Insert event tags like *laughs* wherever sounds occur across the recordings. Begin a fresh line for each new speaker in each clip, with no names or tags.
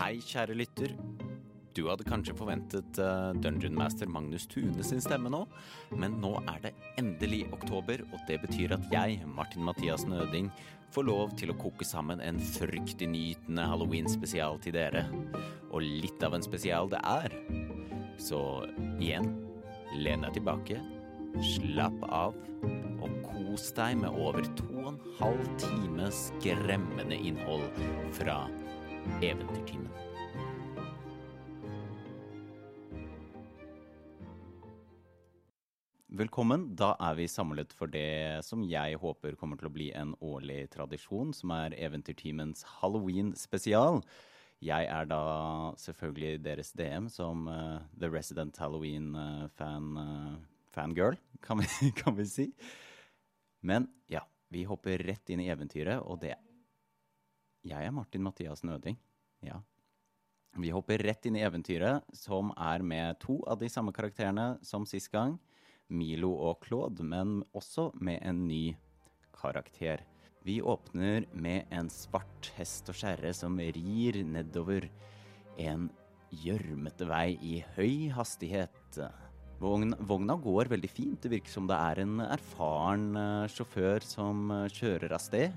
Hei, kjære lytter. Du hadde kanskje forventet eh, Dungeon Master Magnus Tune sin stemme nå, men nå er det endelig oktober, og det betyr at jeg, Martin Mathias Nøding, får lov til å koke sammen en fryktinngytende halloween-spesial til dere. Og litt av en spesial det er. Så igjen, len deg tilbake, slapp av, og kos deg med over to og en halv time skremmende innhold fra Eventyrtimen. Velkommen. Da er vi samlet for det som jeg håper kommer til å bli en årlig tradisjon, som er Eventyrtimens Halloween-spesial. Jeg er da selvfølgelig deres DM som eh, The Resident Halloween-fan eh, fangirl, kan vi, *laughs* kan vi si. Men ja, vi hopper rett inn i eventyret, og det Jeg er Martin Mathias Nøding. Ja. Vi hopper rett inn i eventyret, som er med to av de samme karakterene som sist gang. Milo og Claude, men også med en ny karakter. Vi åpner med en svart hest og skjære som rir nedover en gjørmete vei i høy hastighet. Vogn, vogna går veldig fint, det virker som det er en erfaren eh, sjåfør som eh, kjører av sted.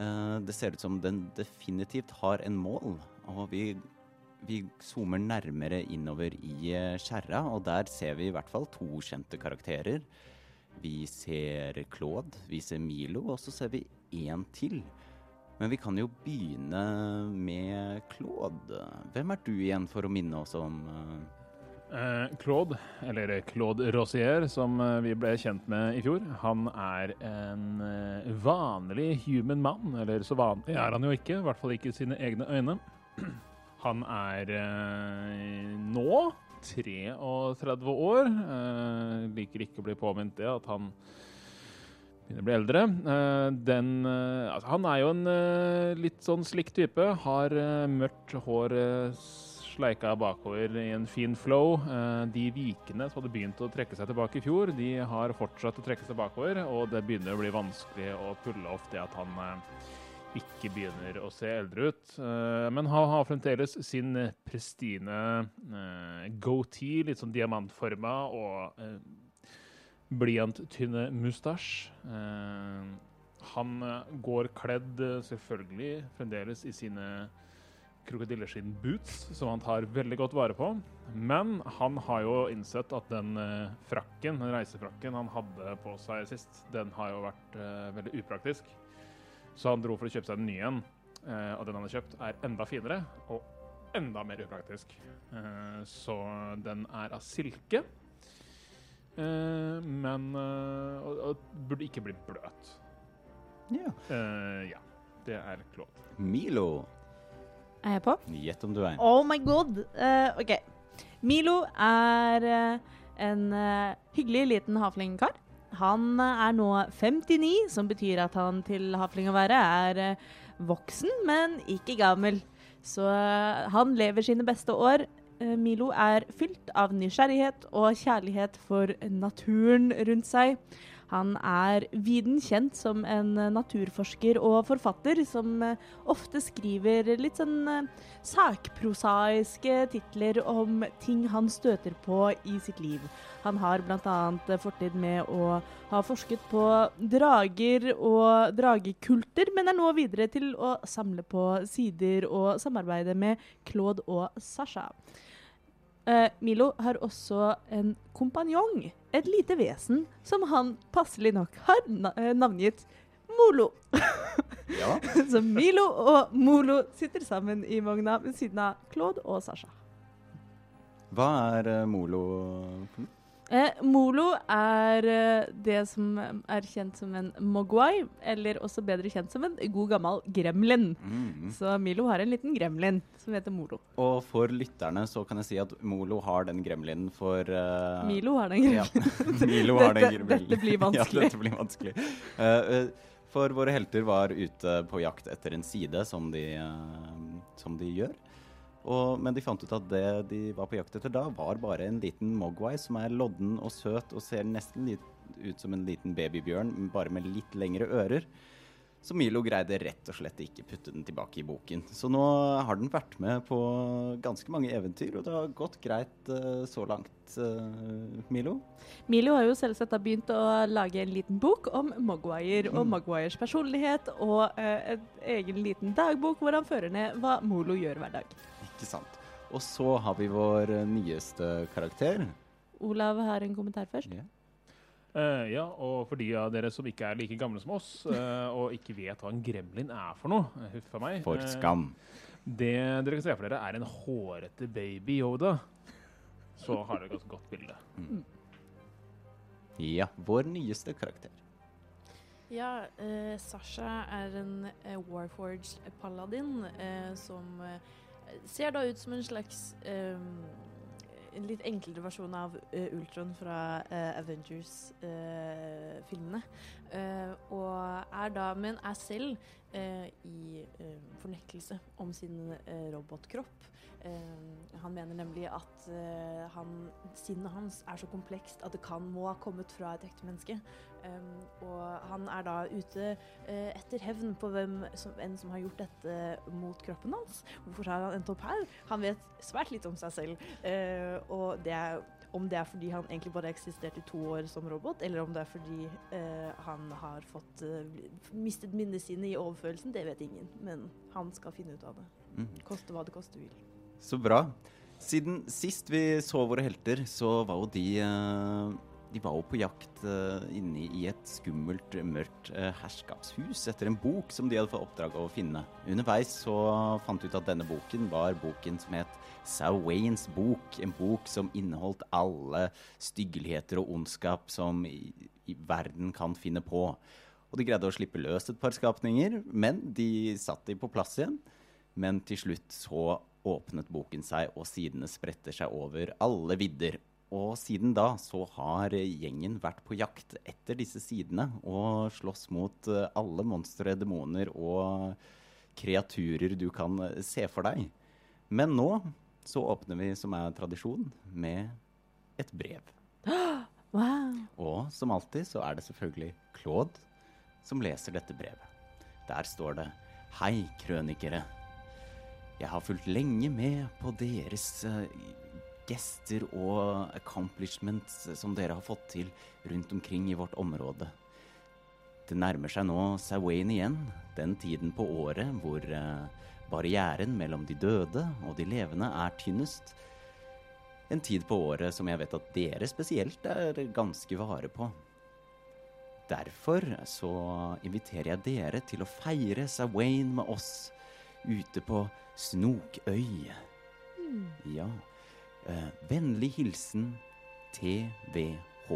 Eh, Det ser ut som den definitivt har en mål, og vi, vi zoomer nærmere innover i eh, skjæra, og der ser vi i hvert fall to kjente karakterer. Vi ser Claude, vi ser Milo, og så ser vi én til. Men vi kan jo begynne med Claude. Hvem er du igjen, for å minne oss om eh,
Eh, Claude, eller eh, Claude Rosier, som eh, vi ble kjent med i fjor, han er en eh, vanlig human mann. Eller så vanlig er han jo ikke, i hvert fall ikke i sine egne øyne. *clears throat* Han er eh, nå 33 år. Eh, liker ikke å bli påminnet det, at han begynner å bli eldre. Eh, Den, eh, altså, han er jo en eh, litt sånn slik type. Har eh, mørkt hår eh, sleika bakover i en fin flow. Eh, De vikene som hadde begynt å trekke seg tilbake i fjor, de har fortsatt å trekke seg bakover, og det begynner å bli vanskelig å pulle opp det at han eh, ikke begynner å se eldre ut. Eh, Men han har fremdeles sin pristine eh, goatee, litt sånn diamantforma og eh, blyanttynne mustasj. Eh, han eh, går kledd eh, selvfølgelig fremdeles i sine krokodilleskinn-boots, som han tar veldig godt vare på. Men han har jo innsett at den eh, frakken, den reisefrakken han hadde på seg sist, den har jo vært eh, veldig upraktisk. Så han dro for å kjøpe seg en ny en, eh, og den han har kjøpt, er enda finere og enda mer upraktisk. Eh, så den er av silke. Eh, men eh, og, og burde ikke bli bløt.
ja.
Eh, ja, det er Claude.
Milo?
Er jeg på?
Gjett om du er.
Oh my god! Eh, ok. Milo er eh, en eh, hyggelig liten havflingkar. Han eh, er nå 59, som betyr at han til havfling å være er eh, voksen, men ikke gammel. Så eh, han lever sine beste år. Eh, Milo er fylt av nysgjerrighet og kjærlighet for naturen rundt seg. Han er viden kjent som en eh, naturforsker og forfatter som eh, ofte skriver litt sånn eh, sakprosaiske titler om ting han støter på i sitt liv. Han har bl.a. fortid med å ha forsket på drager og dragekulter, men er nå videre til å samle på sider og samarbeide med Claude og Sasha. Eh, Milo har også en kompanjong, et lite vesen, som han passelig nok har na eh, navngitt Molo.
*laughs* Ja.
*laughs* Så Milo og Molo sitter sammen i vogna ved siden av Claude og Sasha.
Hva er eh, Molo?
Eh, Molo er eh, det som er kjent som en mogwai, eller også bedre kjent som en god gammel gremlin.
Mm.
Så Milo har en liten gremlin som heter Molo.
Og for lytterne så kan jeg si at Molo har den gremlinen for eh,
Milo har den gremlinen.
Ja. *laughs* Milo har den
Dette-
gremlinen.
dette blir vanskelig.
*laughs* Ja, dette blir vanskelig. Eh, eh, for våre helter var ute på jakt etter en side, som de, eh, som de gjør. Og, men de fant ut at det de var på jakt etter da, var bare en liten mogwai som er lodden og søt og ser nesten litt ut som en liten babybjørn, men bare med litt lengre ører. Så Milo greide rett og slett ikke putte den tilbake i boken. Så nå har den vært med på ganske mange eventyr, og det har gått greit eh, så langt, eh, Milo.
Milo har jo selvsagt da begynt å lage en liten bok om Mogwire og Mogwires personlighet, og eh, en egen liten dagbok hvor han fører ned hva Molo gjør hver dag.
Ikke sant. Og så har vi vår eh, nyeste karakter.
Olav har en kommentar først.
Ja.
Eh, ja, og for de av dere som ikke er like gamle som
*laughs*
oss, eh, og ikke vet hva en gremlin er for noe, eh, huff a meg
For
eh,
skam.
Det dere kan se for dere, er en hårete baby Yoda. Så har dere et ganske godt bilde.
Ja, vår nyeste karakter.
Ja, eh, Sasha er en eh, Warforged paladin eh, som eh, ser da ut som en slags eh, En litt enklere versjon av eh, Ultron fra eh, Avengers-filmene. Eh, og er da, men er selv eh, i eh, fornektelse om sin eh, robotkropp. Eh, han mener nemlig at eh, han, sinnet hans er så komplekst at det kan må ha kommet fra et ekte menneske. Um, og han er da ute eh, etter hevn på hvem som, enn som har gjort dette mot kroppen hans. Hvorfor har han endt opp her? Han vet svært litt om seg selv. eh, og det er, om det er fordi han egentlig bare har eksistert i to år som robot, eller om det er fordi eh, han har fått eh, bli- mistet minnene sine i overførelsen, det vet ingen. Men han skal finne ut av det.
Mhm.
Koste hva det koste vil.
Så bra. Siden sist vi så våre helter, så var jo de eh, De var jo på jakt eh, inne i et skummelt, mørkt eh, herskapshus etter en bok som de hadde fått oppdrag å finne. Underveis så fant vi ut at denne boken var boken som het Sawains bok. En bok som inneholdt alle styggeligheter og ondskap som i, i verden kan finne på. Og de greide å slippe løs et par skapninger, men de satt de på plass igjen. Men til slutt så åpnet boken seg, og sidene spretter seg over alle vidder. Og siden da så har gjengen vært på jakt etter disse sidene og slåss mot eh, alle monstre, demoner og kreaturer du kan eh, se for deg. Men nå så åpner vi, som er tradisjon, med et brev.
Wow.
Og som alltid så er det selvfølgelig Claude som leser dette brevet. Der står det Hei, krønikere. Jeg har fulgt lenge med på deres eh, gester og accomplishments som dere har fått til rundt omkring i vårt område. Det nærmer seg nå Sawain igjen, den tiden på året hvor eh, barrieren mellom de døde og de levende er tynnest. En tid på året som jeg vet at dere spesielt er ganske vare på. Derfor så inviterer jeg dere til å feire Sawain med oss ute på Snokøy. Ja. Eh, vennlig hilsen TVH.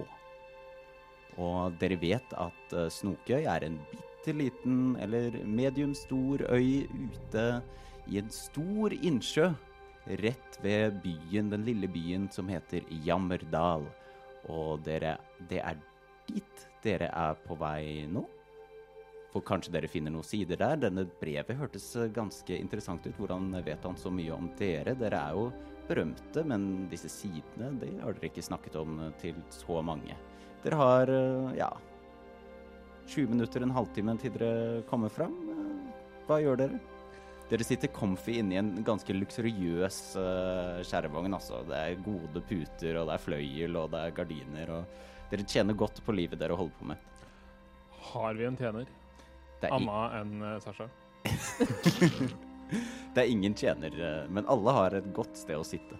Og dere vet at eh, Snokøy er en bitte liten eller medium stor øy ute i en stor innsjø rett ved byen, den lille byen som heter Jammerdal. Og dere, det er dit dere er på vei nå. For kanskje dere finner noen sider der. Denne brevet hørtes eh, ganske interessant ut. Hvordan vet han så mye om dere? Dere er jo berømte, men disse sidene det har dere ikke snakket om eh, til så mange. Dere har, eh, ja 20 minutter, en halvtime til dere kommer fram. Eh, Hva gjør dere? Dere sitter comfy inni en ganske luksuriøs eh, skjærevogn, altså. Det er gode puter, og det er fløyel, og det er gardiner, og Dere tjener godt på livet dere holder på med.
Har vi en tjener?
Det er,
Anna enn eh, Sasha?
i- det er ingen tjener, eh, men alle har et godt sted å sitte.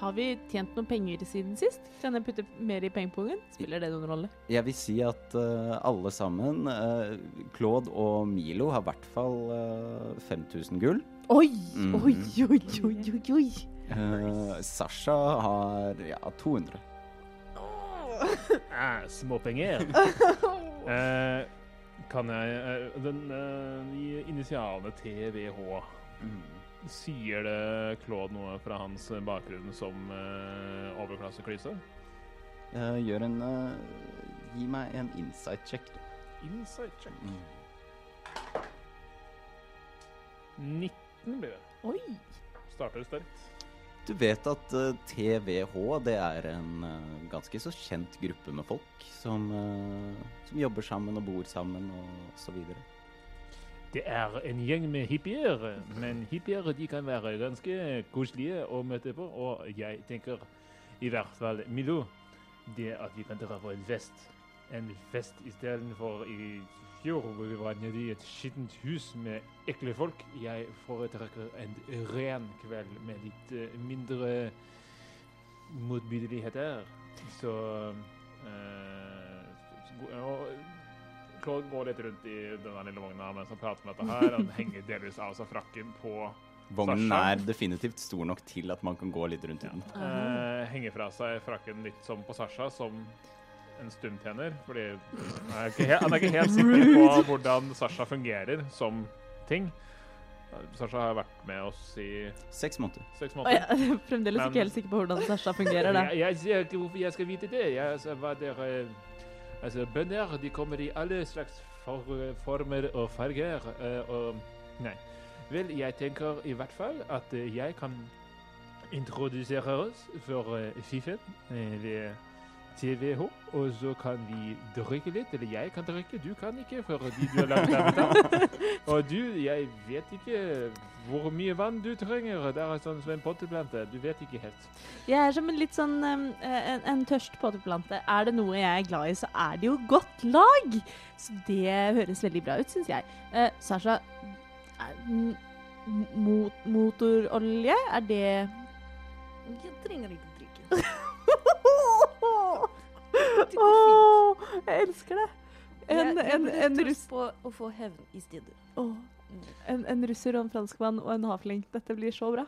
Har vi tjent noen penger siden sist? Kan jeg putte mer i pengepungen? Spiller det noen rolle?
Jeg vil si at eh, alle sammen, eh, Claude og Milo, har i hvert fall eh, 5000 gull.
Oi!
Mhm.
Oi, oi, oi, oi, oi.
Eh, Sasha har ja, 200.
Eh, småpenger. Eh, kan jeg eh, Den eh, de initialene TVH Sier det Claude noe fra hans bakgrunn som eh, overklasseklyse?
Eh, gjør en eh, Gi meg en insight check, du.
Insight check.
Mm.
19 blir det.
Oi.
Starter sterkt.
Du vet at eh, TVH det er en eh, ganske så kjent gruppe med folk som, eh, som jobber sammen og bor sammen og så videre.
Det er en gjeng med hippier, men hippier de kan være ganske koselige å møte på. Og jeg tenker, i hvert fall Milo, det at vi kan dra på en fest. En fest istedenfor i fjor, hvor vi var nede i et skittent hus med ekle folk. Jeg foretrekker en ren kveld med litt eh, mindre motbydeligheter. Så eh, og Claude går litt rundt i denne lille vogna mens han prater med dette her. Han henger delvis av seg frakken på
Vognen
Sasha?
er definitivt stor nok til at man kan gå litt rundt i den.
eh, Henger fra seg frakken litt som på Sasha, som en stumtjener. Fordi han er ikke helt, han er ikke helt sikker på hvordan Sasha fungerer som ting. Sasha har vært med oss i
Seks måneder.
seks
Og
måneder.
jeg er fremdeles
Men-
ikke helt sikker på hvordan Sasha fungerer. Da.
Jeg, jeg ser ikke hvorfor jeg skal vite det. Jeg, altså, hva dere, altså, bønder de kommer i alle slags for, former og farger. eh, og Nei. Vel, jeg tenker i hvert fall at eh, jeg kan introdusere oss for eh, Fifen eh, ved TVH, og så kan vi drikke litt. Eller jeg kan drikke, du kan ikke, fordi du har lagt deg Og du, jeg vet ikke hvor mye vann du trenger. Det er sånn som en potteplante. Du vet ikke helt.
Jeg er som en litt sånn um, en, en tørst potteplante. Er det noe jeg er glad i, så er det jo godt lag! Så det høres veldig bra ut, syns jeg. Eh, Sasha, er, m- mo- motorolje, er det
*laughs* Jeg trenger ikke drikke. Det går
Åh, jeg elsker det! En,
Jeg- jeg
en,
burde
en,
tross
russ,
på å få hevn i stedet.
åh, en, en russer og en franskmann og en havfling. Dette blir så bra.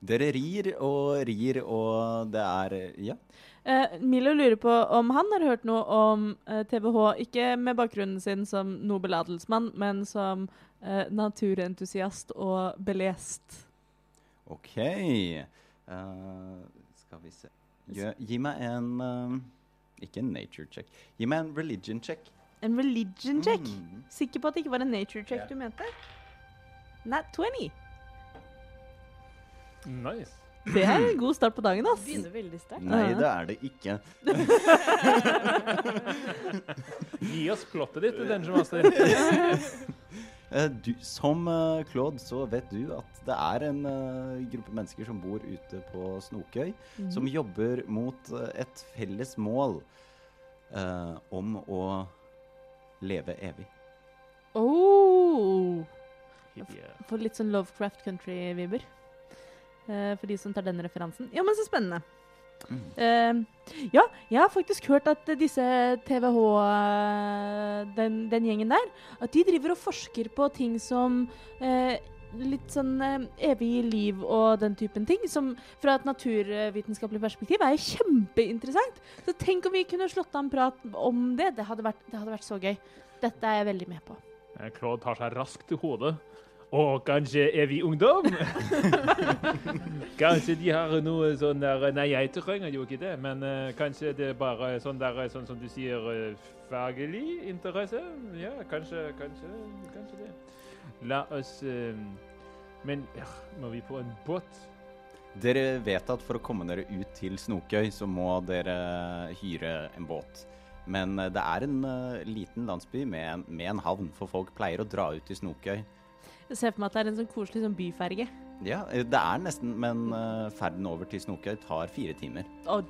Dere rir og rir, og det er Ja.
Eh, Milo lurer på om han har hørt noe om eh, TBH, ikke med bakgrunnen sin som nobel adelsmann, men som eh, naturentusiast og belest.
OK. Eh, skal vi se Gjø, Gi meg en eh, Ikke en nature check. Gi meg en religion check.
En religion check.
Mm.
Sikker på at det ikke var en nature check
Ja.
du mente? Nat 20.
Nice.
Det er en god start på dagen, ass.
Begynner veldig sterkt.
Nei, det er det ikke.
Gi oss plottet ditt, Dungeon Master.
Eh, Du, som eh, Claude så vet du at det er en eh, gruppe mennesker som bor ute på Snokøy, som jobber mot eh, et felles mål eh, om å leve evig.
Oh,
Hippie.
får litt sånn Lovecraft Country-vibber. Eh, for de som tar den referansen. Ja, men så spennende. Eh, ja, jeg har faktisk hørt at eh, disse TVH, eh, den, den gjengen der, at de driver og forsker på ting som eh, litt sånn eh, evig liv og den typen ting, som fra et naturvitenskapelig perspektiv er kjempeinteressant. Så tenk om vi kunne slått av en prat om det. Det hadde vært, det hadde vært så gøy. Dette er jeg veldig med på.
Eh, Claude tar seg raskt til hodet. Og kanskje evig ungdom? kanskje de har noe sånn der Nei, jeg trenger jo ikke det, men eh, kanskje det er bare sånn der, eh, sånn som du sier, eh, faglig interesse? Ja, kanskje, kanskje, kanskje det. La oss eh, Men ja, må vi på en båt?
Dere vet at for å komme dere ut til Snokøy, så må dere hyre en båt. Men eh, det er en eh, liten landsby med en, med en havn, for folk pleier å dra ut til Snokøy.
Jeg ser for meg at det er en sånn koselig sånn byferge.
Ja, eh, det er nesten, men eh, ferden over til Snokøy tar fire timer.
Å,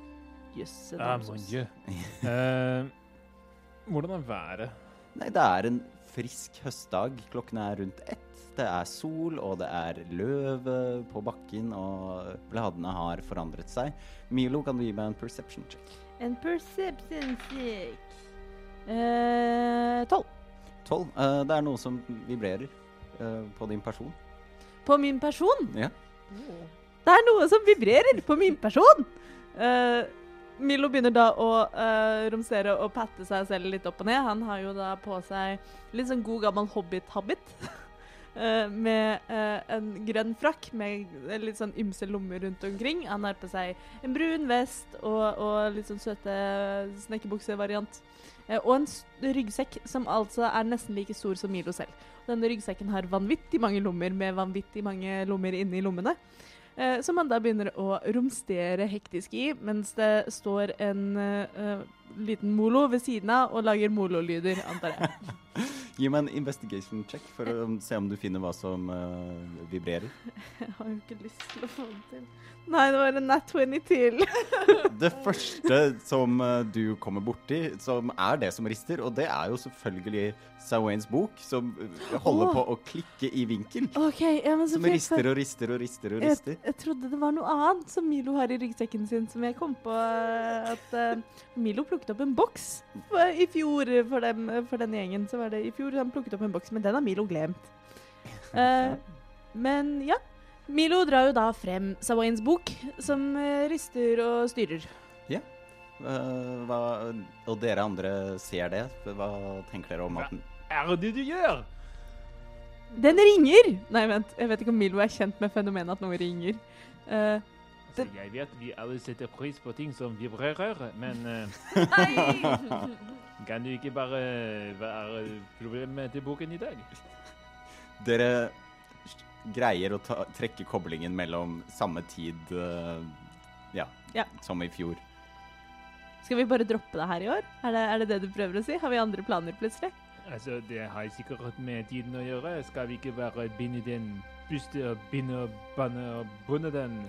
jøsse
Ah, mon
namsos.
dieu. Eh, hvordan er været?
Nei, det er en frisk høstdag. Klokken er rundt ett. Det er sol, og det er løv eh, på bakken, og bladene har forandret seg. Milo, kan du gi meg en perception check?
En perception check. Eh, Tolv.
Tolv. Eh, det er noe som vibrerer eh, på din person.
På min person.
Ja.
Det er noe som vibrerer på min person. Eh, Milo begynner da å eh, romstere og patte seg selv litt opp og ned. Han har jo da på seg litt sånn god gammel hobbit-habit. *laughs* eh, med eh, en grønn frakk med litt sånn ymse lommer rundt omkring. Han har på seg en brun vest og, og litt sånn søte snekkerbuksevariant. Eh, og en s- ryggsekk som altså er nesten like stor som Milo selv. Denne ryggsekken har vanvittig mange lommer med vanvittig mange lommer inni lommene. Eh, som han da begynner å romstere hektisk i, mens det står en eh, eh, liten molo ved siden av og lager mololyder, antar jeg.
Gi meg en investigation check for å se om du finner hva som eh, vibrerer.
*laughs* Jeg har jo ikke lyst til å få det til. Nei, det var en nat 20 til.
Det første som eh, du kommer borti, som er det som rister, og det er jo selvfølgelig Sawains bok, som eh, holder
Åh.
på å klikke i vinkel.
OK, ja, men så
Som
fint,
rister og rister og rister og
jeg,
rister.
jeg trodde det var noe annet som Milo har i ryggsekken sin, som jeg kom på eh, at eh, Milo plukket opp en boks for, i fjor eh, for, dem, eh, for denne gjengen. Så var det i fjor han plukket opp en boks, men den har Milo glemt. Eh, men ja. Milo drar jo da frem Sawains bok, som eh, rister og styrer.
Eh, hva, og dere andre ser det. Hva tenker dere om at den
Er det du gjør?
Den ringer! Nei, vent. Jeg vet ikke om Milo er kjent med fenomenet at noe ringer. Eh,
Altså, jeg vet vi alle setter pris på ting som vibrerer, men eh, Kan du ikke bare eh, Hva er problemet til boken i dag?
Dere greier å ta, trekke koblingen mellom samme tid eh, ja,
Ja.
som i fjor.
skal vi bare droppe det her i år? Er det, er det det du prøver å si? Har vi andre planer plutselig?
Altså, det har sikkert med tiden å gjøre. Skal vi ikke bare binde den, puste og binde og banne og bunde den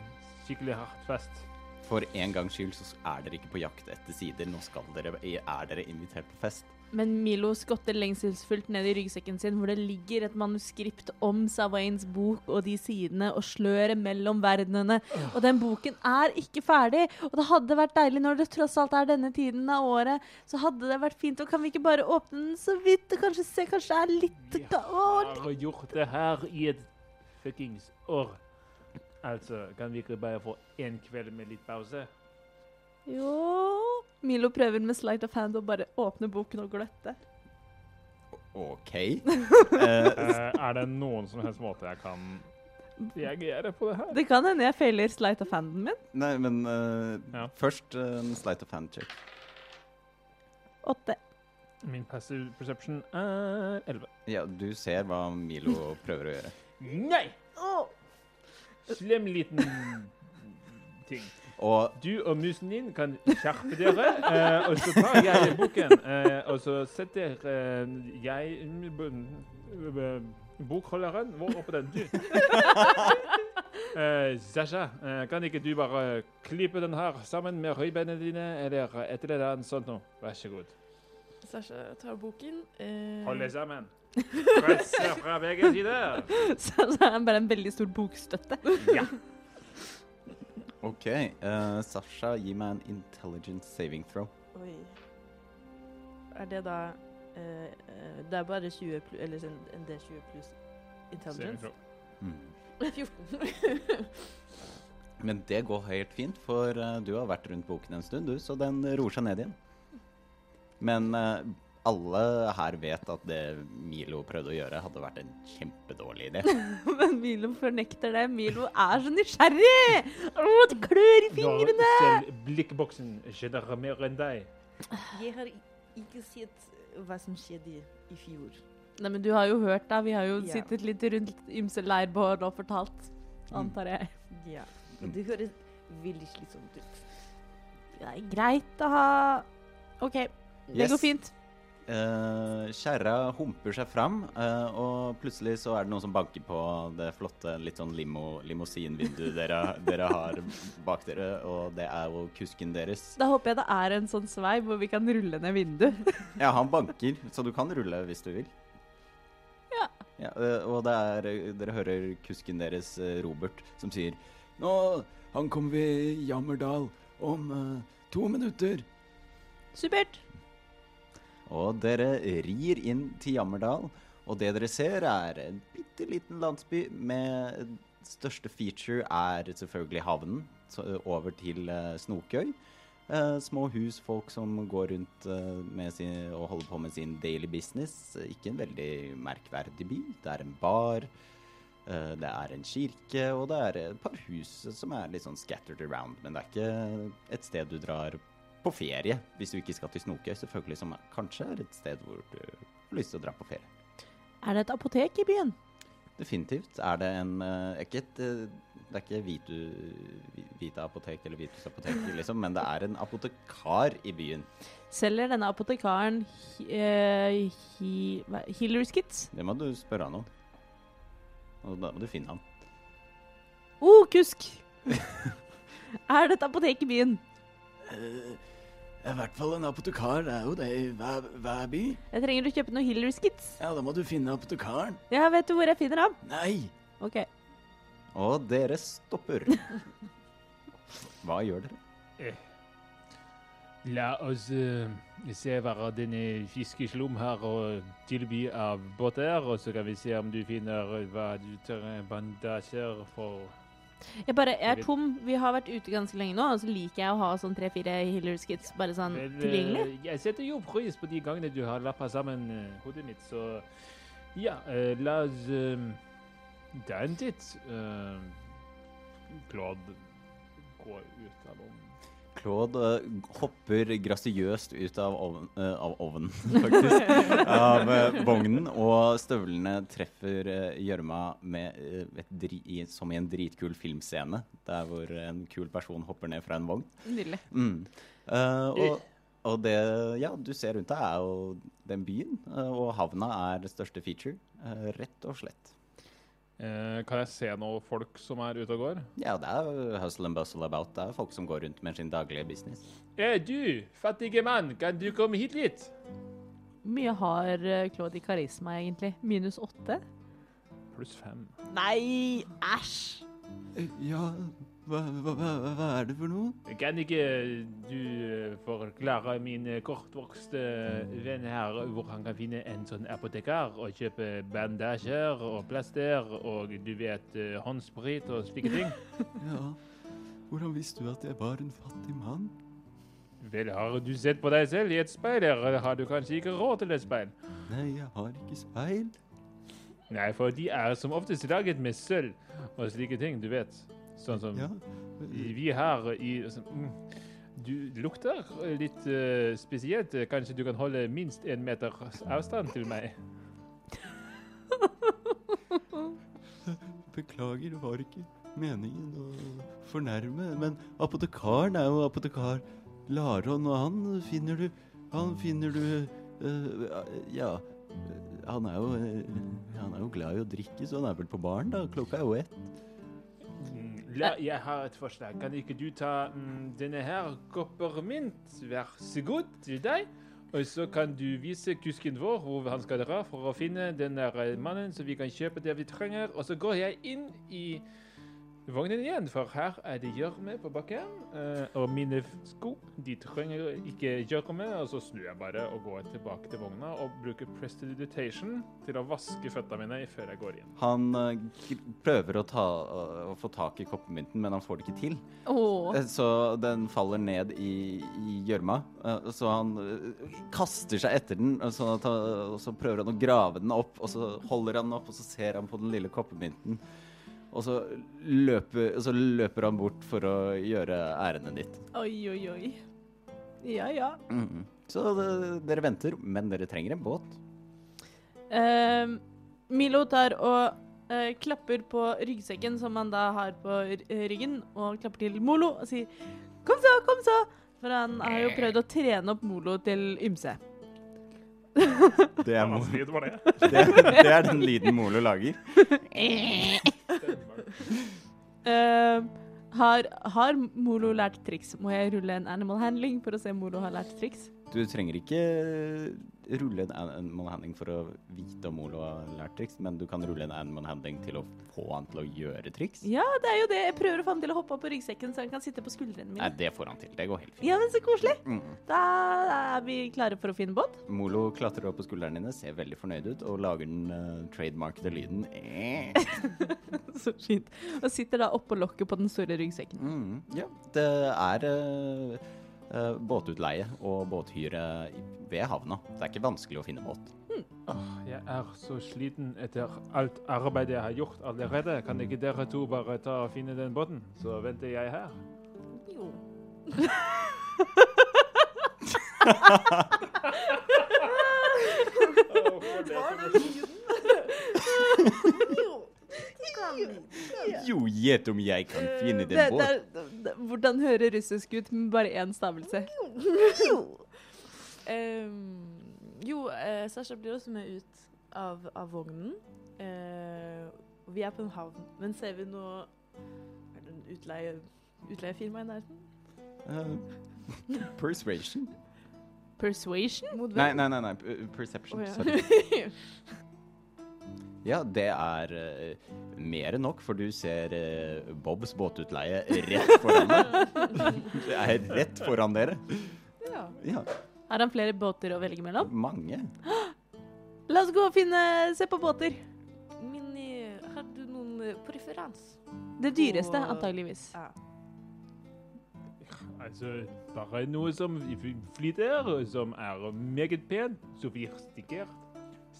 skikkelig hardt fast?
For en gangs skyld så er dere ikke på jakt etter sider. Nå skal dere, er dere invitert på fest.
Men Milo skotter lengselsfullt ned i ryggsekken sin, hvor det ligger et manuskript om Savains bok og de sidene og sløret mellom verdenene. Og den boken er ikke ferdig, og det hadde vært deilig når det tross alt er denne tiden av året, så hadde det vært fint. Og kan vi ikke bare åpne den så vidt og kanskje se, kanskje det er litt
Vi
ga- Å,
har gjort det her i et fuckings år. Altså, kan vi ikke bare få én kveld med litt pause?
li- Jo Milo prøver med slight of hand å bare åpne boken og gløtte.
OK. Eh,
*laughs*
er det noen som helst måte jeg kan reagere på det her?
Det kan hende jeg feiler slight of handen min.
nei, men eh,
Ja.
først eh, en slight of hand-check.
Åtte. *laughs*
Min passive perception er 11.
Ja, du ser hva Milo prøver å gjøre.
Nei!
Å,
Slem liten ting.
Og
Du og musen din kan skjerpe dere, eh, og så tar jeg boken, eh, og så setter eh, jeg mm, b- b- bokholderen vår oppå *laughs* den. Du. Eh, Sasha, eh, kan ikke du bare klippe den her sammen med rødbeina dine, eller et eller annet sånt noe? Vær så god.
Sasha tar boken. eh,
Hold det sammen. Presse fra begge sider.
Så, så er det bare en veldig stor bokstøtte.
Ja.
OK, eh, Sasha, gi meg en intelligence saving throw.
Oi. Er det da eh, eh, Det er bare 20 plu- eller en, en D20 pluss intelligence?
Mm.
*laughs* 14.
Men det går helt fint, for eh, du har vært rundt boken en stund, du, så den roer seg ned igjen. Men eh, alle her vet at det Milo prøvde å gjøre, hadde vært en kjempedårlig idé.
Men *laughs* Milo fornekter det. Milo er så nysgjerrig! Å, det klør i fingrene!
Når selv blikkboksen skjønner mer enn deg.
Jeg har i- ikke sett hva som skjedde i fjor.
Nei, men du har jo hørt, da. Vi har jo
Ja.
sittet litt rundt ymse leirbål og fortalt, antar jeg.
Ja. Og det høres veldig slitsomt ut.
Det er greit å ha OK, det
Yes.
går fint.
Uh, Kjerra humper seg fram, eh, og plutselig så er det noen som banker på det flotte litt sånn limo, limousinvinduet dere, dere har bak dere, og det er jo kusken deres.
Da håper jeg det er en sånn sveiv hvor vi kan rulle ned vinduet. *laughs*
Ja, han banker, så du kan rulle hvis du vil.
Ja.
eh, og det er, dere hører kusken deres, eh, Robert, som sier Nå ankommer vi Jammerdal om eh, to minutter.
Supert.
Og dere rir inn til Jammerdal, og det dere ser er en bitte liten landsby med største feature er selvfølgelig havnen, så over til eh, Snokøy. Eh, små hus, folk som går rundt eh, med sin, og holder på med sin daily business. Ikke en veldig merkverdig by. Det er en bar, eh, det er en kirke, og det er et par hus som er litt sånn scattered around. Men det er ikke et sted du drar på ferie, hvis du ikke skal til Snokøy, selvfølgelig, som er- kanskje er et sted hvor du har lyst til å dra på ferie.
Er det et apotek i byen?
Definitivt er det en eh, ikke et, eh, Det er ikke Vitu, Vi- Vita apotek eller Vitus apotek, liksom, men det er en apotekar i byen.
Selger denne apotekaren hi- eh, hi- hva- healer's kits?
Det må du spørre han om. Og da må du finne han.
Oh, kusk! *laughs* er det et apotek i byen?
Eh, I hvert fall en apotekar. Det er jo det i hver, by.
Jeg trenger å kjøpe noen healer's kits.
Ja, da må du finne apotekaren.
Ja, vet du hvor jeg finner ham?
Nei!
Ok.
Og dere stopper. Hva gjør dere?
La oss eh, se hva denne fiskeslum har å tilby av båter, og så kan vi se om du finner hva du trenger bandasjer for.
Jeg bare, jeg er tom. Vi har vært ute ganske lenge nå, og så liker jeg å ha sånn tre-fire healer's kits bare sånn
Vel, eh,
tilgjengelig.
Jeg setter jo pris på de gangene du har lappa sammen eh, hodet mitt, så ja, eh, la oss eh, ta en titt. Eh, Claude går ut av ovnen.
Claude eh, hopper grasiøst ut av ovnen, av ovnen *laughs* faktisk. av eh, vognen, og støvlene treffer eh, gjørma med, eh, et dri, i, som i en dritkul filmscene. Der hvor en kul person hopper ned fra en vogn.
Nydelig.
Mm. Eh, og, og det ja, du ser rundt deg, er jo den byen, eh, og havna er det største feature. eh, rett og slett.
Eh, kan jeg se noen folk som er ute og går?
Ja, det er jo hustle and bustle about. Det er folk som går rundt med sin daglige business.
Eh, du, fattige mann, kan du komme hit litt?
Mye har eh, Claude i karisma, egentlig. Minus åtte?
Pluss fem.
Nei, æsj!
Ja, hva, er det for noe?
Kan ikke du eh, forklare min eh, kortvokste eh, venn her hvor han kan finne en sånn apotekar og kjøpe bandasjer og plaster og du vet eh, håndsprit og slike *laughs* ting?
Ja, hvordan visste du at jeg var en fattig mann?
Vel, har du sett på deg selv i et speil, eller har du kanskje ikke råd til et speil?
Nei, jeg har ikke speil.
Nei, for de er som oftest laget med sølv og slike ting, du vet. Sånn som
Ja,
vi her i altså, mm, Du lukter litt eh, spesielt. Kanskje du kan holde minst en meter avstand til meg?
beklager, det var ikke meningen å fornærme, men apotekaren er jo apotekar Laron, og han finner du Han finner du eh, Ja, eh, han er jo eh, Han er jo glad i å drikke, så han er vel på baren, da. Klokka er jo ett.
Mm, La, jeg har et forslag. Kan ikke du ta mm, denne her koppermynt? Vær så god til deg. Og så kan du vise kusken vår hvor han skal dra for å finne den der eh, mannen, så vi kan kjøpe det vi trenger. Og så går jeg inn i vognen igjen, for her er det gjørme på bakken. eh, og mine f- sko de trenger ikke gjørme. Og så snur jeg bare og går tilbake til vogna og bruker prestidigitation til å vaske føttene mine før jeg går inn.
Han eh, gr- prøver å, ta, eh, å få tak i koppermynten, men han får det ikke til.
Åh.
Eh, Så den faller ned i i gjørma. eh, Så han eh, kaster seg etter den, og sånn at han, og så prøver han å grave den opp. Og så holder han den opp, og så ser han på den lille koppermynten. Og så løper, og så løper han bort for å gjøre ærendet ditt.
Oi, oi, oi. Ja, ja.
Mhm. Så det, dere venter, men dere trenger en båt.
Ehm, Milo tar og eh, klapper på ryggsekken som han da har på r- ryggen, og klapper til Molo og sier 'kom så, kom så', for han har jo prøvd å trene opp Molo til ymse.
Det er,
Lyd var
*laughs*
det.
den lyden Molo lager.
Ehm, har, har Molo lært triks? Må jeg rulle en animal handling for å se om Molo har lært triks?
Du trenger ikke rulle en animal handling for å vite om Molo har lært triks, men du kan rulle en animal handling til å få han til å gjøre triks.
Ja, det er jo det. Jeg prøver å få ham til å hoppe opp på ryggsekken, så han kan sitte på skuldrene mine.
Nei, det får han til. Det går helt fint.
Ja, men så koselig.
Mm.
Da er vi klare for å finne båt. *laughs*
Molo klatrer opp på skuldrene dine, ser veldig fornøyd ut og lager den uh, trademarkede
*laughs*
lyden. Eh.
Så fint. Og sitter da oppå lokket på den store ryggsekken.
Mm. Ja, det er eh, eh, båtutleie og båthyre i- ved havna. Det er ikke vanskelig å finne båt.
Åh, Jeg er så sliten etter alt arbeidet jeg har gjort allerede. Kan ikke dere to bare ta og finne den båten, så venter jeg her?
Jo.
Jo, gjett om jeg kan finne
Det, det, er- d- Hvordan hører russisk ut med bare én stavelse?
Ehm, jo, eh, Sasha blir også med ut av, av vognen. Eh, vi er på en havn, men ser vi noe Er det en utleie, utleiefirma i nærheten?
Eh, *laughs* persuasion?
Persuasion?
Mot hvem?
Nei, nei, nei. nei. p- eh, Perception.
Å, ja. *laughs*
Sorry. Ja, det er eh, mer enn nok, for du ser eh, Bobs båtutleie rett foran deg.
*laughs*
det er rett foran dere.
ja.
Ja,
Har han flere båter å velge mellom?
mange.
La oss gå og finne, se på båter.
Minni, har du noen eh, preferans?
Det dyreste,
Og-
antageligvis.
Ja.
Altså, bare noe som fly- flyter, og som er meget pen, sofistikert,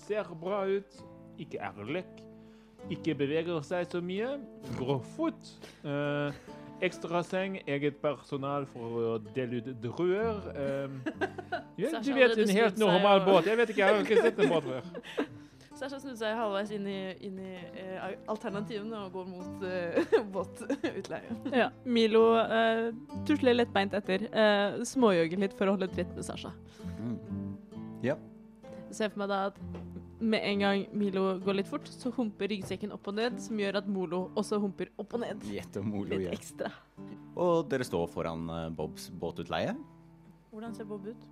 ser bra ut, ikke er lekk, ikke beveger seg så mye, grovfot, eh, ekstra seng, eget personal for å dele ut druer. Eh, ja, du
Sasha
vet,
hadde
en helt
bestemt seg
normal
og-
båt. Jeg vet ikke, jeg har ikke sett en båt før.
Sasha snudde seg halvveis inn i, inn i eh, alternativene og går mot eh, *laughs* båtutleie.
Ja, Milo eh, tusler lettbeint etter. Uh, småjogger litt for å holde tritt med Sasha.
Mm.
Ser for meg da at med en gang Milo går litt fort, så humper ryggsekken opp og ned, som gjør at Molo også humper opp og ned.
Gjett om Olo
Litt
gjør.
ekstra.
Og dere står foran eh, Bobs båtutleie.
Hvordan ser Bob ut?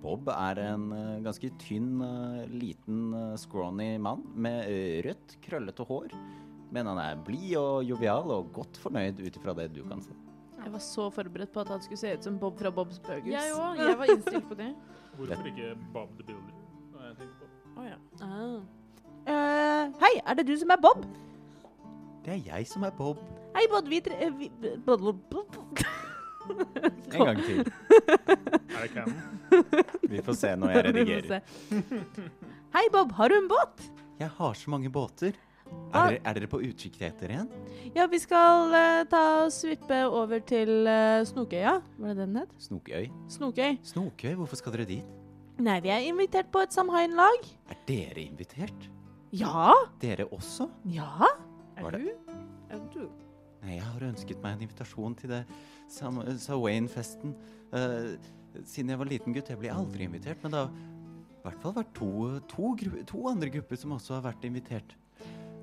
Bob er en eh, ganske tynn, eh, liten, eh, scrawny mann med eh, rødt, krøllete hår. Men han er blid og jovial og godt fornøyd ut ifra det du kan se.
Jeg var så forberedt på at han skulle se ut som Bob fra Bobs Burgers.
Jeg
*laughs*
òg. Jeg var innstilt på det.
Hvorfor
ikke Bob the Builder?
Å ja.
Ah. Eh, hei, er det du som er Bob?
Det er jeg som er Bob.
Hei, Bob, vi, tre eh, vi blablabla.
En gang til.
Er det Cannon?
Vi får se når jeg
*laughs* Vi får
redigerer.
se. Hei, Bob, har du en båt?
Jeg har så mange båter.
Ah.
Er dere, er dere på utkikk etter en?
Ja, vi skal eh, ta og svippe over til eh, Snokøya. Var det den het?
Snokøy.
Snokøy.
Snokøy, hvorfor skal dere dit?
Nei, vi er invitert på et Samhain-lag.
Er dere invitert?
Ja?
Dere også?
Ja?
Var
Er
det-
du? Er du?
Nei, jeg har ønsket meg en invitasjon til det Sam Sawain-festen eh, siden jeg var liten gutt. Jeg ble aldri invitert, men det har i hvert fall vært to, to, gru to andre grupper som også har vært invitert.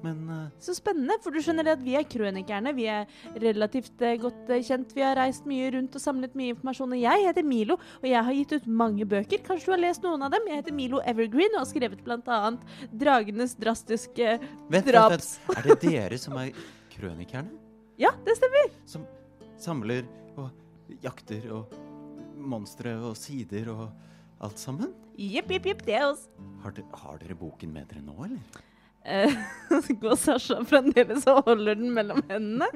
Men eh,
Så spennende, for du skjønner det at vi er krønikerne. Vi er relativt eh, godt eh, kjent. Vi har reist mye rundt og samlet mye informasjon. Og jeg heter Milo, og jeg har gitt ut mange bøker. Kanskje du har lest noen av dem? Jeg heter Milo Evergreen og har skrevet bl.a. 'Dragenes
*laughs*
drastiske
vent, vent,
Draps.
vent. Er det dere som er krønikerne?
Ja, det stemmer.
Som samler og jakter og monstre og sider og alt sammen?
Jepp, jepp, jepp, det er oss.
Har, de har dere boken med dere nå, eller?
Eh, *laughs* Så går Sasha fremdeles og holder den mellom hendene.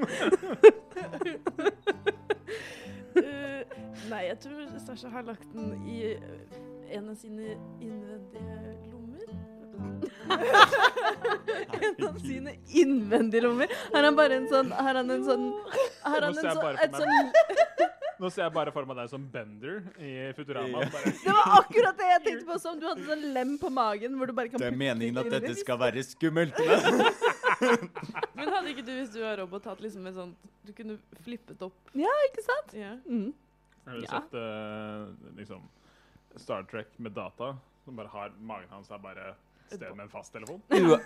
Eh, nei, jeg tror Sasha har lagt den i eh, en av sine innvendige lommer.
En av sine innvendige lommer. Har han bare en sånn Har han en sånn Har han
Nå
en
ser jeg
sånn,
bare for
et
meg-
sånn
Nå ser jeg bare for meg deg som Bender i Futurama.
Ja.
Bare,
Det var akkurat det jeg tenkte på. Som du hadde sånn lem på magen hvor du bare kan putte tingene inn i.
skal være skummelt.
Men hadde ikke du, hvis du var robot, hatt liksom et sånt Du kunne flippet opp.
Ikke sant?
Ja.
Mm.
Har du
Ja.
sett eh, liksom Star Trek med data? Som bare har Magen hans er bare et sted med en fasttelefon?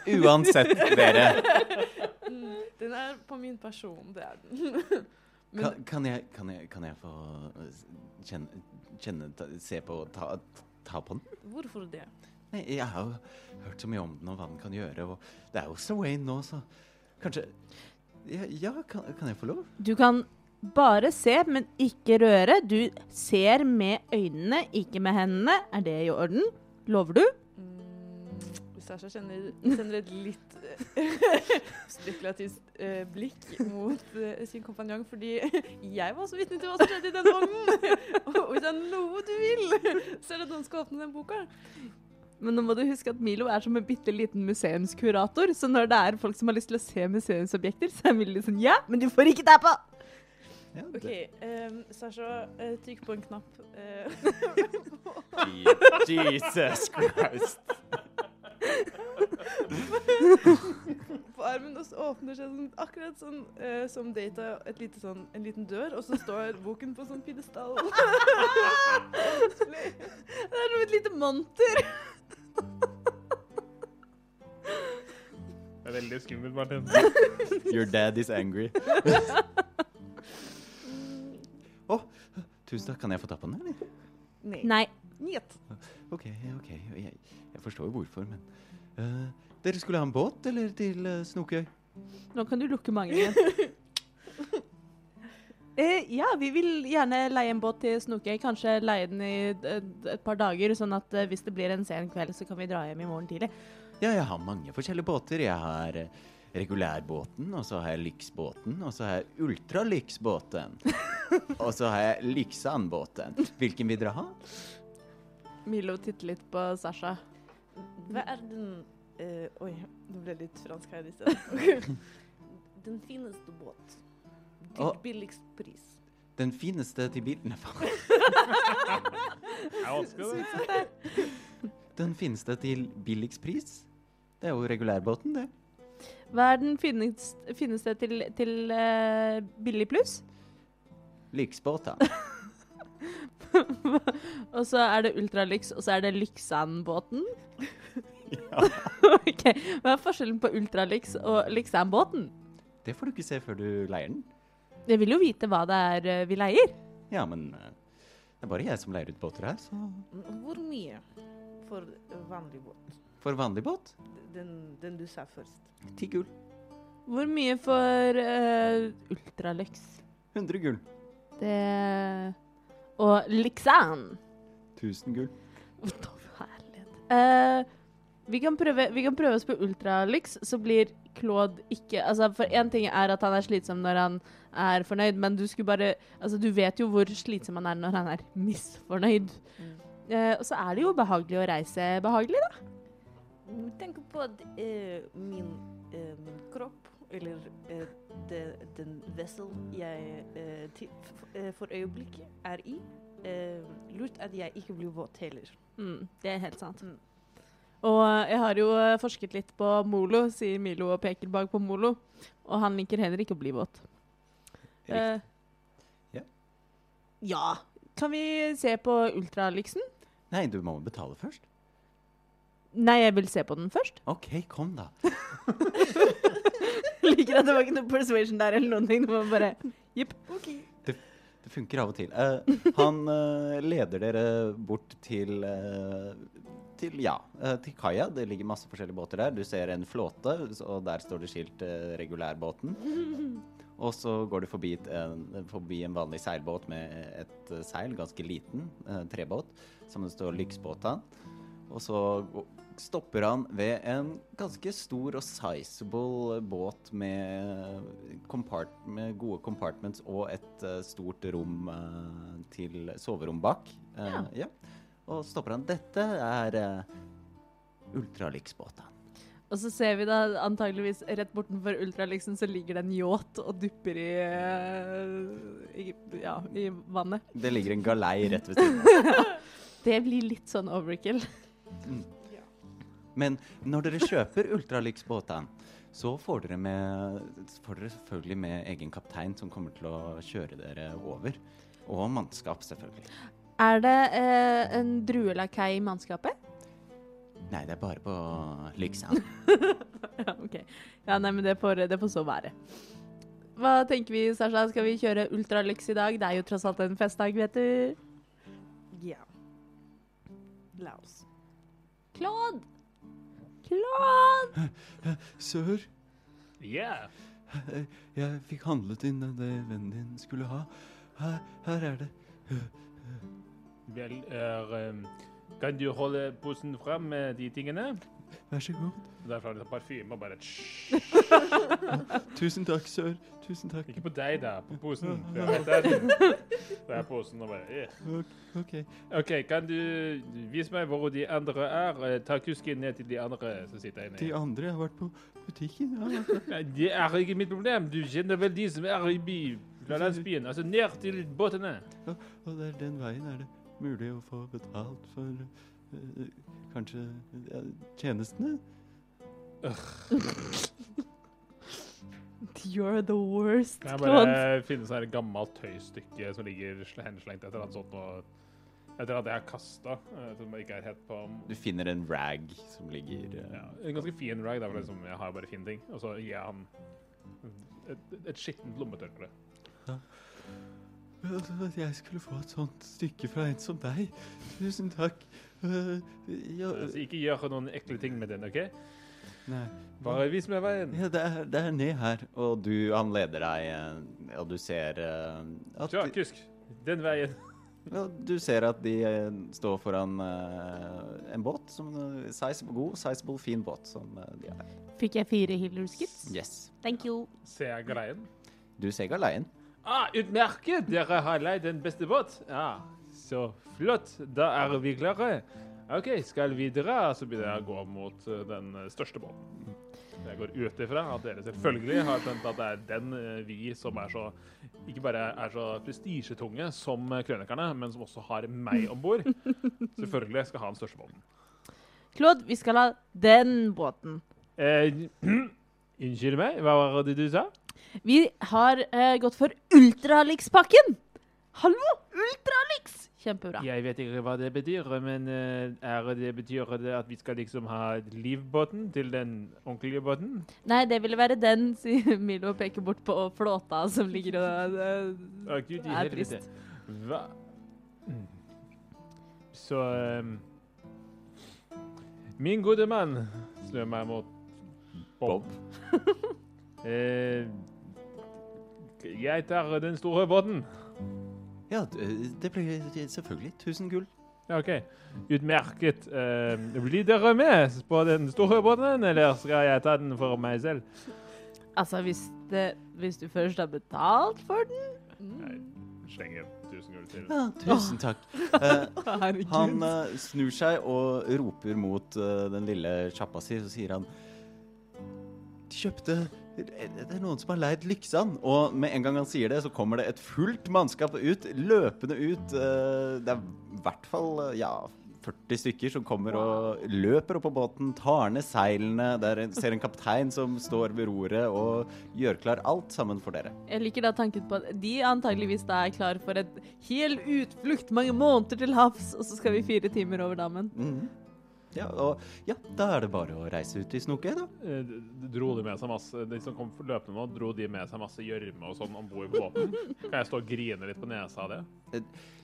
U uansett, dere.
Mm, den er på min person, det er den. Men-
Kan, kan, jeg, kan, jeg, kan jeg få eh, s- kjenne, kjenne ta, se på og ta, ta på den?
Hvorfor det?
Nei, jeg har jo hørt så mye om den og hva den kan gjøre, og det er jo Sawain nå, så kanskje Ja, ja kan, kan jeg få lov?
Du kan bare se, men ikke røre. Du ser med øynene, ikke med hendene. Er det i orden? Lover du?
Mm, Sasha kjenner, sender et litt eh, *laughs* spekulativt eh, blikk mot eh, sin kompanjong, fordi jeg var også vitne til hva som skjedde i den vognen. Og hvis det er noe du vil, så er det at noen skal åpne den boka.
Men nå må du huske at Milo er som en bitte liten museumskurator, så når det er folk som har lyst til å se museumsobjekter, så er Milo litt sånn Ja, men du får ikke der på!
Ja,
OK, um, Sasha, eh, trykk på en knapp. eh, *laughs*
Jesus Christ.
på
armen, og så åpner seg sånn, akkurat sånn eh, som Data et lite sånn, en liten dør, og så står boken på sånn pidestall.
Det er som et lite monter.
Det er veldig skummelt, Martin.
Your dad is angry. Å, tusen takk. Kan jeg få ta på den, eller?
Nei.
Nei.
Njet.
OK, ok. Jeg, jeg forstår jo hvorfor, men eh, Dere skulle ha en båt, eller til eh, Snokøy?
Nå kan du lukke magen igjen. *laughs* Eh, ja, vi vil gjerne leie en båt til Snokøy. Kanskje leie den i et, et par dager, sånn at eh, hvis det blir en sen kveld, så kan vi dra hjem i morgen tidlig.
Ja, jeg har mange forskjellige båter. Jeg har eh, regulærbåten, og så har jeg lyksbåten, og så har jeg ultralyksbåten. og så har jeg lyksanbåten. Hvilken vil dere ha?
Milo titter litt på Sasha.
Hva er den
Eh, oi, det ble litt fransk her i sted.
Den fineste båt. Til
Å.
billigst pris.
Den fineste til bilen.
Det er vanskelig, det.
Den fineste til billigst pris. Det er jo regulærbåten, det.
Hva er den finnes, finneste til, til eh, billig *laughs* pluss?
Lyksbåten.
og så er det ultralyks, og så er det Lyksanbåten. *laughs* ok, Hva er forskjellen på ultralyks og Lyksanbåten?
Det får du ikke se før du leier den.
Jeg vil jo vite hva det er eh, vi leier.
Ja, men eh, det er bare jeg som leier ut båter her, så
Hvor mye for vanlig båt?
For vanlig båt
Den, den du sa først.
ti gull.
Hvor mye for eh, ultralyks?
100 gull.
Det Og Lyksan.
1000 gull.
Herlighet. Eh, vi, kan prøve, vi kan prøve oss på ultralyks, så blir Claude ikke Altså, for én ting er at han er slitsom når han er fornøyd, men du skulle bare Altså, du vet jo hvor slitsom han er når han er misfornøyd. Eh, og så er det jo behagelig å reise behagelig, da.
Mm, Tenk på at eh, min, eh, min kropp, eller eh, de- den vessel jeg eh, til, f- eh, for øyeblikket er i, eh, lurt at jeg ikke blir våt heller.
Mm, det er helt sant.
Mm.
Og jeg har jo eh, forsket litt på Molo, sier Milo og peker bak på Molo. Og han liker heller ikke å bli våt.
Riktig.
Eh,
Ja.
ja. Kan vi se på ultralyksen?
Nei, du må betale først.
Nei, jeg vil se på den først. *laughs*
OK, kom da.
Liker at det var ikke noe persuasion der eller noen ting. Det var bare jipp.
Det funker av og til. Eh, han eh, leder dere bort til eh, til, ja, eh, til kaia. Det ligger masse forskjellige båter der. Du ser en flåte, s- og der står det skilt eh, 'regulærbåten'. Og så går du forbi et- en, forbi en vanlig seilbåt med et eh, seil, ganske liten, eh, trebåt, som det står 'Lyksbåta'. Og så gå- stopper han ved en ganske stor og sizable båt med, compart med gode compartments og et eh, stort rom eh, til soverom bak. Eh, ja. Og stopper han. Dette er eh, uh, ultralyksbåta.
Og så ser vi da antageligvis rett bortenfor ultralyksen så ligger det en yacht og dupper i, eh, i Ja, i vannet.
Det ligger en galei rett ved siden av.
Det blir litt sånn overkill.
Men når dere kjøper ultralyksbåta, så får dere, med, får dere selvfølgelig med egen kaptein som kommer til å kjøre dere over. Og mannskap, selvfølgelig.
Er det eh, en druelakei i mannskapet?
Nei, det er bare på Lyksand.
*laughs* Ja, OK. Ja, nei, men det får, det får så være. Hva tenker vi, Sasha? Skal vi kjøre ultralyks i dag? Det er jo tross alt en festdag, vet du.
Ja. La oss.
Claude! Claude!
Sør,
Yeah.
jeg fikk handlet inn det vennen din skulle ha. Her, er det.
Vel, er, um, kan du holde posen fram med de tingene?
Vær så god.
Derfra litt parfyme og bare tsj.
Tusen takk, sør. Tusen takk.
Ikke på deg, da. På posen. Det er, det er, det er posen og bare eh.
Ok.
OK, kan du vise meg hvor de andre er? Eh, Ta kusken ned til de andre som sitter inne.
De andre har vært på butikken. Ja.
Nei, Det er ikke mitt problem. Du kjenner vel de som er i by fra landsbyen. Altså ned til båtene.
Og det er den veien er det mulig å få betalt for eh, kanskje eh, tjenestene?
*laughs* You're the worst,
Kan jeg
Claude.
bare finne sånn her gammelt tøystykke som ligger sl- henslengt etter at sånt noe Etter at jeg har kasta, som jeg ikke er helt på
*laughs* Du finner en rag som ligger eh,
ja, En ganske fin rag, der hvor liksom, jeg har bare fine ting. Og så gir jeg han et, et skittent lommetørkle.
At jeg skulle få et sånt stykke fra en som deg. Tusen takk. Øh, ja,
Så ikke gjør noen ekle ting med den, OK?
nei.
Bare vis meg veien.
Ja, det er, det er ned her. Og du, han leder deg, eh, og du ser eh, at
Ja, kusk. Den veien.
ja, Du ser at de eh, står foran eh, en båt. Som, eh, sizable, god, sizable, fin båt. Som eh, de er.
Fikk jeg fire healerskips?
Yes.
Thank you.
Ser jeg greien?
Du ser galeien.
Ah, utmerket! Dere har leid den beste båt. Ja, så flott. Da er vi klare. OK, skal vi dra? Så begynner jeg å gå mot eh, den eh, største båten. Jeg går ut ifra at dere selvfølgelig har skjønt at det er den eh, vi som er så Ikke bare er så prestisjetunge som eh, krønikerne, men som også har meg om bord. Selvfølgelig skal ha den største båten.
Claude, vi skal ha den båten.
Eh, *clears throat* unnskyld meg, hva var det du sa?
Vi har eh, gått for Ultralix-pakken. Hallo! Ultralix! Kjempebra.
Jeg vet ikke hva det betyr, men eh, er det betyr det at vi skal liksom ha livbåten til den ordentlige båten?
Nei, det ville være den, sier *laughs* Milo og peker bort på flåta som ligger og eh,
Å, Gud, i
Det er
helvete.
trist.
Hva? Mm. Så ehm, Min gode mann slår meg mot Bob. *laughs* Eh, jeg tar den store båten.
Ja, d- det ble selvfølgelig 1000 gull.
Ja, OK. Utmerket. Eh, blir dere med på den store båten, eller skal jeg ta den for meg selv?
Altså, hvis, det, hvis du først har betalt for den
Jeg slenger 1000 gull til.
Ja, tusen takk. Eh,
*laughs* Herregud.
Han eh, snur seg og roper mot eh, den lille sjappa si, så sier han De kjøpte Det er noen som har leid Lyksand. Og med en gang han sier det, så kommer det et fullt mannskap ut, løpende ut. eh, det er i hvert fall eh, ja, 40 stykker som kommer og løper opp på båten, tar ned seilene. Der ser en kaptein som står ved roret og gjør klar alt sammen for dere.
Jeg liker da tanken på at de antageligvis da er klar for et hel utflukt mange måneder til havs, og så skal vi fire timer over dammen.
Mhm. Ja, og ja, da er det bare å reise ut i snoket, da.
Eh, d- d- Dro de med seg masse De som kom løpende nå, dro de med seg masse gjørme og sånn om bord på båten? Kan jeg stå og grine litt på nesa av det?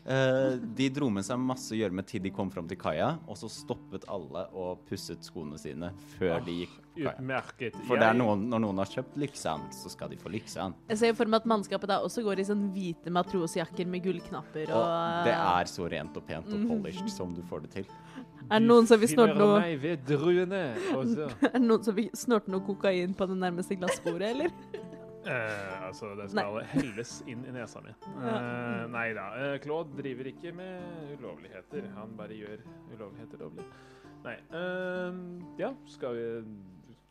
Eh, de dro med seg masse gjørme til de kom fram til kaia, og så stoppet alle og pusset skoene sine før de gikk på kaia.
Utmerket.
For det er noen, når noen har kjøpt Lyksand, så skal de få Lyksand.
Jeg ser for meg at mannskapet da også går i sånn hvite matrosjakker med gullknapper og,
Og det er så rent og pent og polished som du får det til.
Er det noen som vil
Du
snorte noe, *laughs*
finner meg ved druene. Og så
er det noen som vil snorte noe kokain på det nærmeste glassbordet, eller?
eh, Altså, det skal helles inn i nesa mi. Eh, nei da. eh, Claude driver ikke med ulovligheter. Han bare gjør ulovligheter lovlig. Nei. eh, ja, skal vi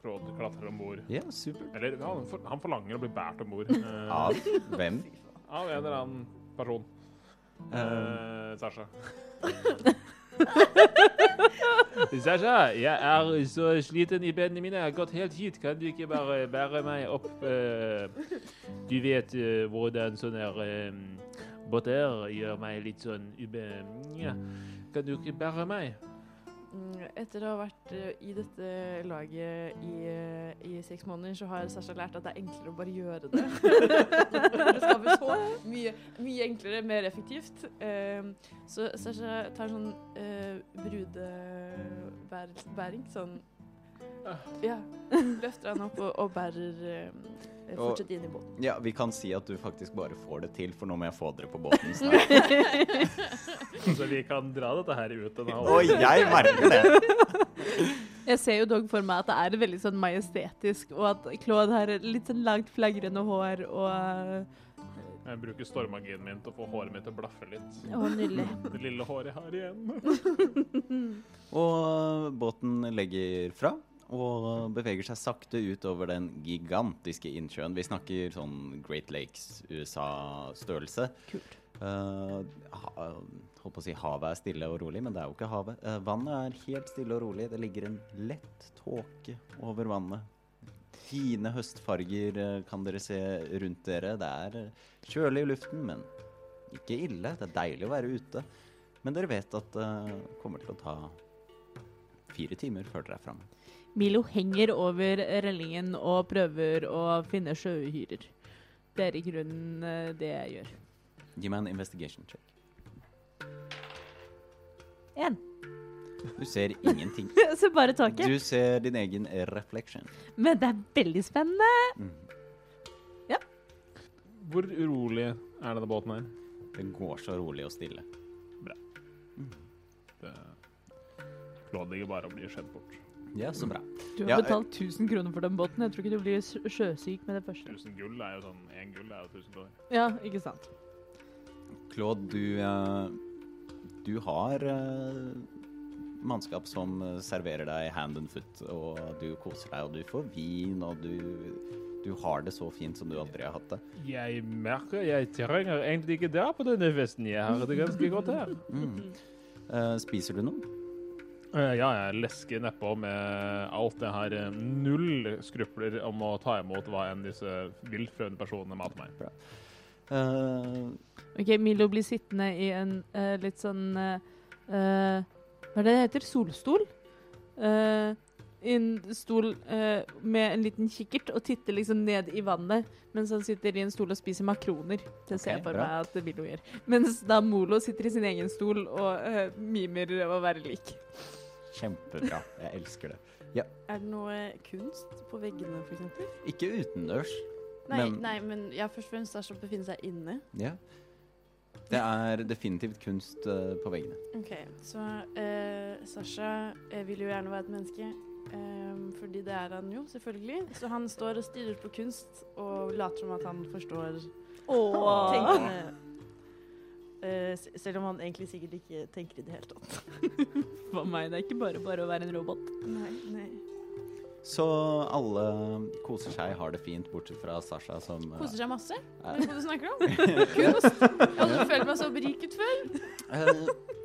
Claude klatrer om bord.
Ja, supert.
Eller ja, han, for, han forlanger å bli båret om bord.
Av hvem?
Av en eller annen person. Eh, Sasha. *laughs* Sasha, jeg er så sliten i benene mine. Jeg har gått helt hit. Kan du ikke bare bære meg opp? eh? Du vet eh, hvordan sånne uh, båter gjør meg litt sånn ube... Nja. Kan du ikke bære meg?
Mm, Etter å ha vært eh, i dette laget i, eh, i seks måneder, så har Sasha lært at det er enklere å bare *laughs* gjøre det. det skaper så mye, mye enklere, mer effektivt. Ehm, så Sasha tar sånn eh, brudebæring, sånn Ja. Løfter han opp og, og bærer eh,
Og-
fortsatt inn i båten.
Ja, vi kan si at du faktisk bare får det til, for nå må jeg få dere på båten
*laughs*
snart. *laughs*
Altså, vi kan dra dette her ut en halv
Og jeg merker det.
Jeg ser jo dog for meg at det er veldig sånn majestetisk, og at Claude har litt sånn langt flagrende hår og
Jeg bruker stormmagien min til å få håret mitt til å blaffe litt.
Å, nydelig.
Det lille håret jeg har igjen.
Og båten legger fra og beveger seg sakte utover den gigantiske innsjøen. Vi snakker sånn Great Lakes, USA-størrelse.
Kult.
Eh, ha, holdt på å si havet er stille og rolig, men det er jo ikke havet. Eh, vannet er helt stille og rolig. Det ligger en lett tåke over vannet. Fine høstfarger eh, kan dere se rundt dere. Det er eh, kjølig i luften, men ikke ille. Det er deilig å være ute. Men dere vet at det kommer til å ta fire timer før dere er framme.
Milo henger over rellingen og prøver å finne sjøuhyrer. Det er i grunnen eh, det jeg gjør.
Gi meg en investigation check.
Én.
Du ser ingenting.
*laughs* Så bare taket.
Du ser din egen reflection.
Men det er veldig spennende.
Hvor urolig er denne båten her?
Det går så rolig og stille.
Det Claude eh, ligger bare og blir skjemt bort.
Ja, så bra.
Du
Ja,
har betalt 1000 kroner for den båten. Jeg tror ikke du blir sj- sjøsyk med det første.
1000 gull er jo sånn Én gull er jo 1000 dollar.
Ja, ikke sant.
Claude, du, eh, du har eh, mannskap som eh, serverer deg hand and foot, og du koser deg, og du får vin, og du, du har det så fint som du aldri har hatt det.
Jeg merker jeg trenger egentlig ikke dra på denne festen. Jeg har det ganske godt her. *laughs*
Mm. Eh, spiser du noe?
Eh, Ja, jeg lesker nedpå med alt jeg har eh, null skrupler om å ta imot hva enn disse viltfrøende personene mater meg.
Eh,
Ok, Milo blir sittende i en eh, litt sånn eh, eh, Hva er det det heter? Solstol? Eh, en stol eh, med en liten kikkert og titter liksom ned i vannet mens han sitter i en stol og spiser makroner. Det ser
Ok,
jeg for
bra.
meg at Milo gjør. Mens da Molo sitter i sin egen stol og eh, mimer å være lik.
kjempebra. Jeg elsker det.
Er det noe kunst på veggene, f.eks.?
Ikke utendørs.
Nei,
Men-
nei, men ja, først og fremst er det å befinne seg inne.
Ja. Det er definitivt kunst eh, på veggene.
Ok, Så eh, Sasha eh, vil jo gjerne være et menneske, eh, fordi det er han jo, selvfølgelig. Så han står og stirrer på kunst og later som at han forstår
Åh.
tingene. Eh, s- selv om han egentlig sikkert ikke tenker i det hele tatt.
For meg, det er ikke bare bare å være en robot.
Nei, nei.
Så alle koser seg, har det fint, bortsett fra Sasha som eh,
Koser seg masse.
Ja.
Hva er det du snakker om? Kunst. Jeg har aldri følt meg så beriket før.
eh,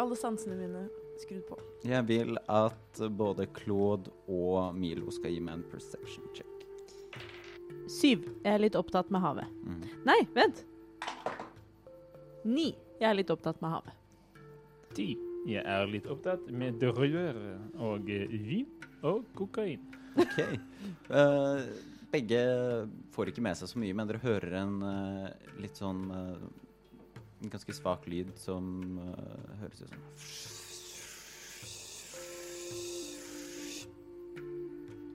Alle sansene mine skrudd på.
*laughs* Jeg vil at både Claude og Milo skal gi meg en perception check.
Syv. Jeg er litt opptatt med havet.
Mm.
Nei, vent. Ni. Jeg er litt opptatt med havet.
Ti. Jeg er litt opptatt med druer og eh, vin og kokain.
Ok. Eh, begge får ikke med seg så mye, men dere hører en eh, litt sånn eh, en ganske svak lyd som eh, høres ut som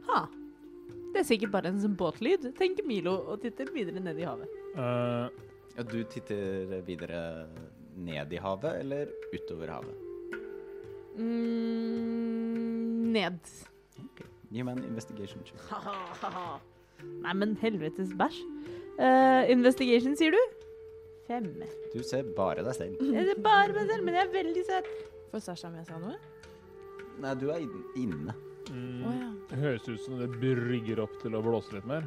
Ha. Det er sikkert bare en sånn båtlyd, tenker Milo og titter videre ned i havet.
Eh,
ja, Du titter videre ned i havet eller utover havet?
Mm, ned. *laughs*
Gi meg en investigation check.
Nei, men helvetes bæsj. Eh, investigation, sier du? Fem.
Du ser bare deg selv.
Det er bare meg selv, men jeg er veldig søt.
Får Sasha med seg noe?
Nei, du er inn- inne.
mm,
Å ja.
Det høres ut som det brygger opp til å blåse litt mer.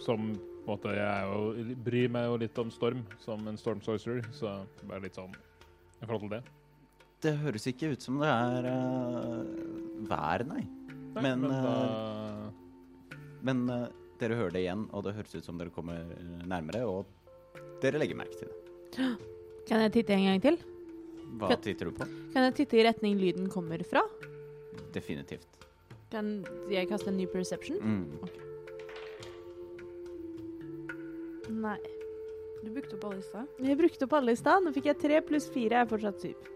Som på en måte, Jeg er jo, bryr meg jo litt om storm, som en storm sorcerer, så bare litt sånn i forhold til det.
Det høres ikke ut som det er eh, vær, nei.
Nei, eh,
Men, eh,
da-
Men eh, dere hører det igjen, og det høres ut som dere kommer eh, nærmere, og dere legger merke til det.
Kan jeg titte en gang til?
Hva
Fett.
titter du på?
Kan jeg titte i retning lyden kommer fra?
Definitivt.
Kan jeg kaste en ny perception?
Mm.
Nei.
Du brukte opp alle i stad.
Jeg brukte opp alle i stad. Nå fikk jeg tre pluss fire. Jeg er fortsatt syv.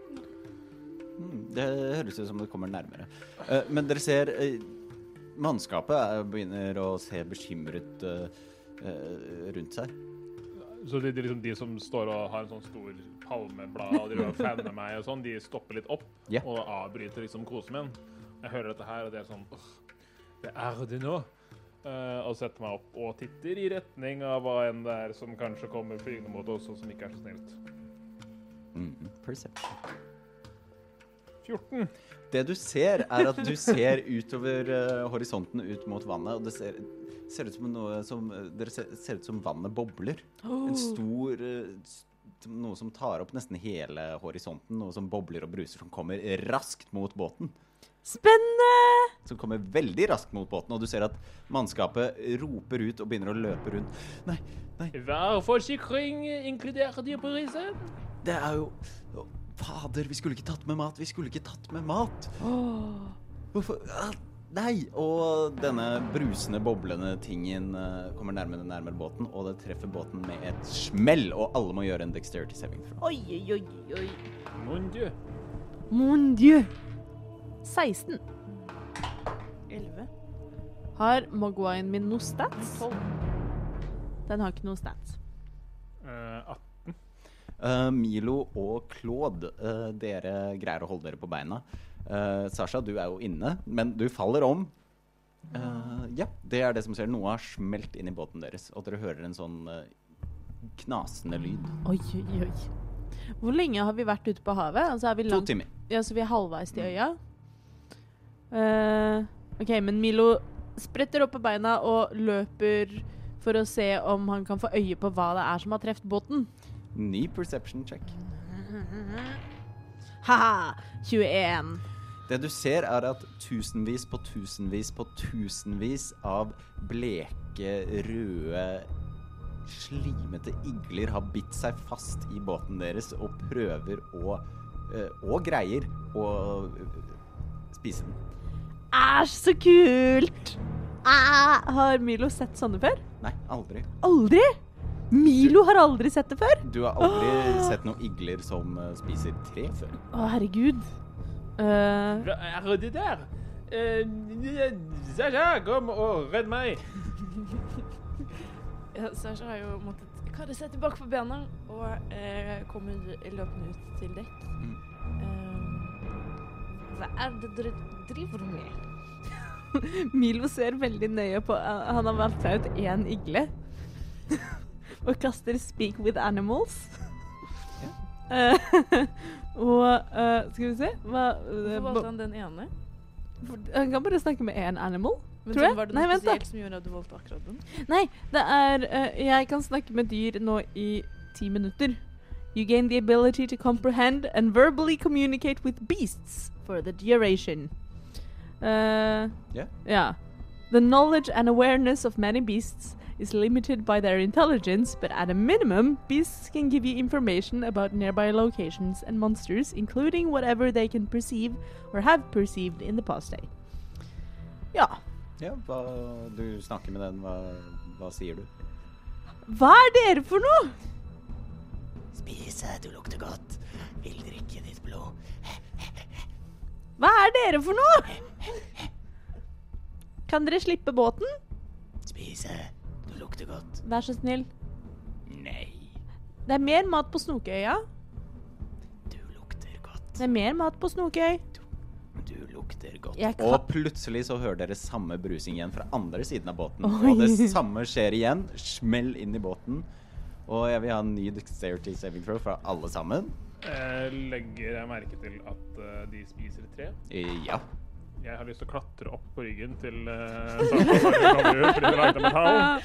Mm, det høres ut som det kommer nærmere. Eh, men dere ser eh, Mannskapet er, begynner å se bekymret eh, eh, rundt seg.
Så de, de, liksom, de som står og har en sånn stor palmeblad og de driver og fanner meg og sånn, de stopper litt opp
Ja.
og avbryter liksom kosen min. Jeg hører dette her, og det er sånn «Åh, Det er det nå. Eh, og setter meg opp og titter i retning av hva enn det er som kanskje kommer flygende mot oss, og som ikke er så snilt.
Mm. Perception.
14.
Det du ser, er at du ser utover eh, horisonten, ut mot vannet, og det ser, ser ut som noe som eh, Dere ser, ser ut som vannet bobler.
Oh.
En stor eh, s- som- Noe som tar opp nesten hele horisonten, noe som bobler og bruser, som kommer raskt mot båten.
Spennende!
som kommer veldig raskt mot båten, og du ser at mannskapet roper ut og begynner å løpe rundt. Nei, nei,
Hver forsikring inkluderer dyrepriser.
det er jo Å, Fader, vi skulle ikke tatt med mat! Vi skulle ikke tatt med mat! Hvorfor ah, Nei! Og denne brusende, boblende tingen eh, kommer nærmere og nærmere båten, og det treffer båten med et smell, og alle må gjøre en dexterity saving throw.
Oi, oi, oi, oi.
Mon dieu.
Mon dieu. 16.
11.
Har Mogwine min noe stats?
12.
Den har ikke noe stats.
Eh, at-
Eh, Milo og Claude, eh, dere greier å holde dere på beina. Eh, Sasha, du er jo inne, men du faller om. Eh, ja, det er det som skjer. Noe har smelt inn i båten deres, og dere hører en sånn eh, knasende lyd.
Oi, oi, oi. Hvor lenge har vi vært ute på havet? Altså, er vi
To
langt
timer.
Ja, så vi er halvveis til øya. Eh, OK, men Milo spretter opp på beina og løper for å se om han kan få øye på hva det er som har truffet båten.
Ny perception check.
Ha-ha! 21.
Det du ser, er at tusenvis på tusenvis på tusenvis av bleke, røde, slimete igler har bitt seg fast i båten deres og prøver å eh, Og greier å eh, spise den.
Æsj, så kult! Ah, har Milo sett sånne før?
Nei, aldri.
Aldri! Milo har aldri sett det før!
Du har aldri sett noen igler som eh, spiser tre før.
Å, herregud. Eh,
Hva er det der? Uh, Sasha, kom og redd meg.
Ja, Sasha har jo måttet karre seg tilbake på bena og eh, kommer løpende ut til dekk.
Mm.
Eh, hva er det dere driver med?
*laughs* Milo ser veldig nøye på eh, Han har valgt seg ut én igle. *laughs* og kaster 'speak with animals'. *laughs* Eh, og eh, skal vi se hva, eh,
Hvorfor valgte han den ene?
for- han kan bare snakke med én animal. Tror
Men sånn,
jeg.
Var det
Nei,
noe
vent da.
spesielt som gjorde at du valgte akkurat den?
Nei, det er eh, Jeg kan snakke med dyr nå i ti minutter. You gain the ability to comprehend and verbally communicate with beasts for the duration. Eh,
Yeah.
Yeah. The knowledge and awareness of many beasts is limited by their intelligence, but at a minimum, beasts can give you information about nearby locations and monsters, including whatever they can perceive or have perceived in the past day. Ja.
Ja, hva, du snakker med den, hva, hva sier du?
Hva er dere for noe?
Spise, du lukter godt. Vil drikke ditt blod.
Hva er dere for noe? Kan dere slippe båten?
Spise, du lukter godt.
Vær så snill.
Nei.
Det er mer mat på Snokøya.
Du lukter godt.
Det er mer mat på Snokøy.
Du lukter godt.
Jeg kan-
Og plutselig så hører dere samme brusing igjen fra andre siden av båten.
Oi.
Og det samme skjer igjen. Smell inn i båten. Og jeg vil ha en ny dexterity saving throw fra alle sammen.
Eh, legger jeg merke til at eh, de spiser tre?
Eh, Ja.
Jeg har lyst til å klatre opp på ryggen til eh, Sasha, så hun kommer ut, fordi det er laget av metall.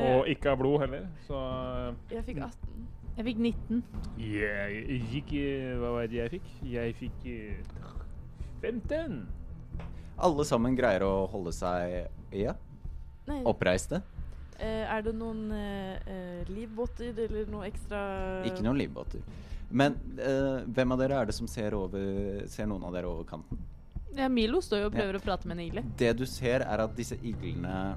Og ikke av blod heller, så
Eh, Jeg fikk 18.
Jeg fikk 19.
Jeg gikk eh, Hva var det jeg fikk? Jeg fikk eh, 15.
Alle sammen greier å holde seg ja,
Nei,
oppreiste.
eh, er det noen eh, eh, livbåter eller noe ekstra
Ikke noen livbåter. Men eh, hvem av dere er det som ser, over, ser noen av dere over kanten?
Ja, Milo står jo og prøver å prate med en igle.
Det du ser, er at disse iglene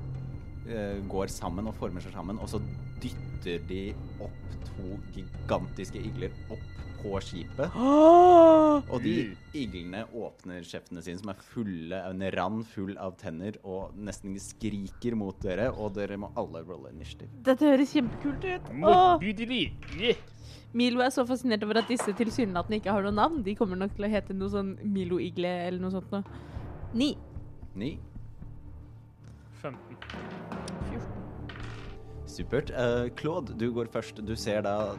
eh, går sammen og former seg sammen, og så dytter de opp to gigantiske igler opp på skipet. Og de iglene åpner kjeftene sine, som er fulle, en rand full av tenner, og nesten skriker mot dere, og dere må alle rolle initiativ.
Dette høres kjempekult ut. Åh.
Motbydelig. Yeah.
Milo er så fascinert over at disse tilsynelatende ikke har noe navn. De kommer nok til å hete noe sånn Milo-igle eller noe sånt noe. Ni.
Ni.
15.
Supert. Eh, Claude, du går først. Du ser da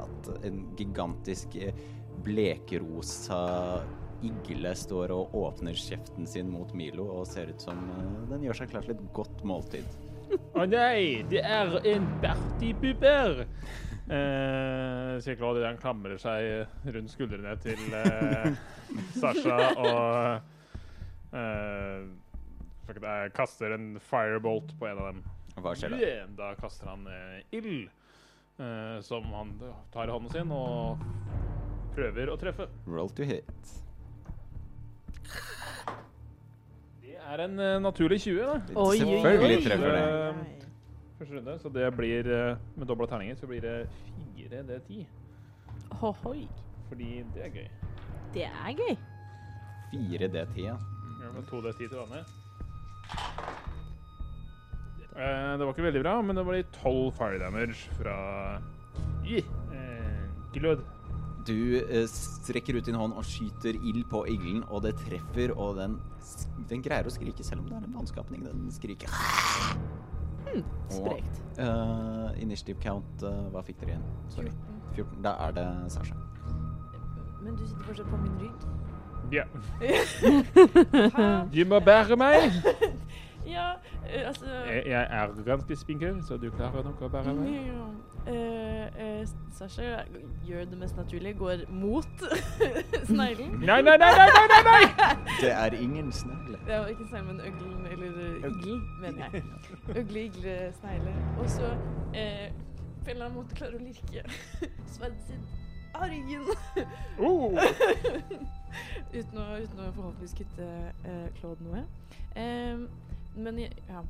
at en gigantisk eh, blekrosa igle står og åpner kjeften sin mot Milo og ser ut som eh, den gjør seg klar til et godt måltid.
Å nei, det er en partypupper! Eh, sier Claude idet han klamrer seg rundt skuldrene til eh, Sasha og Eh, fuck it, jeg kaster en firebolt på en av dem.
Hva skjer da?
Yeah, Da kaster han eh, ild, eh, som han tar i hånden sin og prøver å treffe.
Roll to hit.
Det er en eh, naturlig 20, da.
Oi, oi,
Selvfølgelig
oi.
treffer det.
Eh, første runde, så det blir eh, Med dobla terninger så blir det 4D10,
Hohoi.
fordi det er gøy.
Det er gøy.
4D10, ja.
Ja, med 2D10 til vanlig. Eh, det var ikke veldig bra, men det var de 12 fire damage fra Ih, eh, Glød.
Du eh, strekker ut din hånd og skyter ild på iglen, og det treffer, og den, s- den greier å skrike, selv om det er en vanskapning. Den skriker.
Hmm,
Sprekt.
Og eh, initiative count, eh, hva fikk dere igjen? Sorry. 14. Da er det Sasha.
Men du sitter fortsatt på
*laughs*
min rygg.
Ja. Du må bære meg!
Ja, eh, altså
Jeg, jeg er ganske spinkel, så du klarer nok å bære meg.
Mm, ja. Eh, eh, Sasha gjør det mest naturlige, går mot *laughs* sneglen.
Nei, nei, nei, nei, nei, nei, nei!
Det er ingen snegle.
Det var ikke sneglen, men øglen, eller eh,
Øgl.
iglen, mener jeg. Øgle, igle, snegle. Og så eh, på en eller annen måte klarer å lirke *laughs* sverdet sitt av ryggen
Oh.
*laughs* uten å, uten å forhåpentligvis kutte eh, Claude noe. Em, men jeg, ja,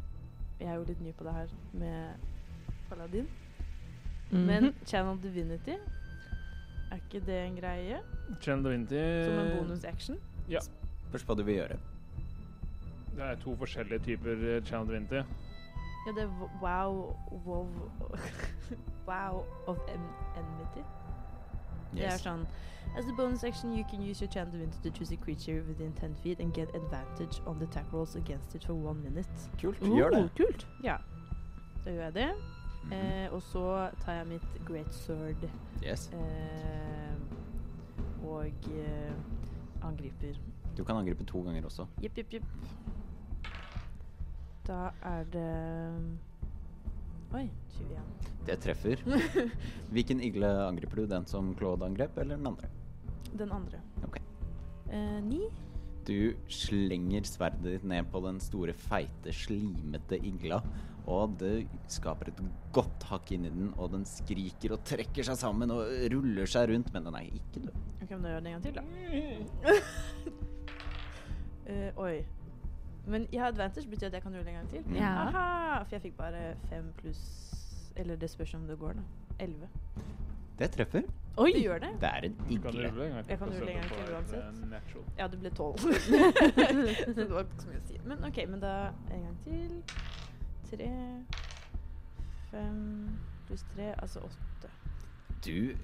jeg er jo litt ny på det her med Paladin. Men Channel Divinity, er ikke det en greie?
Chen Davinti
Som
Eh.
en bonusaction?
Først hva du vil gjøre.
Det er to forskjellige typer eh, Chen Davinti.
Ja, det er wo- wow Wow *laughs* Wow of en- enmity. Det er
Yes.
sånn As a bonus action, you can use your Channel Divinity to choose a creature within 10 feet and get advantage on the attack rolls against it for one minute.
Kult. Gjør det.
Kult.
Ja. Da gjør jeg det.
Mhm.
Eh, og så tar jeg mitt great sword
Yes.
eh, og eh, angriper.
Du kan angripe to ganger også.
Jepp, jepp, jepp. Da er det Oi, 21.
Det
*laughs*
treffer. Hvilken igle angriper du? Den som Claude angrep, eller den andre?
Den andre.
Ok.
Eh, ni.
Du slenger sverdet ditt ned på den store, feite, slimete igla, og det skaper et godt hakk inni den, og den skriker og trekker seg sammen og ruller seg rundt, men den er ikke død.
Ok, men da gjør jeg det en gang til, da. *laughs* Eh, oi. Men jeg har advantage, betyr at jeg kan rulle en gang til?
Mm.
Ja.
Aha, for jeg fikk bare fem pluss Eller det spørs om det går, da. Elleve.
Det treffer.
Oi! Det gjør det?
Det er en
Kan du
igle.
rulle en gang til?
Jeg kan
for å se
rulle en
om
gang
du
til
får et,
uansett.
eh, natural?
Ja, det ble tolv. så det var ikke så mye å si. Men OK, men da en gang til. Tre Fem pluss tre, altså åtte.
Du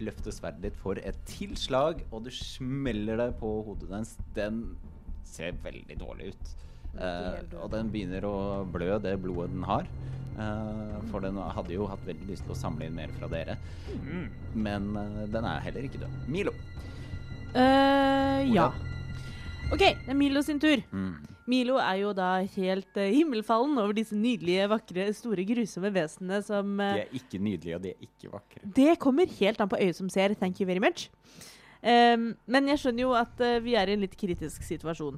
løfter sverdet ditt for et tilslag, og du smeller det på hodet dens. Den ser veldig dårlig ut. Eh,
helt dårlig.
og den begynner å blø det blodet den har. Eh, for den hadde jo hatt veldig lyst til å samle inn mer fra dere. Men eh, den er heller ikke død. Milo.
Eh, ja.
Olav.
OK, det er Milo sin tur. Milo er jo da helt eh, himmelfallen over disse nydelige, vakre, store, grusomme vesenene som eh,
De er ikke nydelige, og de er ikke vakre.
Det kommer helt an på øyet som ser. Thank you very much. Ehm, men jeg skjønner jo at eh, vi er i en litt kritisk situasjon.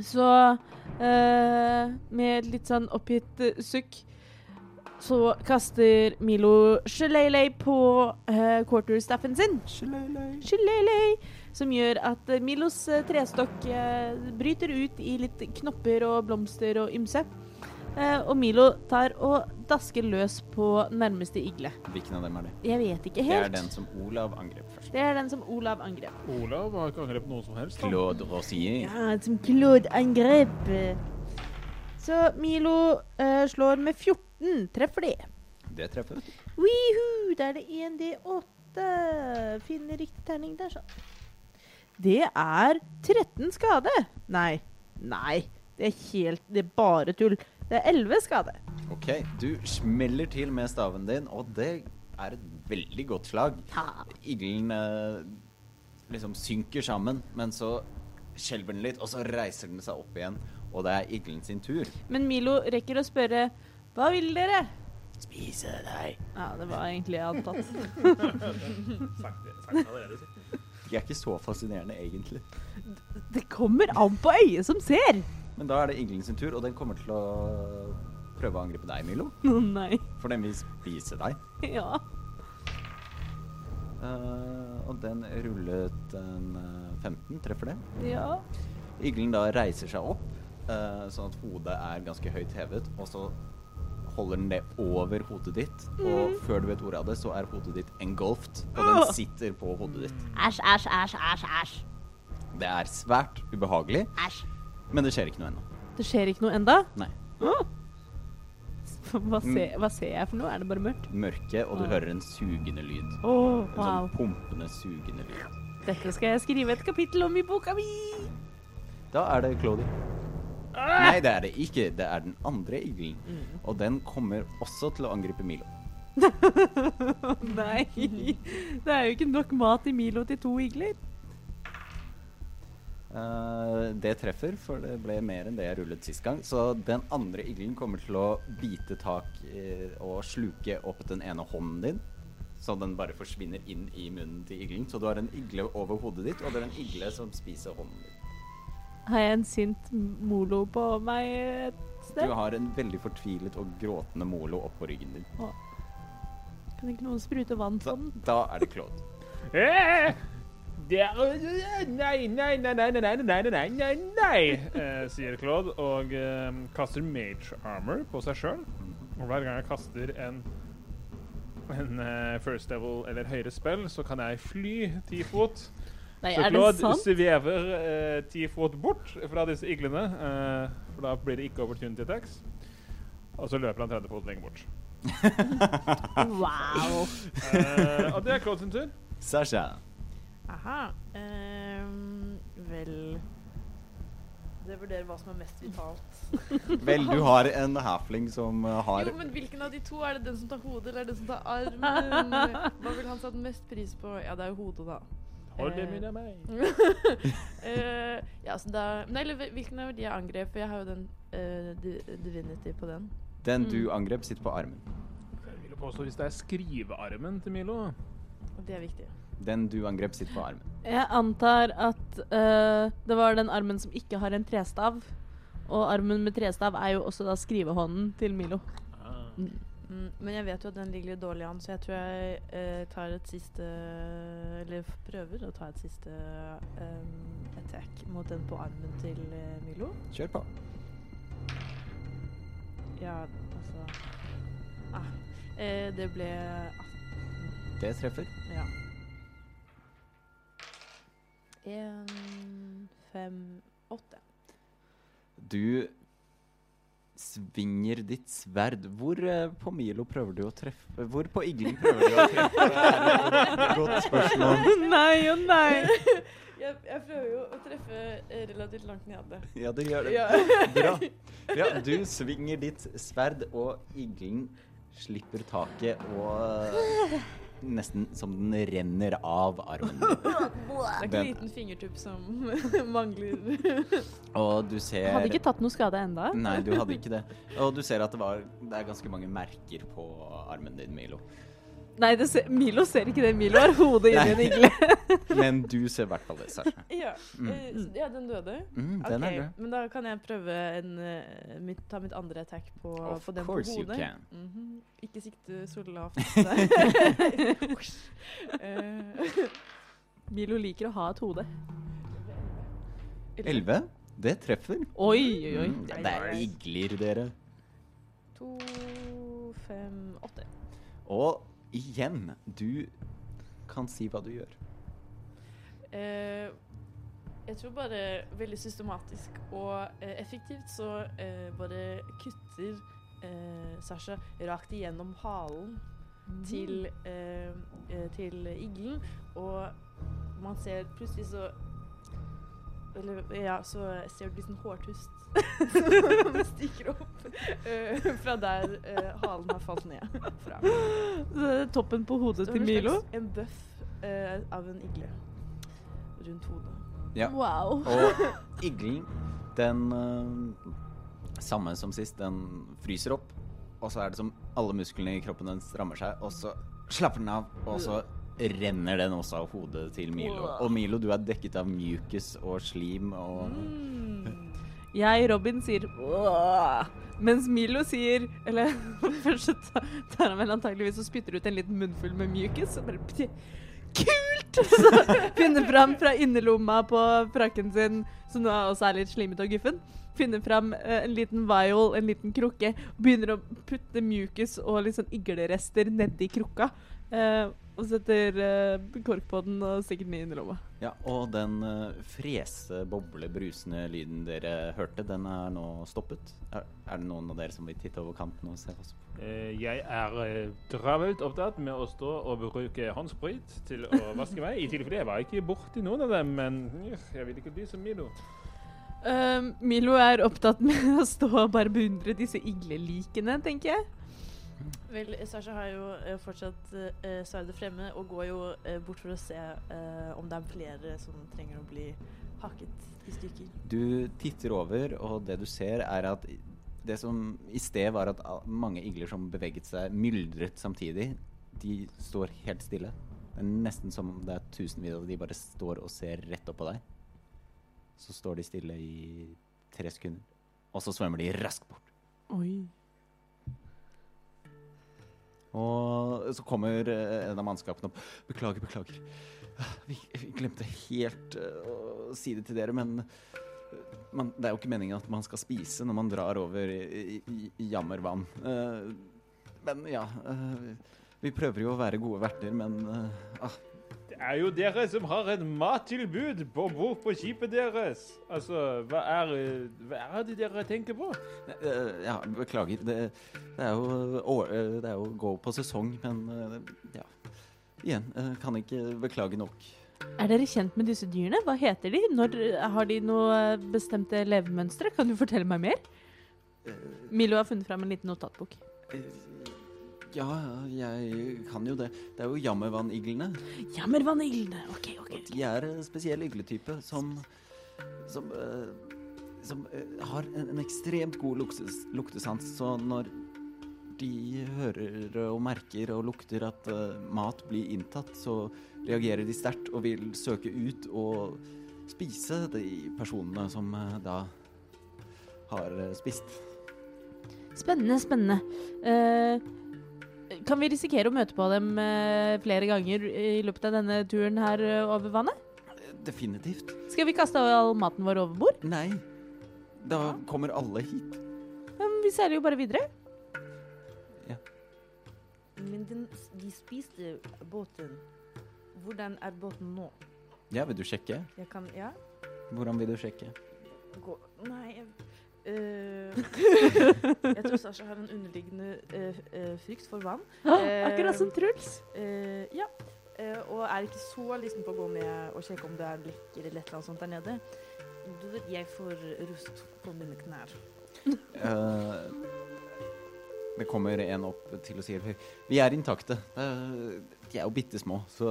Så eh, med et litt sånn oppgitt eh, sukk så kaster Milo Shillelay på eh, quarterstaffen sin. Shillelay. Som gjør at eh, Milos eh, trestokk eh, bryter ut i litt knopper og blomster og ymse. Eh, og Milo tar og dasker løs på nærmeste igle.
Hvilken av dem er det?
Jeg vet ikke
Det
helt.
er den som Olav angrep først.
Det er den som Olav angrep.
Olav har ikke angrepet noen som helst. da.
Claude Rossier.
Ja, som Claude angrep. Så Milo eh, slår med 14. Treffer det.
Det treffer.
Wihu, da er det 1D8. Finne riktig terning der, sånn. Det er 13 skade. Nei. Nei. Det er helt Det er bare tull. Det er 11 skade.
OK. Du smeller til med staven din, og det er et veldig godt slag.
Ha.
Iglen eh, liksom synker sammen, men så skjelver den litt, og så reiser den seg opp igjen. Og det er iglen sin tur.
Men Milo rekker å spørre Hva vil dere?
Spise deg.
Ja, det var egentlig jeg antatt.
Sagt- sagt allerede, sikkert.
De er ikke så fascinerende, egentlig.
*laughs* Det kommer an på øyet som ser!
Men da er det iglen sin tur, og den kommer til å prøve å angripe deg, Milo.
Å nei. *laughs*
For den vil spise deg.
Ja.
Eh, og den rullet en eh, 15, treffer det.
ja.
Iglen da reiser seg opp, eh, sånn at hodet er ganske høyt hevet, og så holder den det over hodet ditt, og før du vet ordet av det, så er hodet ditt engulfed, og den sitter på hodet ditt.
Æsj, æsj, æsj, æsj, æsj.
Det er svært ubehagelig,
Æsj.
men det skjer ikke noe ennå.
Det skjer ikke noe enda?
Nei.
*laughs* Hva ser, hva ser jeg for noe? Er det bare mørkt?
Mørke, og du
Ah.
hører en sugende lyd.
Å,
En
wow.
sånn pumpende, sugende lyd.
Dette skal jeg skrive et kapittel om i boka mi!
Da er det Claudie. Nei, det er det ikke. Det er den andre iglen. Og den kommer også til å angripe Milo.
Nei. *laughs* Det er jo ikke nok mat i Milo til to igler.
Eh, det treffer, for det ble mer enn det jeg rullet sist gang. Så den andre iglen kommer til å bite tak eh, og sluke opp den ene hånden din. Så den bare forsvinner inn i munnen til iglen. Så du har en igle over hodet ditt, og det er en igle som spiser hånden din.
Har jeg en sint molo på meg et
Du
sted?
har en veldig fortvilet og gråtende molo oppå ryggen din.
Kan ikke noen sprute vann på
Så
Sånn.
den?
da er det
*laughs*
Claude.
Eh, Det er Nei, nei, nei, nei, nei, nei, nei, nei, nei, nei, nei, eh, sier Claude og eh, kaster mage armor på seg sjøl. Og hver gang jeg kaster en, en eh, first level eller høyere spill, så kan jeg fly ti fot.
Nei,
Så
er det
Claude *laughs*
sant?
svever eh, ti fot bort fra disse iglene, eh, for da blir det ikke opportunity attacks. Og så løper han 30 fot lenger bort.
Wow.
Eh, og det er Claude sin tur.
Sasha.
Aha. ehm, vel Det vurderer hva som er mest vitalt.
Vel, du har en halfling som eh, har
Jo, men hvilken av de to? Er det den som tar hodet, eller er det den som tar armen? Hva vil han sette mest pris på? Ja, det er jo hodet, da.
Hold det med meg.
*laughs* Eh, ja, så da Nei, eller hvil- hvilken av de jeg angrep? For jeg har jo den eh, di- divinity på den.
Den
mm.
du angrep, sitter på armen.
Jeg vil jo påstå hvis det er skrivearmen til Milo
Og det er viktig.
Den du angrep, sitter på armen.
Jeg antar at eh, det var den armen som ikke har en trestav. Og armen med trestav er jo også da skrivehånden til Milo.
Mm, men jeg vet jo at den ligger litt dårlig an, så jeg tror jeg eh, tar et siste Eller f- prøver å ta et siste eh, attack mot den på armen til eh, Milo.
Kjør på.
Ja, altså ah, eh, Det ble 18.
Det treffer.
Ja. En, fem, åtte.
Du svinger ditt sverd. Hvor eh, på Milo prøver du å treffe Hvor på iglen prøver du å treffe? Det er et *laughs* Godt spørsmål.
*laughs* nei og nei.
Jeg, jeg prøver jo å treffe eh, relativt langt nede.
*laughs* Ja, det gjør det.
Ja.
Bra. Ja, du svinger ditt sverd, og iglen slipper taket og eh, Nesten som den renner av armen.
Det
din.
er ikke en
Den-
liten fingertupp
*laughs*
som mangler.
Og du ser
Hadde ikke tatt noe skade enda.
Nei, du hadde ikke det. Og du ser at det, var, det er ganske mange merker på armen din, Milo.
Nei, det ser, Milo ser ikke det. Milo har hodet inni en igle.
Men du ser i hvert fall det, Sasha.
Ja, eh, så- ja den døde.
Mm, den
Ok,
er død.
Men da kan jeg prøve en, eh, mitt, ta mitt andre attack på,
Of
på den på
course you
hodet.
can.
Mhm. Ikke sikte så
*laughs*
*laughs* lavt. Eh,
Milo liker å ha et hode.
Elleve. Det treffer.
Oi, oi, oi.
Mm, ja, det er igler, dere.
to, fem, åtte.
Og igjen, du kan si hva du gjør.
Eh, jeg tror bare veldig systematisk og eh, effektivt så eh, bare kutter eh, Sasha rakt igjennom halen til,
Mm.
eh, eh, til iglen, og man ser plutselig så eller, ja, så ser du liksom hårtust *laughs* som stikker opp eh, fra der eh, halen har falt ned fra.
Det er Toppen på hodet
Så en
til
slags-
Milo.
En bøff eh, av en igle rundt hodet.
Ja.
Wow. *laughs*
Og iglen, den eh, samme som sist, den fryser opp. Og så er det som alle musklene i kroppen den strammer seg, og så slapper den av, og så renner den også av hodet til Milo. Og Milo, du er dekket av mucus og slim og
Mm. Jeg, Robin, sier «Åh», mens Milo sier Eller *laughs* først så ta- tar han vel antakeligvis og spytter ut en liten munnfull med mjukis. Og bare pti, Kult! *laughs* Så finner fram fra innerlomma på frakken sin, som nå også er litt slimete og guffen. Finner fram eh, en liten vial, en liten krukke, og begynner å putte mjukis og litt sånn iglerester nedi krukka. eh, og setter eh, kork på den og stikker den i innerlomma.
Ja, og den eh, frese, boble, brusende lyden dere hørte, den er nå stoppet. Er, er det noen av dere som vil titte over kanten og se oss?
Eh, Jeg er eh, travelt opptatt med å stå og bruke håndsprit til å vaske meg. I tilfelle jeg var ikke borti noen av dem, men eh, jeg vil ikke bli som Milo.
Um, Milo er opptatt med *laughs* å stå og bare beundre disse iglelikene, tenker jeg.
Vel, Sasha har jo eh, fortsatt eh, sverdet fremme og går jo eh, bort for å se eh, om det er flere som trenger å bli hakket i stykker.
Du titter over, og det du ser er at det som i sted var at a- mange igler som beveget seg, myldret samtidig. De står helt stille. Det er nesten som om det er tusenvis av de bare står og ser rett opp på deg. Så står de stille i tre sekunder, og så svømmer de raskt bort.
Oi.
Og så kommer eh, en av mannskapene opp. Beklager, beklager. Ah, Vi, vi glemte helt eh, å si det til dere, men eh, man, det er jo ikke meningen at man skal spise når man drar over i, i, i jammervann. Eh, men ja eh, Vi prøver jo å være gode verter, men eh, ah,
Det er jo dere som har et mattilbud på bord på skipet deres. Altså, hva er, eh, hva er det dere tenker på?
eh, Ja, beklager. Det, det, er jo, å- eh, det er jo gå på sesong, men eh, ja. Igjen, eh, kan ikke beklage nok.
Er dere kjent med disse dyrene? Hva heter de? Når, eh, har de noe bestemte levemønstre? Kan du fortelle meg mer? Eh. Milo har funnet fram en liten notatbok.
Eh, Ja, jeg kan jo det. Det er jo jammervanniglene.
Jammervaniglene. OK, OK.
De er en spesiell igletype som som, eh, som eh, har en, en ekstremt god luktes, luktesans. Så når de hører og merker og lukter at eh, mat blir inntatt, så reagerer de sterkt og vil søke ut og spise de personene som eh, da har eh, spist.
Spennende, spennende. Eh, kan vi risikere å møte på dem eh, flere ganger i løpet av denne turen her eh, over vannet?
Definitivt.
Skal vi kaste all maten vår over bord?
Nei. Da kommer alle hit.
Ja, men Vi seiler jo bare videre.
Men den, de spiste båten. Hvordan er båten nå?
Ja, vil du sjekke?
Jeg kan Ja?
Hvordan vil du sjekke?
Gå Nei jeg, øh, jeg tror Sasha har en underliggende øh, øh, frykt for vann.
*gasps* Akkurat som Truls.
Eh, ja. Eh, og er ikke så lysten på å gå med og sjekke om det er lekker eller et eller annet sånt der nede. Du vet, jeg får rust på mine knær.
Eh, det kommer en opp til og sier Vi er intakte. Eh, de er jo bitte små, så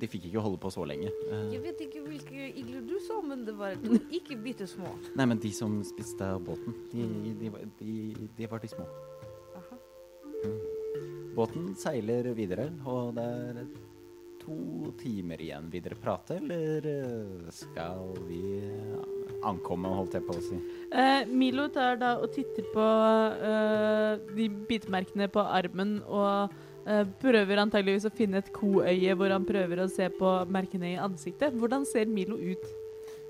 de fikk ikke holde på så lenge. Eh,
Jeg vet ikke hvilke igler du så, men det var de ikke bitte små.
nei, men de som spiste av båten, de, de, var- de, de var de små.
Aha.
Båten seiler videre, og det er to timer igjen. Vil dere prate, eller eh, skal vi ankomme, holdt jeg på å si.
Eh, Milo tar da og titter på eh, de bitemerkene på armen og eh, prøver antageligvis å finne et koøye hvor han prøver å se på merkene i ansiktet. Hvordan ser Milo ut?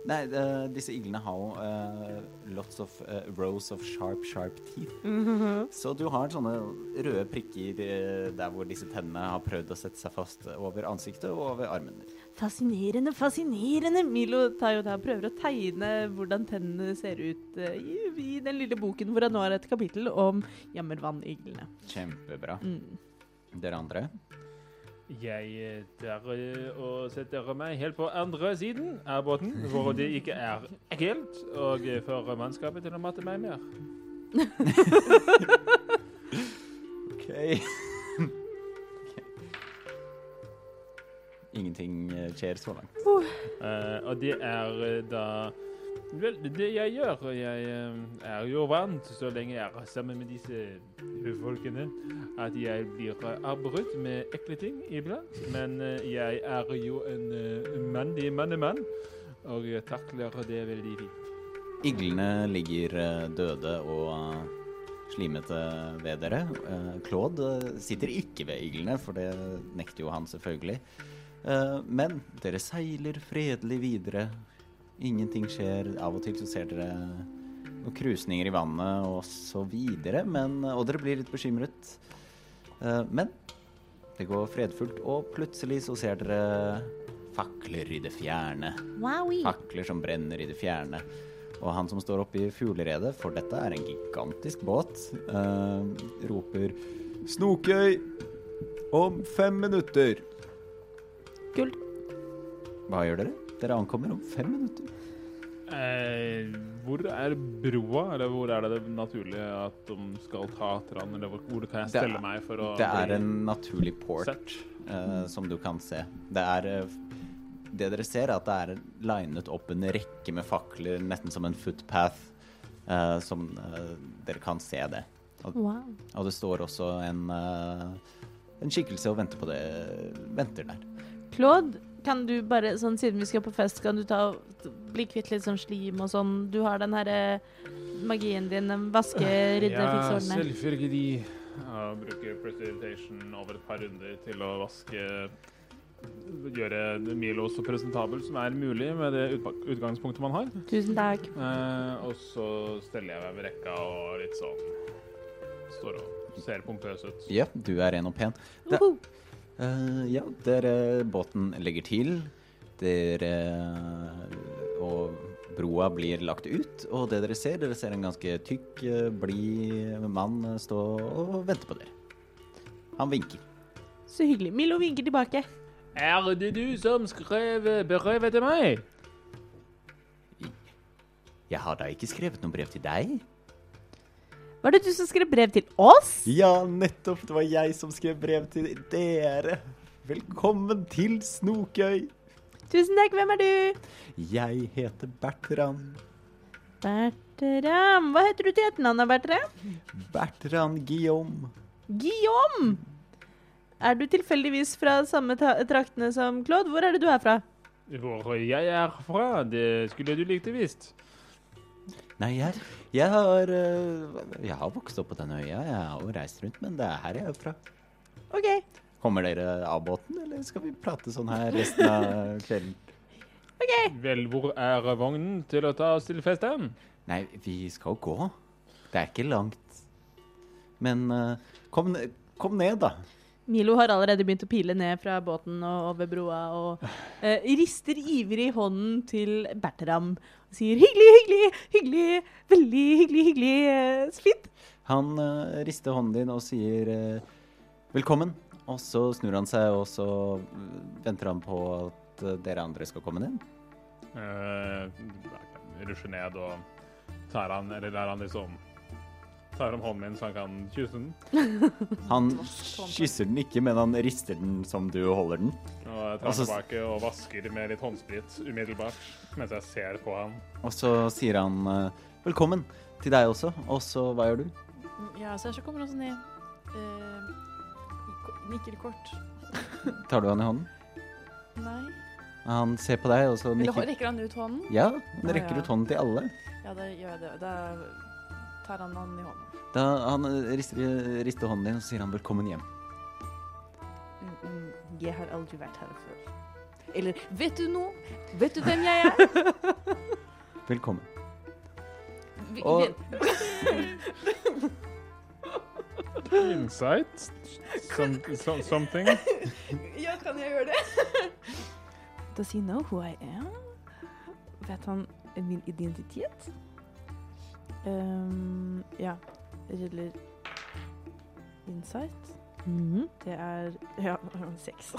Nei, eh, disse iglene har jo eh, lots of eh, rows of sharp, sharp teeth. Så du har sånne røde prikker eh, der hvor disse tennene har prøvd å sette seg fast over ansiktet og over armene.
Fascinerende, fascinerende! Milo tar jo da og prøver å tegne hvordan tennene ser ut eh, i, i den lille boken hvor han nå har et kapittel om jammervanniglene.
Kjempebra.
Mm.
Dere andre?
Jeg eh, tar eh, og setter meg helt på andre siden av båten, hvor det ikke er ekkelt, og eh, får mannskapet til å mate meg mer.
OK. *laughs* Ingenting eh, skjer så langt.
Eh, og det er eh, da Vel, det jeg gjør Jeg eh, er jo vant, så lenge jeg er sammen med disse folkene, at jeg blir eh, avbrutt med ekle ting iblant. Men eh, jeg er jo en eh, mandig mannemann, og jeg takler det veldig fint.
Iglene ligger eh, døde og eh, slimete ved dere. Eh, Claude eh, sitter ikke ved iglene, for det nekter jo han selvfølgelig. Eh, Men dere seiler fredelig videre. Ingenting skjer. Av og til så ser dere noen krusninger i vannet og så videre, men, eh, og dere blir litt bekymret. Eh, Men det går fredfullt, og plutselig så ser dere fakler i det fjerne
Wowie.
fakler som brenner i det fjerne. Og han som står oppe i fugleredet, for dette er en gigantisk båt, eh, roper Snokøy! Om fem minutter!
Kult.
Hva gjør dere? Dere ankommer om fem minutter.
Eh, hvor er broa, eller hvor er det det naturlige at de skal ta etter han, eller hvor, hvor kan jeg
Det er-
stelle meg for å
Det er
bli
en naturlig port
sett?
eh, som du kan se. Det er eh, Det dere ser, er at det er linet opp en rekke med fakler, nesten som en footpath, eh, som eh, Dere kan se det.
Wow.
Og det står også en, eh, en skikkelse og venter på det Venter der.
Claude, kan du bare, sånn siden vi skal på fest, kan du ta bli kvitt litt sånn slim og sånn? Du har den herre magien din, den vaske, rydde, fikse,
Ja,
ordne.
selvfølgelig. Jeg bruker presentation over et par runder til å vaske Gjøre Milo så presentabel som er mulig med det utpa- utgangspunktet man har.
Tusen takk.
Eh, og så steller jeg meg ved rekka og litt sånn Står og ser pompøs ut.
Ja, du er ren og pen. Det-
Uhu.
Eh, ja, dere Båten legger til. Dere Og broa blir lagt ut, og det dere ser, dere ser en ganske tykk, eh, blid mann eh, stå og vente på dere. Han vinker.
Så hyggelig. Milo vinker tilbake.
Er det du som skrev brevet til meg?
Jeg har da ikke skrevet noe brev til deg?
Var det du som skrev brev til oss?
Ja, nettopp. Det var jeg som skrev brev til dere. Velkommen til Snokøy.
Tusen takk, hvem er du?
Jeg heter Bertrand.
Bertram. Hva heter du til etternavnet, Bertram?
Bertrand Guillaume.
Guillaume! Er du tilfeldigvis fra samme ta traktene som Claude? Hvor er det du er fra?
Hvor jeg er fra, det skulle du likt visst.
Nei, jeg, jeg har eh, Jeg har vokst opp på denne øya jeg har jo reist rundt, men det er her jeg er fra.
OK.
Kommer dere av båten, eller skal vi prate sånn her resten *laughs* av kvelden?
Vel, hvor er vognen til å ta oss til festen?
Nei, vi skal jo gå. Det er ikke langt. Men eh, kom, ne- kom ned, da.
Milo har allerede begynt å pile ned fra båten og over broa og eh, rister ivrig hånden til Bertram og sier 'hyggelig, hyggelig, hyggelig, veldig hyggelig, hyggelig'. eh, så fint.
Han eh, rister hånden din og sier eh, velkommen. Og så snur han seg, og så eh, venter han på at eh, dere andre skal komme ned.
Uh, rusher ned og tar han, eller lar han liksom Tar om hånden min så han kan kysse den.
Han kysser den ikke, men han rister den som du holder den.
Og jeg
Og
tar
så-
den tilbake og vasker med litt håndsprit umiddelbart mens jeg ser på han.
Og så sier han eh, velkommen til deg også. Og så hva gjør du?
Ja, Sasha kommer også ned. Eh, ko- nikker kort.
Tar du han i hånden?
Nei.
Han ser på deg, og så
Eller
nikker
rekker han ut hånden?
Ja, han
Ja,
rekker
ja.
ut hånden til alle.
Ja, da gjør jeg det. Da tar han han i hånden.
Da han eh, rister, rister hånden din, og så sier han velkommen hjem.
Mm, mm, jeg har aldri vært her før. Eller vet du noe? Vet du hvem jeg er?
Velkommen.
Vi,
Og-
vet-
Insight? Som, som, *laughs* something?
Ja, kan jeg gjøre det? Does he know who I am? Vet han min identitet? Ehm, ja. Ruller insight.
Mhm.
Det er
*laughs*
ja, seks.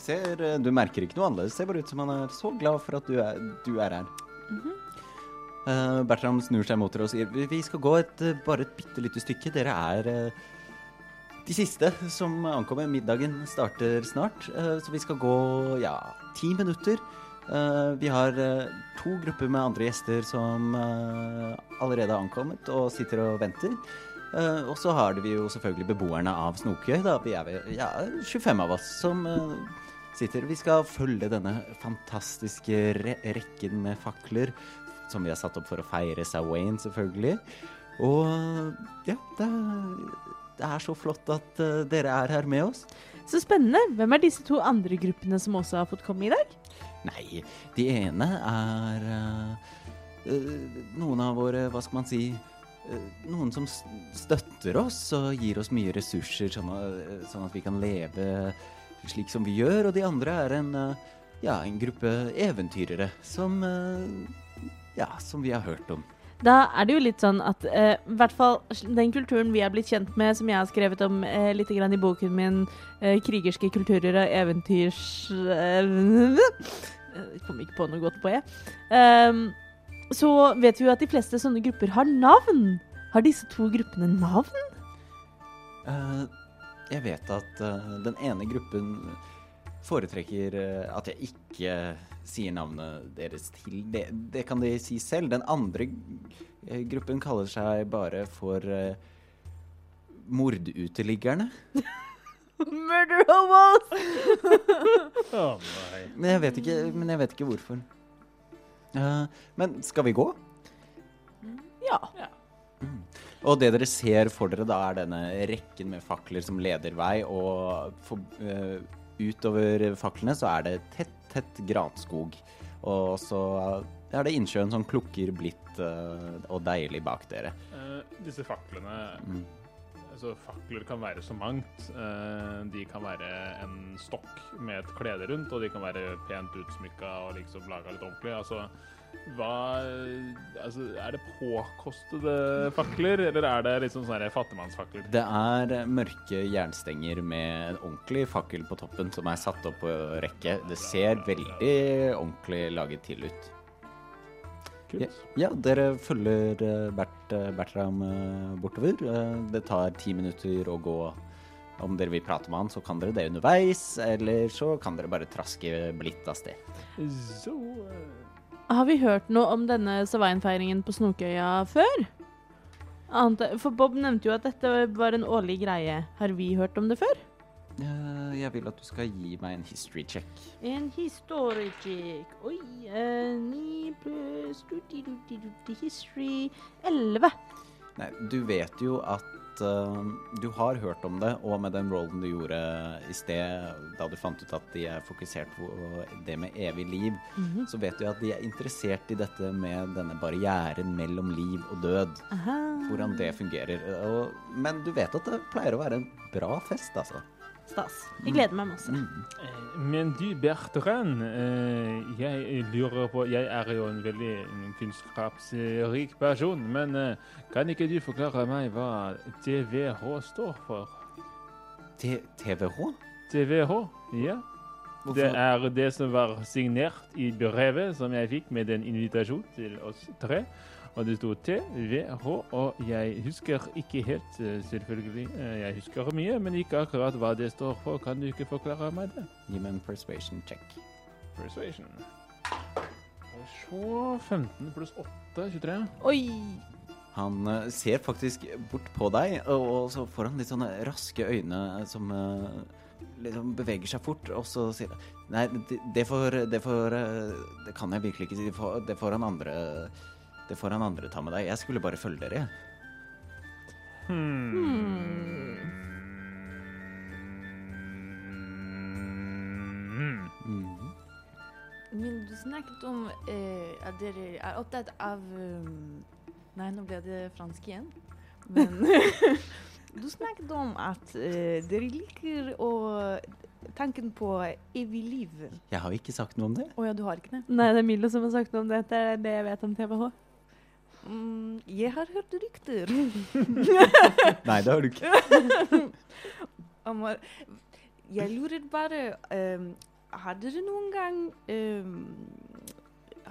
Ser, eh, du merker ikke noe annerledes. Ser bare ut som han er så glad for at du er, du er her. Eh, Bertram snur seg mot dere og sier vi, vi skal gå et, eh, bare et bitte lite stykke. Dere er eh, de siste som ankommer. Middagen starter snart, eh, så vi skal gå ja, ti minutter. Eh, vi har eh, to grupper med andre gjester som eh, allerede har ankommet og sitter og venter. Eh, og så har vi jo selvfølgelig beboerne av Snokøy. Da. Vi er vel- ja, 25 av oss som eh, sitter. Vi skal følge denne fantastiske re rekken med fakler som vi har satt opp for å feire Sawain, selvfølgelig. Og eh, ja, det er, det er så flott at eh, dere er her med oss.
Så spennende. Hvem er disse to andre gruppene som også har fått komme i dag?
Nei, de ene er eh, eh, noen av våre, hva skal man si eh, Noen som s- støtter oss og gir oss mye ressurser, sånn at, sånn at vi kan leve slik som vi gjør. Og de andre er en, eh, ja, en gruppe eventyrere som eh, Ja, som vi har hørt om.
Da er det jo litt sånn at eh, i hvert fall den kulturen vi er blitt kjent med, som jeg har skrevet om eh, litt grann i boken min, eh, 'Krigerske kulturer og eventyrs...' eh, *laughs* Jeg kom ikke på noe godt på E. Ehm, så vet vi jo at de fleste sånne grupper har navn. Har disse to gruppene navn?
Eh, jeg vet at eh, den ene gruppen foretrekker eh, at jeg ikke sier navnet deres til. Det, det kan de si selv. Den andre eh, gruppen kaller seg bare for eh, morduteliggerne.
Murder hobos!
Men jeg vet ikke, men jeg vet ikke hvorfor. Eh, men skal vi gå?
Ja.
Og det dere ser for dere, da er denne rekken med fakler som leder vei, og for, eh, utover faklene så er det tett, tett granskog. Og så er det innsjøen som klukker blidt eh, og deilig bak dere.
Eh, disse faklene
Mm.
altså Fakler kan være så mangt. Eh, de kan være en stokk med et klede rundt, og de kan være pent utsmykka og liksom laga litt ordentlig. Altså, hva altså, Er det påkostede fakler, eller er det liksom sånne her fattigmannsfakler?
Det er mørke jernstenger med en ordentlig fakkel på toppen som er satt opp på rekke. Det ser veldig ordentlig laget til ut.
Kult.
Ja, dere følger eh, Bert, eh, Bertram eh, bortover. Eh, Det tar ti minutter å gå. Om dere vil prate med han, så kan dere det underveis, eller så kan dere bare traske blidt av sted.
Så eh,
Har vi hørt noe om denne Savain-feiringen på Snokøya før? Annet, for Bob nevnte jo at dette var en årlig greie. Har vi hørt om det før?
Eh, Jeg vil at du skal gi meg en history check.
En historikk. Oi, eh, ni pluss dutti, dutti, dutti, history. Elleve.
Nei, du vet jo at eh, du har hørt om det, og med den rollen du gjorde eh, i sted, da du fant ut at de er fokusert på eh, det med evig liv, så vet du at de er interessert i dette med denne barrieren mellom liv og død. hvordan det fungerer. Og, men du vet at det pleier å være en bra fest, altså.
Stas. Jeg gleder meg masse.
Mm.
Eh, Men du, Bertrand, eh, jeg lurer på Jeg er jo en veldig kunnskapsrik person, men eh, kan ikke du forklare meg hva TVH står for?
T TVH?
TVH? Ja.
Hvorfor?
Det er det som var signert i brevet som jeg fikk med en invitasjon til oss tre. Og det sto TVH, og jeg husker ikke helt, eh, selvfølgelig. Eh, Jeg husker mye, men ikke akkurat hva det står for. Kan du ikke forklare meg det?
Gi meg en persuasion check.
Persuasion. Og så 15 pluss 8, 23.
Oi.
Han eh, ser faktisk bort på deg, og, og så får han litt sånne raske øyne som eh, liksom beveger seg fort, og så sier han Nei, det, det får Det får eh, Det kan jeg virkelig ikke si. Det får, det får han andre Det får han andre ta med deg. Jeg skulle bare følge dere, jeg.
Hmm.
Men du snakket om eh, at dere er opptatt av um, Nei, nå ble det fransk igjen. Men *laughs* du snakket om at eh, dere liker å Tanken på evig liv.
Jeg har ikke sagt noe om det.
Å ja, du har ikke det?
Nei, det er Milo som har sagt noe om det. Det er det jeg vet om TVH.
Mm, jeg har hørt rykter
Nei, det har du ikke.
om å- Jeg lurer bare um, Har dere noen gang um,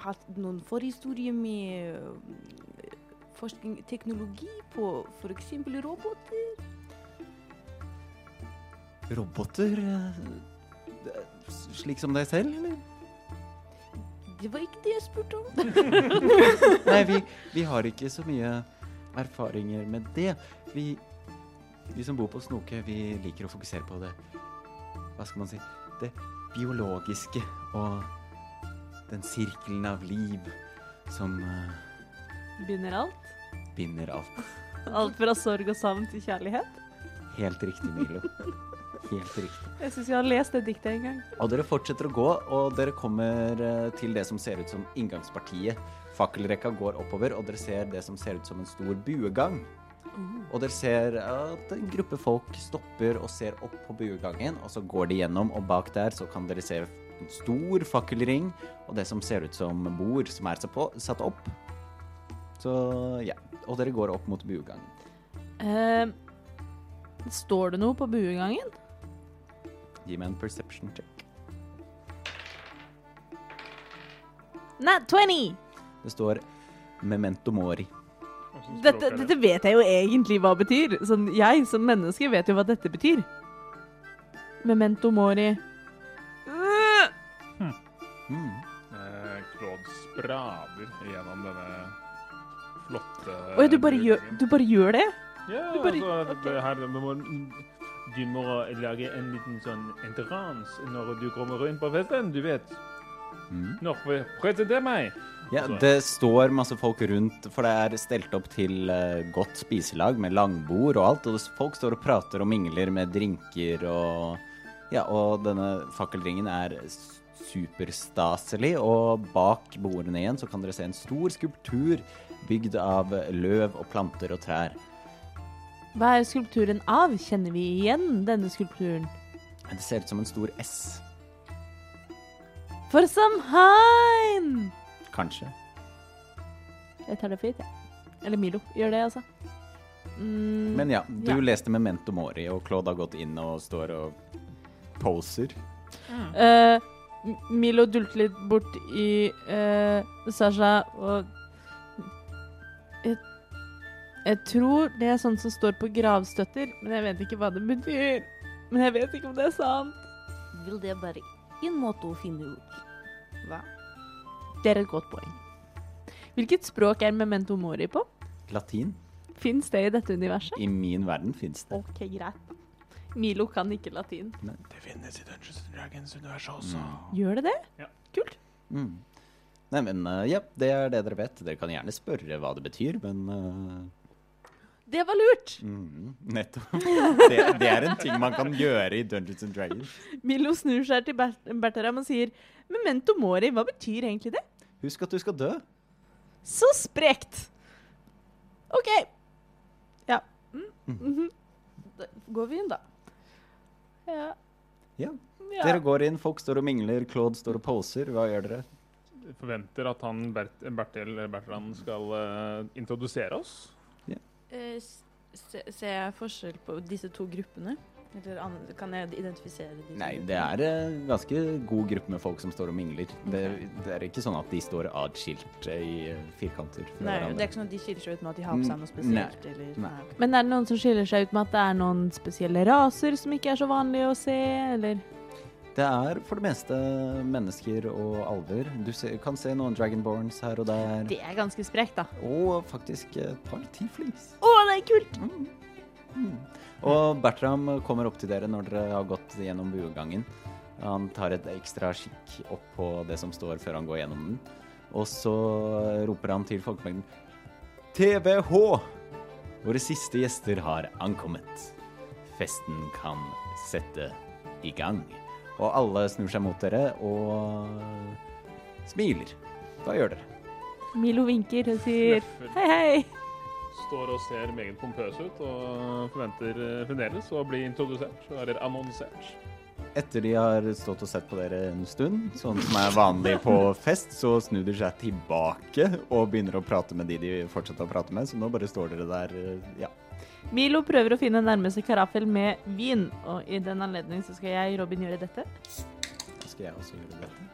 hatt noen forhistorie med um, forskning, teknologi på f.eks. robot?
eh, Roboter eh, det- Slik som deg selv, eller?
Det var ikke det jeg spurte om.
Nei, vi, vi har ikke så mye erfaringer med det. Vi, vi som bor på Snoke, vi liker å fokusere på det Hva skal man si Det biologiske og den sirkelen av liv som eh,
Begynner alt.
binder alt.
Alt fra sorg og savn til kjærlighet.
Helt riktig, Milo. Helt riktig.
Jeg syns jeg har lest det diktet en gang.
Og dere fortsetter å gå, og dere kommer eh, til det som ser ut som inngangspartiet. Fakkelrekka går oppover, og dere ser det som ser ut som en stor buegang. Og dere ser at en gruppe folk stopper og ser opp på buegangen, og så går de gjennom, og bak der så kan dere se en stor fakkelring, og det som ser ut som bord som er satt på- satt opp. Så ja, og dere går opp mot buegangen.
Eh, står det noe på buegangen?
Gi meg en perception check.
Nat 20!
Det står memento mori.
Dette, dette vet jeg jo egentlig hva betyr. Sånn, jeg som menneske vet jo hva dette betyr. Memento mori. Øh!
Mm.
Eh, Claude sprader gjennom denne flotte
Oi, du bare, gjør, du bare gjør det?
Ja,
du bare-
altså, det her, vi må, du må lage en liten sånn entrance når du kommer inn på festen, du vet.
Mm.
Når vi presenterer meg.
Ja,
Altså-
det står masse folk rundt, for det er stelt opp til eh, godt spiselag med langbord og alt, og det s- folk står og prater og mingler med drinker og Ja, og denne fakkelringen er s- superstaselig, og bak bordene igjen så kan dere se en stor skulptur bygd av løv og planter og trær.
Hva er skulpturen av? Kjenner vi igjen denne skulpturen?
Det ser ut som en stor S,
For Samhain!
kanskje.
Jeg tar det for gitt, jeg. Eller Milo. Gjør det, altså. Mm,
Men ja, du
Ja.
leste Memento Mori, og Claude har gått inn og står og poser.
eh, M- Milo dulter litt bort i eh, Sasha og jeg, jeg tror det er sånt som står på gravstøtter, men jeg vet ikke hva det betyr. Men jeg vet ikke om det er sant.
Vil det bare én måte å finne ut. Hva?
Det er et godt poeng. Hvilket språk er memento mori på?
Latin.
Fins det i dette universet?
I min verden fins det.
OK, greit. Milo kan ikke latin.
Det finnes i Dungeons Dragons-universet også.
Ah.
Gjør det det?
Mm. Nei, men eh, ja, det er det dere vet. Dere kan gjerne spørre hva det betyr, men eh,
Det var lurt!
mm, Nettopp. *laughs* Det, det er en ting man kan gjøre i Dungeons and Dragons.
Milo snur seg til Bert Bertram og sier Memento mori, hva betyr egentlig det?
Husk at du skal dø.
Så sprekt! OK. Ja. Mm. Mhm.
Da går vi inn, da.
ja.
Ja.
Ja.
Dere går inn, folk står og mingler, Claude står og poser. Hva gjør dere?
Mm. Forventer at han Bert, Bertil eller Bertrand skal eh, introdusere oss.
Eh, s- se- Ser jeg forskjell på disse to gruppene? Eller an kan jeg identifisere de to
Nei,
gruppene?
det er en ganske god gruppe med folk som står og mingler. Det, det er ikke sånn at de står atskilt eh, i eh, firkanter fra
Nei, Det
hverandre.
er ikke sånn at de skiller seg ut med at de har på seg noe
Mm, Nei.
spesielt? Eller,
Nei.
Men er det noen som skiller seg ut med at det er noen spesielle raser som ikke er så vanlige å se, eller
Det er for det meste mennesker og alver. Du se, kan se noen dragonborns her og der.
Det er ganske sprekt, da.
Og faktisk et par tieflings.
Å, det er kult!
Mm. Mm. Og Bertram kommer opp til dere når dere har gått gjennom buegangen. Han tar et ekstra kikk opp på det som står før han går gjennom den. Og så roper han til folkemengden TVH! Våre siste gjester har ankommet. Festen kan sette i gang. Og alle snur seg mot dere og smiler. Hva gjør dere?
Milo vinker og sier
Fluffer.
hei, hei.
Står og ser meget pompøs ut og forventer eh, fremdeles å bli introdusert, eller annonsert.
Etter de har stått og sett på dere en stund, sånn som er vanlig på fest, så snur de seg tilbake og begynner å prate med de de fortsetter å prate med. Så nå bare står dere der, eh, ja.
Milo prøver å finne nærmeste karaffel med vin, og i den anledning så skal jeg, Robin, gjøre dette.
da Skal jeg også gjøre dette?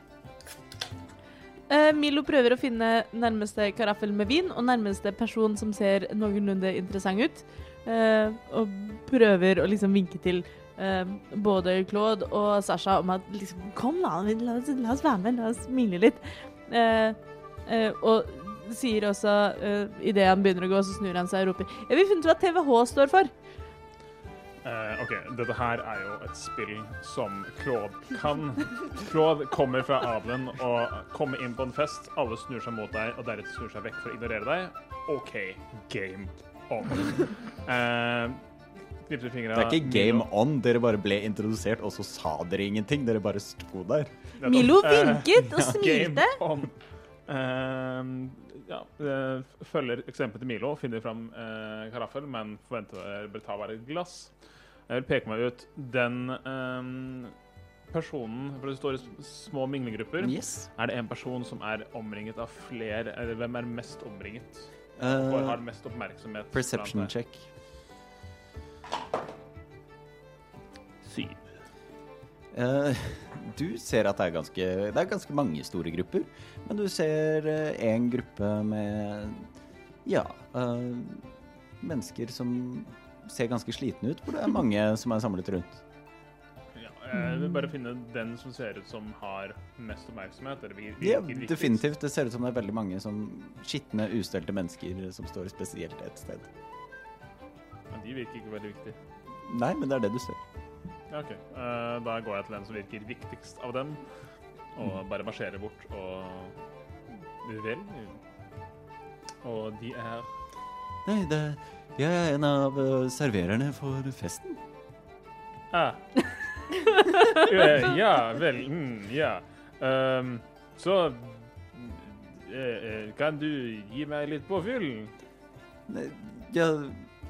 Eh, Milo prøver å finne nærmeste karaffel med vin og nærmeste person som ser noenlunde interessant ut. eh, og prøver å liksom vinke til eh, både Claude og Sasha om at liksom Kom, da. La oss, la oss være med. La oss smile litt. Eh, eh, og sier også eh, Idet han begynner å gå, så snur han seg og roper Jeg vil finne ut hva TVH står for.
Eh, OK, dette her er jo et spill som Claude kan. Claude kommer fra adelen og kommer inn på en fest. Alle snur seg mot deg, og deretter snur seg vekk for å ignorere deg. OK, game on. Eh, Knipser fingra
Det er ikke game on. Dere bare ble introdusert, og så sa dere ingenting. Dere bare sto der.
Milo
Eh,
vinket og smilte.
Game on. Eh, ja, eh, følger eksempelet til Milo, finner fram eh, karaffel, men forventer å bare ta bare et glass. Jeg vil peke meg ut. Den eh, personen For det står i s- små minglegrupper.
Yes.
Er det en person som er omringet av flere, eller hvem er mest omringet? Hvor
Eh,
har mest oppmerksomhet?
perception
blant deg?
check.
Syv.
Eh, du ser at det er, ganske, det er ganske mange store grupper, men du ser én gruppe med ja eh, mennesker som ser ganske slitne ut, hvor det er mange som er samlet rundt.
Ja, jeg vil bare finne den som ser ut som har mest oppmerksomhet. Eller vir-
Ja,
virker viktigst.
definitivt. Det ser ut som det er veldig mange som skitne, ustelte mennesker som står spesielt et sted.
Men de virker ikke veldig viktige.
Nei, men det er det du ser.
Ja, ok. Eh, da går jeg til den som virker viktigst av dem, og bare marsjerer bort og Vel. Og de er
Nei, det, jeg er en av eh, servererne for festen.
ah. Eh, Ja, vel mm, Ja. Ehm, så eh, eh, Kan du gi meg litt påfyll?
Nei, Ja,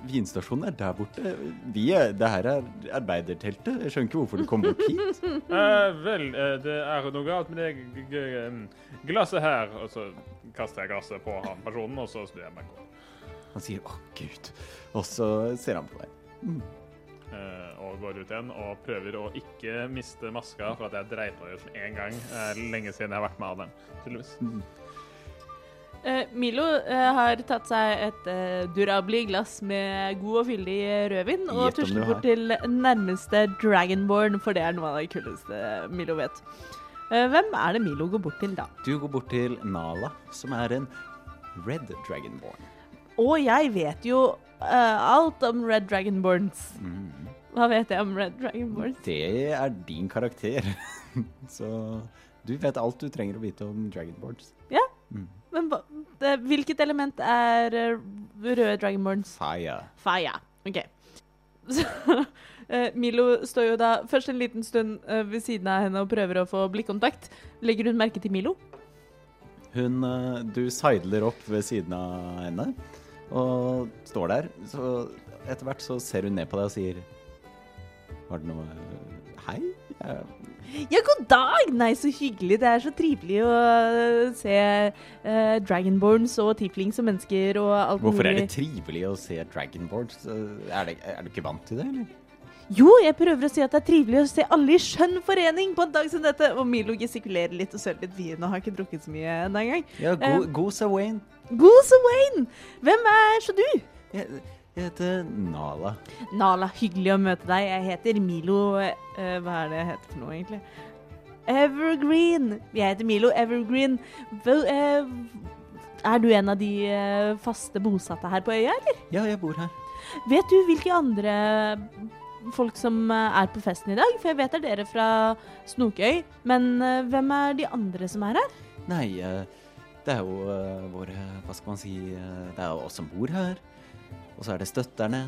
vinstasjonen er der borte. Vi er, det her er arbeiderteltet. Jeg skjønner ikke hvorfor du kom bort hit.
Eh, vel, eh, det er noe galt med det g- g- em, glasset her. Og så kaster jeg glasset på han personen, og så snur jeg meg. og går.
Han sier 'Å, Gud', og så ser han på deg.
Eh, og går ut igjen og prøver å ikke miste maska for at jeg dreit meg ut med en gang. Eh, lenge siden jeg har vært med av dem, tydeligvis.
Eh, Milo eh, har tatt seg et eh, durabelig glass med god og fyldig eh, rødvin og
Gjett om du
tusler
har.
bort til nærmeste Dragonborn, for det er noe av det kuleste Milo vet. Eh, hvem er det Milo går bort til da?
Du går bort til Nala, som er en red dragonborn.
Og jeg vet jo eh, alt om Red Dragonborns.
Mm.
Hva vet jeg om Red Dragonborns?
Det er din karakter. *laughs* Så du vet alt du trenger å vite om dragonborns.
Men hva- det- hvilket element er eh, røde Dragonborns?
Fire.
Fire. OK. *laughs* Så, eh, Milo står jo da først en liten stund eh, ved siden av henne og prøver å få blikkontakt. Legger hun merke til Milo?
Hun eh, Du sidler opp ved siden av henne og står der. Så etter hvert så ser hun ned på deg og sier Var det noe Hei? Jeg
Ja, god dag! Nei, så hyggelig. Det er så trivelig å eh, se eh, dragonborns og tieflings og mennesker og alt
Hvorfor er
mulig.
det trivelig å se dragonboards? Er, det, er du ikke vant til det, eller?
Jo, jeg prøver å si at det er trivelig å se alle i skjønn forening på en dag som dette. Og Milo gestikulerer litt og søler litt vin og har ikke drukket så mye ennå engang.
Ja,
go-
Gosa Wayne.
Goose Wayne! Hvem er så du?
Jeg, jeg heter Nala.
Nala, hyggelig å møte deg. Jeg heter Milo eh, Hva er det jeg heter for noe, egentlig? Evergreen. Jeg heter Milo Evergreen. Vel, eh, er du en av de eh, faste bosatte her på øya, eller?
Ja, jeg bor her.
Vet du hvilke andre folk som eh, er på festen i dag? For jeg vet det er dere fra Snokøy, men eh, hvem er de andre som er her?
Nei, eh, det er jo eh, våre Hva skal man si eh, Det er jo oss som bor her. Og så er det støtterne.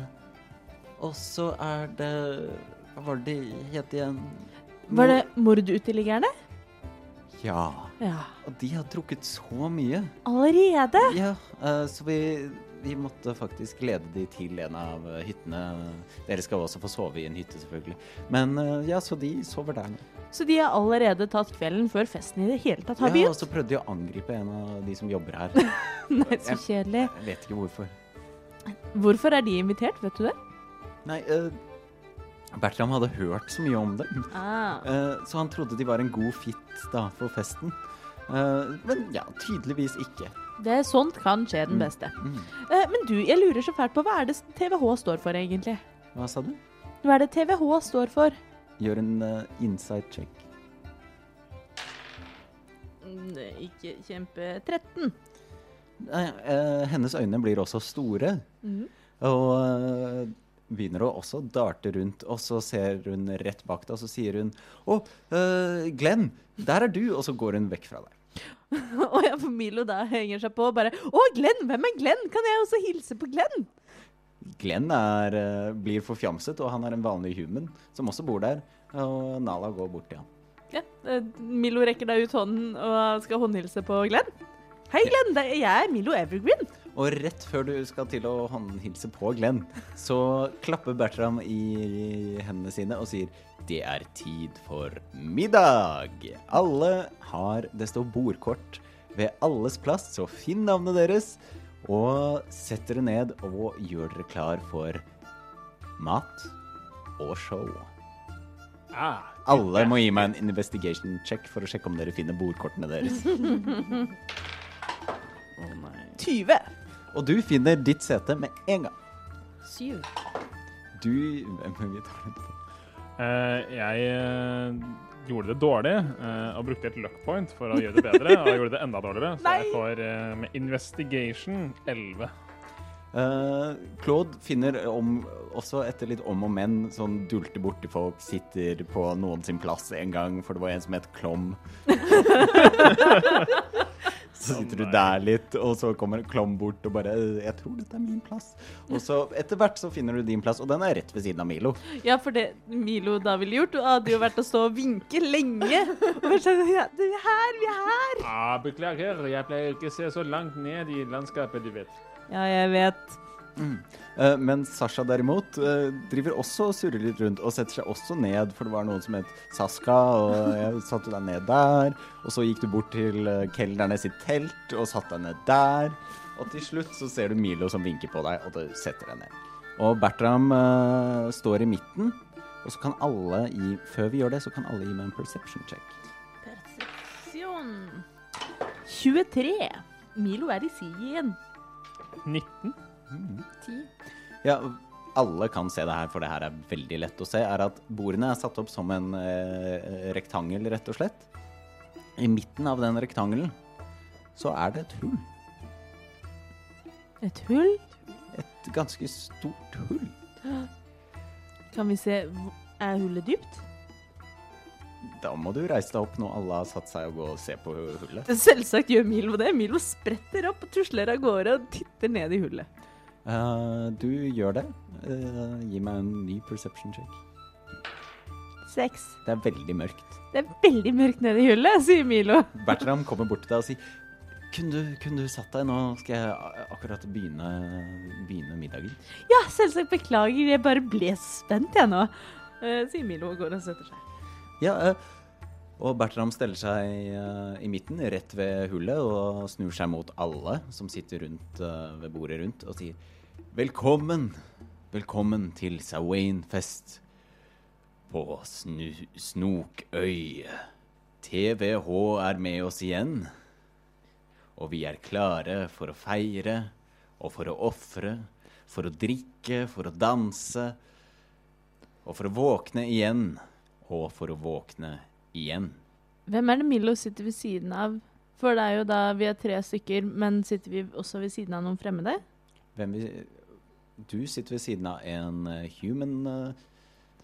Og så er det Hva var det de het igjen?
Var det morduteliggerne?
Ja.
Ja.
Og de har drukket så mye.
Allerede?
Ja, eh, så vi, vi måtte faktisk lede de til en av eh, hyttene. Dere skal også få sove i en hytte, selvfølgelig. Men eh, ja, så de sover der nå.
Så de har allerede tatt kvelden før festen i det hele tatt har
Ja, altså, og
begynt? *laughs*
så prøvde de å angripe en av de som jobber her.
Nei, så kjedelig.
Jeg vet ikke hvorfor.
Hvorfor er de invitert, vet du det?
Nei, eh, Bertram hadde hørt så mye om dem,
Ah,
eh, så han trodde de var en god fit da for festen. Eh, men ja, tydeligvis ikke.
Det, sånt kan skje den
Mm.
beste.
Mm.
Eh, men du, jeg lurer så fælt på hva er det TVH står for, egentlig?
Hva sa du?
Hva er det TVH står for?
Gjør en eh, inside check.
eh, ikke kjempe *laughs* 13.
Nei, eh, hennes øyne blir også store, og eh, begynner å også darte rundt. Og så ser hun rett bak deg, og så sier hun 'Å, eh, Glenn, der er du!' Og så går hun vekk fra deg.
og ja, for Milo da henger seg på og bare Å, Glenn! Hvem er Glenn? Kan jeg også hilse på Glenn?
Glenn er, eh, blir forfjamset, og han er en vanlig human som også bor der. Og Nala går bort til ham.
Ja, eh, Milo rekker da ut hånden og skal håndhilse på Glenn. Hei, Glenn! Det er, jeg er Milo Evergreen.
Og rett før du skal til å håndhilse på Glenn, så klapper Bertram i hendene sine og sier det er tid for middag. Alle har Det står bordkort ved alles plass, så finn navnet deres. Og sett dere ned og gjør dere klar for mat og show.
Ah,
Alle må gi meg en investigation check for å sjekke om dere finner bordkortene deres. *laughs*
20.
Og du finner ditt sete med en gang.
Syv.
Du Men vi tar det på
Eh, jeg eh, gjorde det dårlig eh, og brukte et luck point for å gjøre det bedre. Og jeg gjorde det enda dårligere, så jeg får eh, med investigation 11.
Eh, Claude finner om, også etter litt om og men, sånn dulter borti folk, sitter på noen sin plass en gang, for det var en som het Klom. så sitter du der litt, og så kommer Klom bort og bare «Øh, 'Jeg tror dette er min plass'. Og så etter hvert så finner du din plass, og den er rett ved siden av Milo.
Ja, for det Milo da ville gjort, hadde jo vært å stå og vinke lenge. *laughs* Og vært sånn ja, du, Vi er her, vi er her!
Ah, beklager, jeg pleier ikke å se så langt ned i landskapet, du vet.
Ja, jeg vet.
Eh, men Sasha derimot eh, driver også og surrer litt rundt og setter seg også ned, for det var noen som het Saska, og jeg satte deg ned der. Og så gikk du bort til eh, kelnerne sitt telt og satte deg ned der. Og til slutt så ser du Milo som vinker på deg, og du setter deg ned. Og Bertram eh, står i midten, og så kan alle gi Før vi gjør det, så kan alle gi meg en perception check.
Persepsjon. 23. Milo er i sigien.
19.
Ti.
Ja, alle kan se det her, for det her er veldig lett å se, er at bordene er satt opp som en eh, rektangel, rett og slett. I midten av den rektangelen så er det et hull.
Et hull.
Et ganske stort hull.
Kan vi se hvor- Er hullet dypt?
Da må du reise deg opp når alle har satt seg og gå og se på hullet.
Selvsagt gjør Milo det. Milo spretter opp og tusler av gårde og titter ned i hullet.
Eh, du gjør det. Eh, gi meg en ny perception check.
Seks.
Det er veldig mørkt.
Det er veldig mørkt nede i hullet, sier Milo.
Bertram kommer bort til deg og sier kunne du, kunne du satt deg? Nå skal jeg a- akkurat begynne, begynne middagen.
Ja, Ah, selvsagt beklager, jeg bare ble spent jeg nå, eh, sier Milo og går og setter seg.
Ja, eh, og Bertram steller seg eh, i midten, rett ved hullet, og snur seg mot alle som sitter rundt eh, ved bordet rundt, og sier Velkommen! Velkommen til Sawain-fest på snu Snokøy. TVH er med oss igjen, og vi er klare for å feire og for å ofre, for å drikke, for å danse og for å våkne igjen og for å våkne igjen.
Hvem er det Milo sitter ved siden av? For det er jo da vi er tre stykker, men sitter vi også ved siden av noen fremmede?
Hvem vi, du sitter ved siden av en eh, human eh,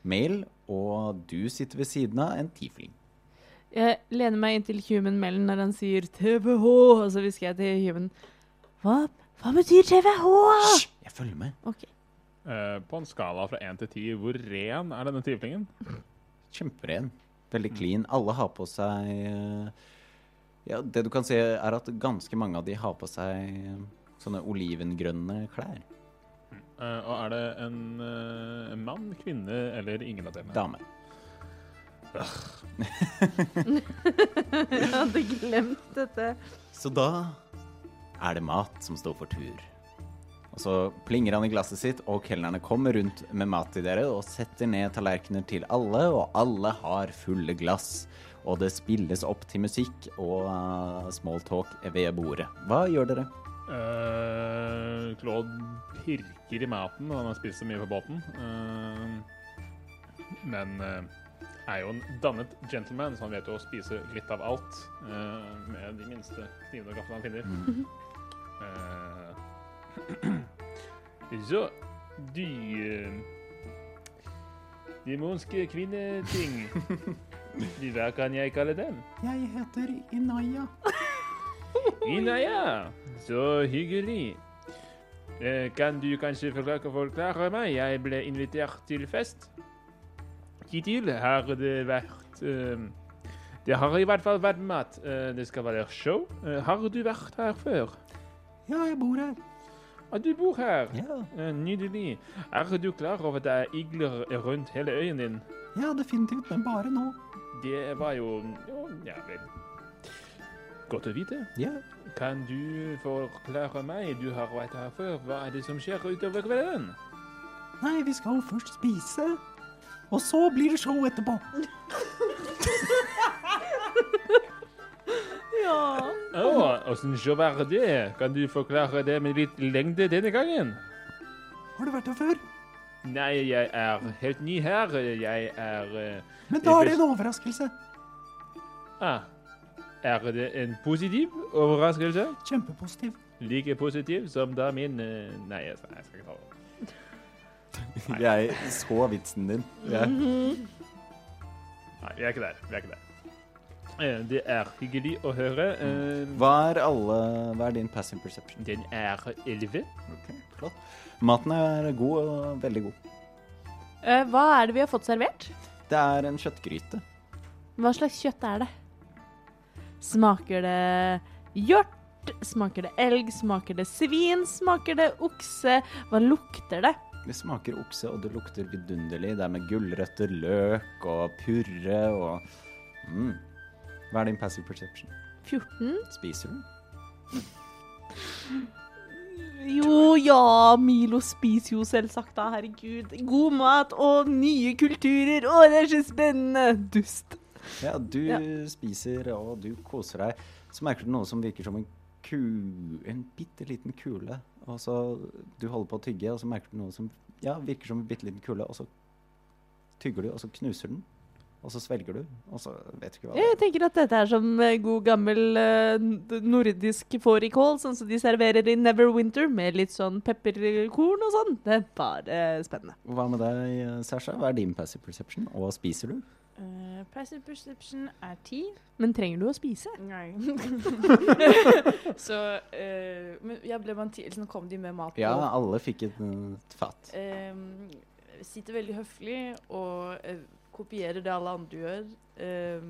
male, og du sitter ved siden av en tiefling.
Jeg lener meg inntil Human Mellen når han sier TVH, og så hvisker jeg til Human Hva, hva betyr TVH?
Hysj, jeg følger med.
Ok.
Eh, på en skala fra 1 til 10, hvor ren er denne tieflingen?
Kjemperen. Veldig clean. Alle har på seg eh, Ja, det du kan se, er at ganske mange av de har på seg eh, sånne olivengrønne klær.
Eh, og er det en eh, en mann, kvinne eller ingen av delene?
Dame.
*laughs* Jeg hadde glemt dette.
Så da er det mat som står for tur. Og så plinger han i glasset sitt, og kelnerne kommer rundt med mat til dere og setter ned tallerkener til alle, og alle har fulle glass. Og det spilles opp til musikk og uh, smalltalk ved bordet. Hva gjør dere?
Eh, Claude pirker i maten, og han har spist så mye på båten. Eh, men eh, er jo en dannet gentleman, så han vet jo å spise litt av alt eh, med de minste knivene og gaflene han finner. Eh, *clears throat* så de eh, Demonske kvinneting. De, hva kan jeg kalle den?
Jeg heter Inaya.
Inaya, så hyggelig. Eh, Kan du kanskje forklare, forklare meg? Jeg ble invitert til fest. Hittil har det vært eh, Det har i hvert fall vært mat. Eh, Det skal være show. Eh, Har du vært her før?
*laughs* Ja, jeg bor her.
Ah, du bor her.
Ja,
Eh, Nydelig. Er du klar over at det er igler rundt hele øyen din?
ja definitivt, men bare nå.
Det var jo Ja vel. Godt å vite.
Ja.
Kan du forklare meg, du har vært her før, hva er det som skjer utover kvelden?
Nei, vi skal først spise, og så blir det show etterpå.
Å, åssen show er det? Kan du forklare det med litt lengde denne gangen?
Har du vært her før?
Nei, jeg er helt ny her. Jeg er eh,
Men da er det en overraskelse.
ah, Er det en positiv overraskelse?
Kjempepositiv.
Like positiv som da min eh, Nei, jeg skal, jeg skal ikke ta det.
*laughs* Jeg så vitsen din.
Nei, vi er ikke der. Vi er ikke der. Eh, Det er hyggelig å høre. eh,
Hva er alle Hva er din passive perception?
Den er elleve.
Flott. Maten er god, og veldig god.
Eh, hva er det vi har fått servert?
Det er en kjøttgryte.
Hva slags kjøtt er det? Smaker det hjort? Smaker det elg? Smaker det svin? Smaker det okse? Hva lukter det?
Det smaker okse, og det lukter vidunderlig. Det er med gulrøtter, løk og purre og mm. Hva er din passive perception?
14?
Spiser du?
Jo, ja, Milo spiser jo selvsagt da, herregud. God mat og nye kulturer, å, det er så spennende! Dust.
Ja, du
Ja.
spiser, og du koser deg. Så merker du noe som virker som en ku... En bitte liten kule. Og så Du holder på å tygge, og så merker du noe som ja, virker som en bitte liten kule, og så tygger du, og så knuser den. Og så svelger du, og så vet du ikke hva det er.
Jeg tenker at dette er som eh, god gammel eh, n- nordisk fårikål, sånn som de serverer i Neverwinter, med litt sånn pepperkorn og sånn. Det var eh, spennende.
Hva med deg, Sasha? Hva er din passive perception? Og spiser du?
Eh, passive perception er ti.
Men trenger du å spise?
*laughs*
Nei. *laughs* så eh, Men jeg ble man til, så kom de med mat.
Ja,
og,
alle fikk et, eh, et fat.
eh, sitter veldig høflig og eh, kopierer det alle andre gjør. Eh,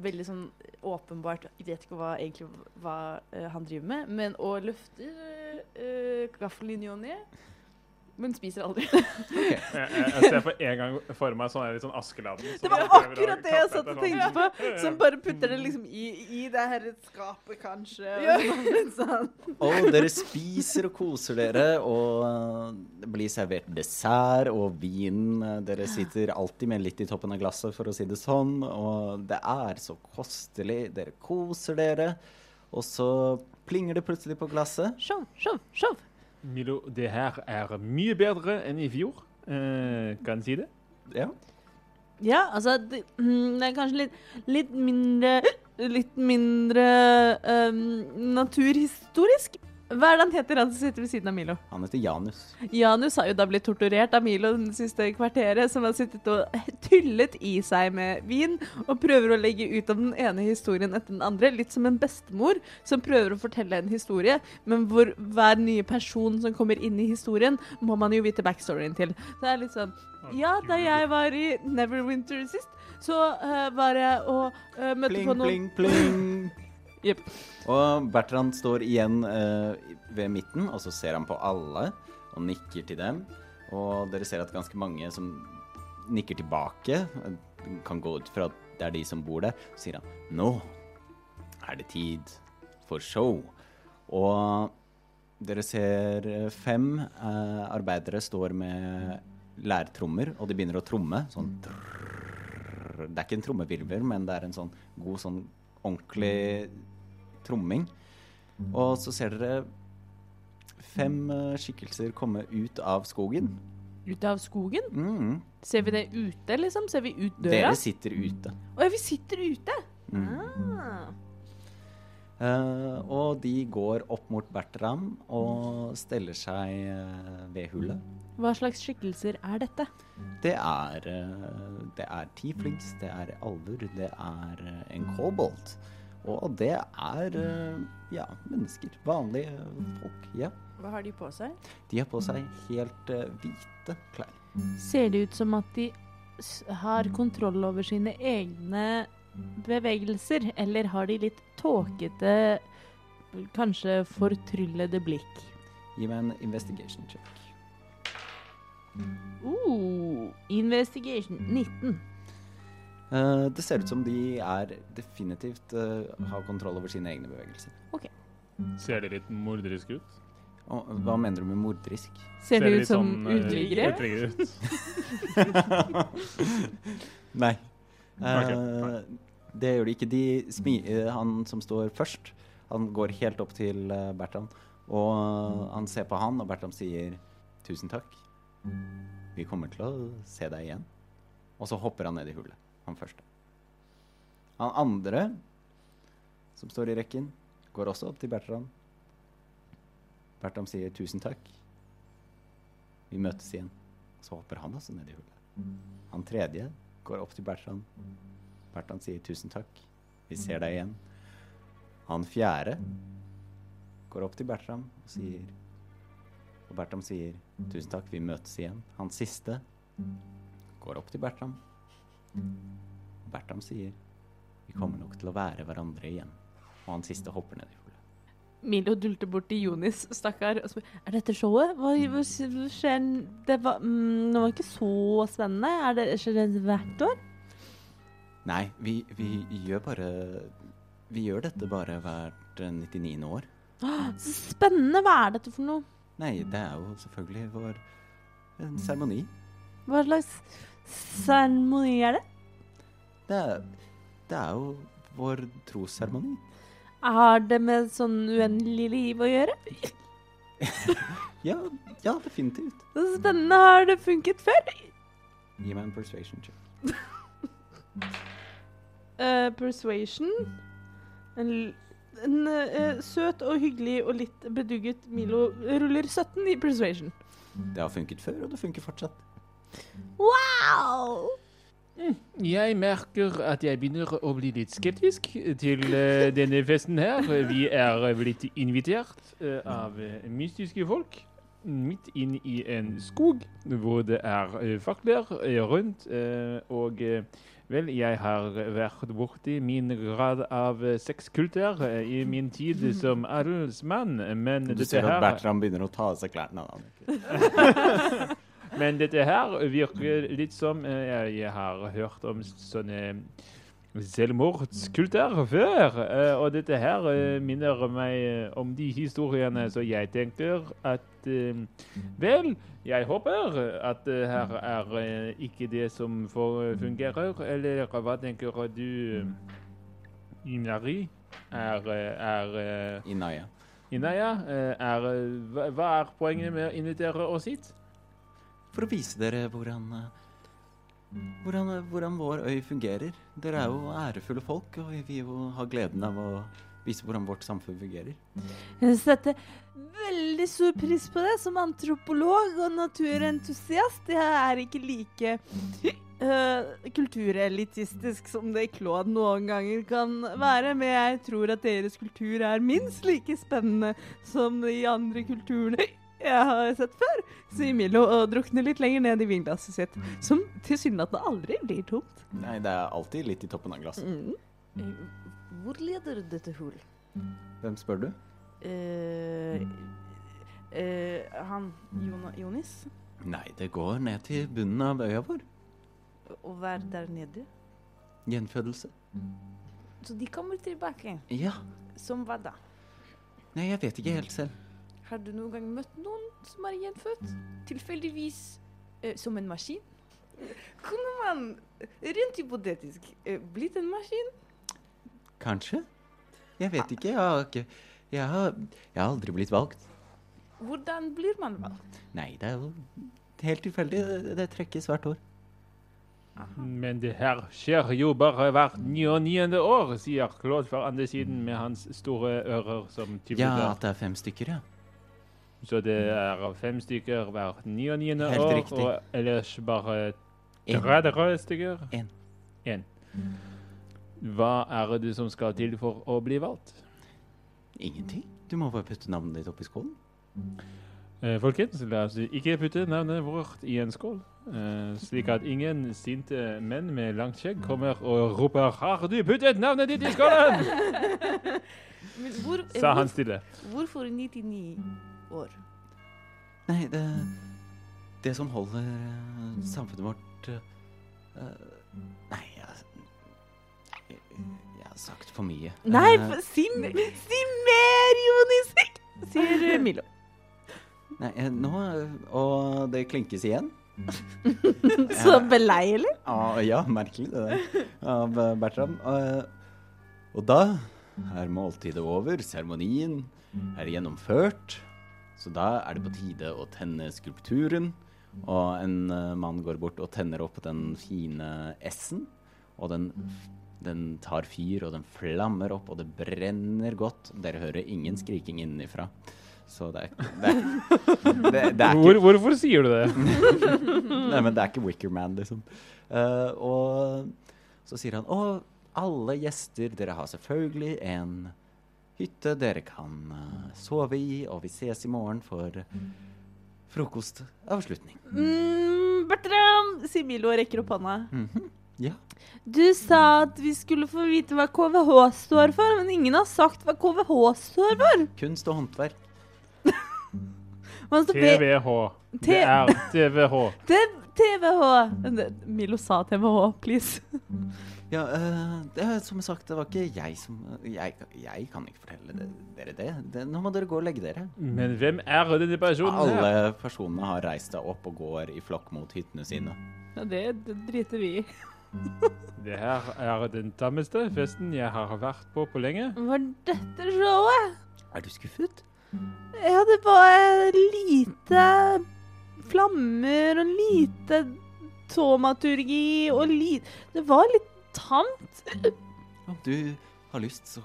veldig sånn åpenbart Jeg vet ikke hva, egentlig hva eh, han driver med, men og løfter uh, gaffelen i ny og ne. Men spiser aldri.
Jeg, jeg, jeg ser for en gang for meg sånn, her, litt sånn Askeladden.
Det var akkurat det jeg satt og tenkte på! Som bare putter det liksom i, i det her skapet, kanskje. Og sånn, sånn.
Og dere spiser og koser dere, og eh, det blir servert dessert og vin. Eh, Dere sitter alltid med litt i toppen av glasset, for å si det sånn. Og det er så kostelig. Dere koser dere, og så plinger det plutselig på glasset.
Show, show, show.
Milo, det her er mye bedre enn i fjor. Eh, kan si det.
Ja.
Ja, altså det, mm, det er kanskje litt, litt mindre Litt mindre øhm, naturhistorisk. Hva er det han heter, han som sitter ved siden av Milo?
Han heter Janus.
Janus har jo da blitt torturert av Milo det siste kvarteret, som har sittet og tyllet i seg med vin og prøver å legge ut om den ene historien etter den andre. Litt som en bestemor som prøver å fortelle en historie, men hvor hver nye person som kommer inn i historien, må man jo vite backstoryen til. Så det er litt sånn Ja, da jeg var i Neverwinter sist, så eh, var jeg og eh, møtte
Pling,
på noen
pling, pling.
Jepp.
Og Bertrand står igjen eh, ved midten, og så ser han på alle og nikker til dem. Og dere ser at ganske mange som nikker tilbake, eh, kan gå ut fra at det er de som bor der, så sier han Nå er det tid for show. Og dere ser eh, fem eh, arbeidere står med lærtrommer, og de begynner å tromme. Sånn trrrr. Det er ikke en trommevirvel, men det er en sånn god, sånn ordentlig tromming. Og så ser dere fem eh, skikkelser komme ut av skogen.
Ut av skogen?
Mm.
Ser vi det ute, liksom? Ser vi ut døra?
Dere sitter ute.
Å ja, vi sitter ute!
Mm.
Ah.
Eh, og de går opp mot Bertram og steller seg eh, ved hullet.
Hva slags skikkelser er dette?
Det er, eh, det er tieflings, det er alver, det er eh, en kobolt. Og det er eh, ja, mennesker. Vanlige eh, folk. Ja.
Hva har de på seg?
De har på seg helt eh, hvite klær.
Ser det ut som at de s- har kontroll over sine egne bevegelser, eller har de litt tåkete, kanskje fortryllede blikk?
Gi meg en investigation check.
Uh, investigation 19.
Eh, det ser ut som de er definitivt eh, har kontroll over sine egne bevegelser.
Ser de litt morderiske ut?
Og, hva mener du med morderisk?
Ser, de ut som
eh,
uteliggere?
uteliggere ut?
*laughs* Nei.
Ok,
Eh,
nei.
Det gjør de ikke. De smi eh, han som står først, han går helt opp til eh, Bertram. Og eh, han ser på han, og Bertram sier 'tusen takk'. Vi kommer til å se deg igjen. Og så hopper han ned i hullet, han første. Han andre, som står i rekken, går også opp til Bertram. Bertram sier 'tusen takk'. Vi møtes igjen. Så hopper han også ned i hullet. Han tredje går opp til Bertrand. Bertrand sier tusen takk. Vi ser deg igjen. Han fjerde går opp til Bertram og sier Og Bertram sier tusen takk, vi møtes igjen. Han siste går opp til Bertram. Bertram sier vi kommer nok til å være hverandre igjen. Og han siste hopper ned i hullet.
Milo dulter bort til Jonis, stakkar. og spør, Er dette showet? Hva, hva skjer n- Det var, mm, det var ikke så spennende. Er det, skjer det hvert år?
Nei, vi, vi gjør bare Vi gjør dette bare hvert eh, 99. år.
Så spennende! Hva er dette for noe?
Nei, det er jo selvfølgelig vår en seremoni.
Hva slags seremoni er det?
Det, er- det er jo vår trosseremoni.
Har det med sånn uendelig liv å gjøre?
Ja, ja, definitivt.
Så spennende! Har det funket før?
Gi meg en persuasion check.
Eh, persuasion. En, l- en eh, søt og hyggelig og litt bedugget Milo ruller 17 i persuasion.
Det har funket før, og det funker fortsatt.
Wow!
Jeg merker at jeg begynner å bli litt skeptisk til eh, denne festen her. Vi er blitt invitert eh, av eh, mystiske folk midt inn i en skog hvor det er eh, fakler eh, rundt. eh, Og eh, vel, jeg har vært borti min grad av eh, sexkulter eh, i min tid som adelsmann,
Mm.
men
Du
dette
ser at
her
Bertram begynner å ta av seg klærne. da.
Men dette her virker litt som eh, jeg, jeg har hørt om sånne selvmordskulter før. eh, Og dette her eh, minner meg eh, om de historiene, så jeg tenker at eh, Vel, jeg håper at eh, her er eh, ikke det som får- eh, fungerer. Eller hva tenker du, eh, Inari? Er, eh, er eh,
Inaya.
Inaya? eh, Er, eh, hva, hva er poenget med å invitere oss hit?
For å vise dere hvordan eh, hvordan, eh, hvordan vår øy fungerer. Dere er jo ærefulle folk, og vi vil jo ha gleden av å vise hvordan vårt samfunn fungerer.
Jeg setter veldig stor pris på det. Som antropolog og naturentusiast jeg er ikke like øh, kulturelitistisk som det Claude noen ganger kan være, men jeg tror at deres kultur er minst like spennende som de andre kulturene jeg har sett før, sier Milo og drukner litt lenger ned i vinglasset sitt, som tilsynelatende aldri blir tomt.
Nei, det er alltid litt i toppen av glasset.
*laughs* Mm.
Hvor leder dette hull?
Hvem spør du?
Eh, eh, han Jona, Jonis?
Nei, det går ned til bunnen av øya vår.
Å være der nede?
Gjenfødelse.
Så de kommer tilbake.
Ja.
Som hva da?
Nei, jeg vet ikke helt selv.
Har du noen gang møtt noen som er gjenfødt? Tilfeldigvis eh, som en maskin? Kunne man, rent hypotetisk, eh, blitt en maskin?
Kanskje? Jeg vet ikke. Jeg har ikke jeg har, jeg har aldri blitt valgt.
Hvordan blir man valgt?
Nei, det er jo helt tilfeldig. Det, det trekkes hvert år.
Men det her skjer jo bare hvert ni og niende år, sier Claude fra andre siden med hans store ører som
Ja,
tybler.
at det er fem stykker, ja.
Så det er fem stykker hvert ni og niende
Helt
år,
riktig.
og ellers bare
En.
30 stykker.
En.
En. Hva er det som skal til for å bli valgt?
Ingenting. Du må bare putte navnet ditt oppi skålen.
Eh, Folkens, la oss ikke putte navnet vårt i en skål, eh, slik at ingen sinte menn med langt skjegg kommer og roper 'Har du puttet navnet ditt
*laughs*
i skålen?'
Men hvor,
sa han stille.
Hvorfor 99 år?
Nei, det Det som holder eh, samfunnet vårt eh, eh, Nei, jeg, jeg, jeg har sagt for mye.
Nei,
Eh,
f- si,
Mm.
si mer, Jonisek! Sier eh,
*laughs*
Milo.
nei eh, nå eh, Og det klinkes igjen.
*laughs*
*laughs*
Så beleilig.
Ah, ja, merkelig det der. Av eh, Bertram. Eh, og da er måltidet over. Seremonien er gjennomført. Så da er det på tide å tenne skulpturen. Og en eh, mann går bort og tenner opp den fine S-en. Og den, den tar fyr, og den flammer opp, og det brenner godt. Dere hører ingen skriking innenfra. Så det er, det er, det, det er ikke
Hvor, hvorfor
*laughs*
sier du det?
Nei, men det er ikke Wickerman, liksom. Eh, og så sier han Og alle gjester, dere har selvfølgelig en hytte dere kan eh, sove i, og vi ses i morgen for frokostavslutning.
Mm, Bertram, sier Milo og rekker opp hånda.
Ja.
Du sa at vi skulle få vite hva KVH står for, men ingen har sagt hva KVH står for.
Kunst og håndverk.
Man står P-
TVH. Det er TVH.
Det- TVH. Men det- Milo sa TVH, please. *laughs*
Ja, eh, det, er som sagt, det var ikke jeg som Jeg, jeg kan ikke fortelle det, dere det. det. Nå må dere gå og legge dere.
Men hvem er denne personen her?
Alle personene har reist seg opp og går i flokk mot hyttene sine.
Ja, det, det driter vi i.
Det her er den tammeste festen jeg har vært på på lenge.
Var dette showet?
Er du skuffet?
Ja, det var lite flammer og lite tomaturgi og lite Det var litt tamt.
Om du har lyst, så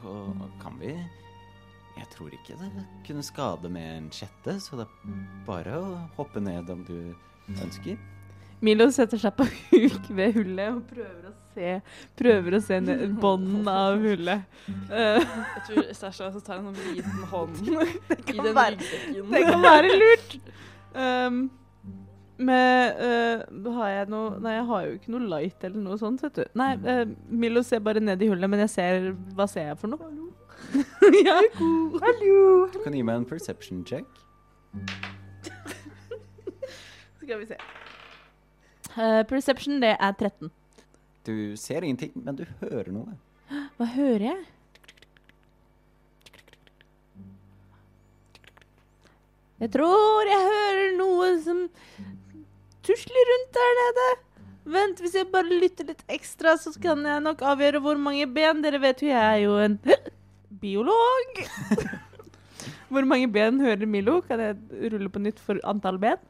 kan vi Jeg tror ikke det kunne skade med en sjette, så det er bare å hoppe ned om du ønsker.
Milo setter seg på huk ved hullet og prøver å se Prøver å se *laughs* ned- bånden av hullet. Eh,
Jeg tror Sasha også tar en sånn liten *laughs* hånd i
kan
den
være-
ryggsekken.
*laughs* Det kan være lurt. Um, med eh, Har jeg noe Nei, jeg har jo ikke noe light eller noe sånt, vet du. Nei, eh, Milo ser bare ned i hullet, men jeg ser Hva ser jeg for noe? *laughs* ja. Hallo.
Du kan gi meg en perception check.
Skal vi se. Eh, perception, det er 13.
Du ser ingenting, men du hører noe.
Hva hører jeg? Jeg tror jeg hører noe som tusler rundt der nede. Vent, hvis jeg bare lytter litt ekstra, så kan jeg nok avgjøre hvor mange ben. Dere vet jo, jeg er jo en *laughs* biolog. *laughs* Hvor mange ben hører Milo? Kan jeg rulle på nytt for antall ben?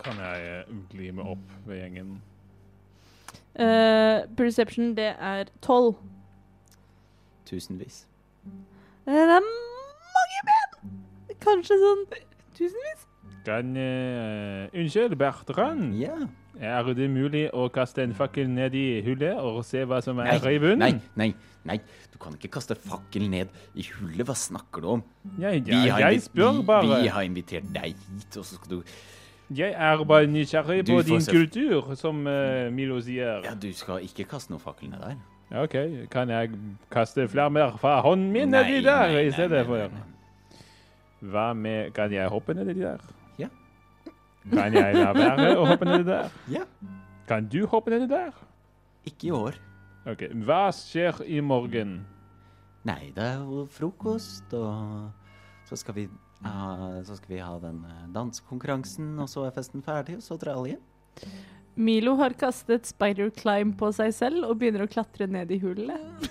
Kan jeg eh, bli med opp ved gjengen?
Eh, perception, det er tolv.
Tusenvis.
Eh, Det er mange ben! Kanskje sånn tusenvis?
Kan eh, Unnskyld, Bertrand.
Ja.
Er det mulig å kaste en fakkel ned i hullet og se hva som er
Nei,
i bunnen?
nei, nei, nei. Du kan ikke kaste fakkel ned i hullet. Hva snakker du om?
Jeg,
Vi har
jeg
invi-
spør
vi-
bare.
Vi har invitert deg hit, og så skal du
Jeg er bare nysgjerrig
Du
på
får
din
se-
kultur, som eh, Milo sier.
Ja, du skal ikke kaste noen fakkel ned der.
OK, kan jeg kaste flammer fra hånden min
Nei,
nedi der
nei,
i
nei,
stedet
nei,
for?
nei, nei.
Hva med Kan jeg hoppe nedi der?
Ja.
Kan jeg la være å hoppe nedi der?
Ja.
Kan du hoppe nedi der?
Ikke i år.
OK. Hva skjer i morgen?
Nei, det er jo frokost, og så skal vi, ha- så skal vi ha den eh, dansekonkurransen, og så er festen ferdig, og så drar alle hjem.
Milo har kastet spider climb på seg selv og begynner å klatre ned i hullet.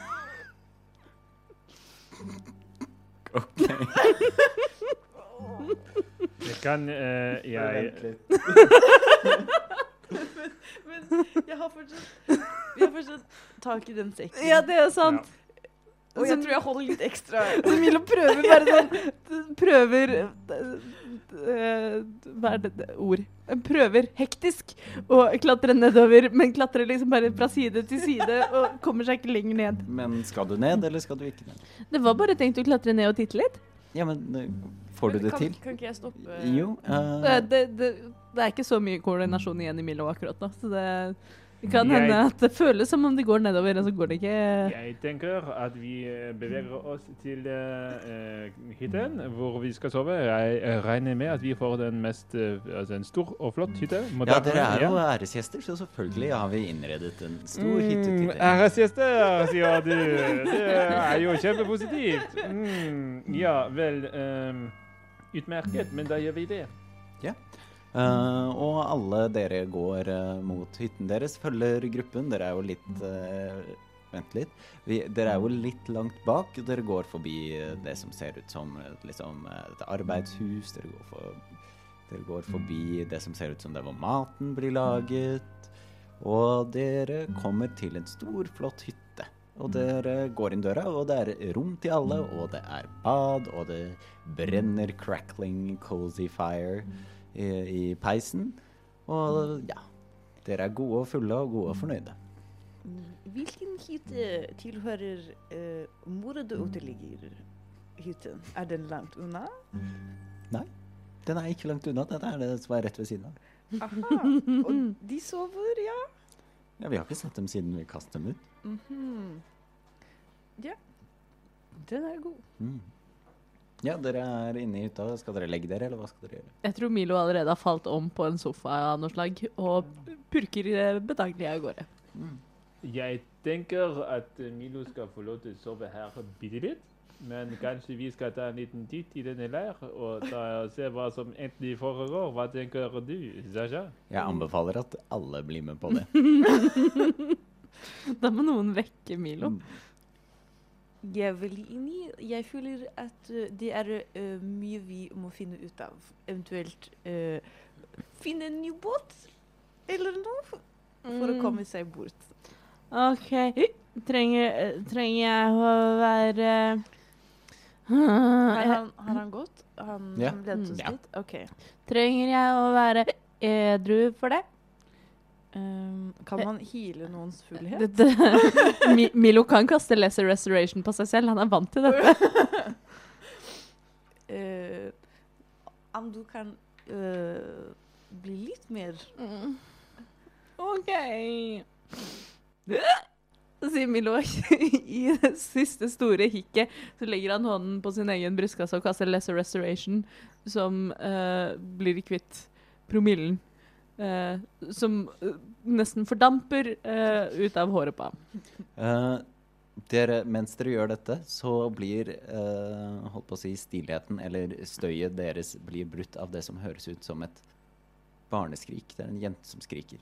Det kan eh,
Vent
jeg
litt.
Men *laughs* jeg har fortsatt Vi har fortsatt tak i den sekken.
Ja, det er sant.
og jeg
som-
tror jeg holder litt ekstra.
Så *laughs* Milo prøver bare sånn Prøver eh, Hva er det det- ord? Prøver hektisk å klatre nedover, men klatrer liksom bare fra side til side og kommer seg ikke lenger ned.
Men skal du ned, eller skal du ikke ned?
Det var bare tenkt å klatre ned og titte litt.
Ja, men eh, får du
Men
det
kan,
til?
Kan ikke jeg stoppe?
Jo. eh,
Eh, Det, det, det er ikke så mye koordinasjon igjen i Milo akkurat nå, så det, det kan
Jeg-
hende at det føles som om det går nedover, og så går det ikke
Jeg tenker at vi eh, beveger oss til eh, eh, hytten hvor vi skal sove. Jeg eh, regner med at vi får den mest eh, altså en stor og flott hytte.
ja, dere er jo æresgjester, så selvfølgelig har vi innredet en
Mm,
stor hytte
Mm,
til dere.
Æresgjester, sier du. Det er jo kjempepositivt. Mm, ja, vel ehm, Utmerket, men da gjør vi det.
Eh, og alle dere går eh, mot hytten deres, følger gruppen. Dere er jo litt eh, Vent litt. Vi, dere er jo litt langt bak. Dere går forbi eh, det som ser ut som eh, liksom, eh, et arbeidshus. Dere går, for, dere går forbi det som ser ut som der hvor maten blir laget. Og dere kommer til en stor, flott hytte. Og dere går inn døra, og det er rom til alle, og det er bad, og det brenner crackling cozy fire i, i peisen. Og ja, dere er gode og fulle og gode og fornøyde.
Hvilken hytte tilhører uh, mordet uteliggerhytten? Er den langt unna?
Den er ikke langt unna, den er det som er rett ved siden av.
Aha. Og de sover, ja?
Ja, Vi har ikke sett dem siden vi kastet dem ut.
Mhm. Ja. Den er god.
Mm. Ja, dere er inne i hytta. Skal dere legge dere, eller hva skal dere gjøre?
Jeg tror Milo allerede har falt om på en sofa av noe slag, og purker eh, bedagelig av gårde. *laughs*
Jeg tenker at Milo skal få lov til å sove her bitte litt. Men kanskje vi skal ta en liten titt i denne leir og ta, se hva som egentlig foregår. Hva tenker du, Sasha?
Jeg anbefaler at alle blir med på det.
Da må noen vekke Milo.
Jeg vil inn i Jeg føler at eh, det er eh, mye vi må finne ut av. Eventuelt eh, finne en ny båt eller noe for, for
Mm.
å komme seg bort.
OK. Trenger, eh, trenger jeg å være
Har
Eh,
han, har han gått? Han
Ja.
som ledet oss
Ja.
dit? OK.
*laughs* Trenger jeg å være edru for det?
Um,
Eh.
kan man heale noens fullhet?
Dette- *laughs* Mi- Milo kan kaste lesser restoration på seg selv, han er vant til dette.
Eh, om du kan eh, bli litt mer
OK. Sier Milo *laughs* i det siste store hikket. Så legger han hånden på sin egen brystkasse og kaster Lesser Restoration, som eh, blir kvitt promillen. eh, som eh, nesten fordamper eh, ut av håret på ham.
Eh, dere, mens dere gjør dette, så blir eh, holdt på å si, stillheten eller støyet deres blir brutt av det som høres ut som et barneskrik. Det er en jente som skriker.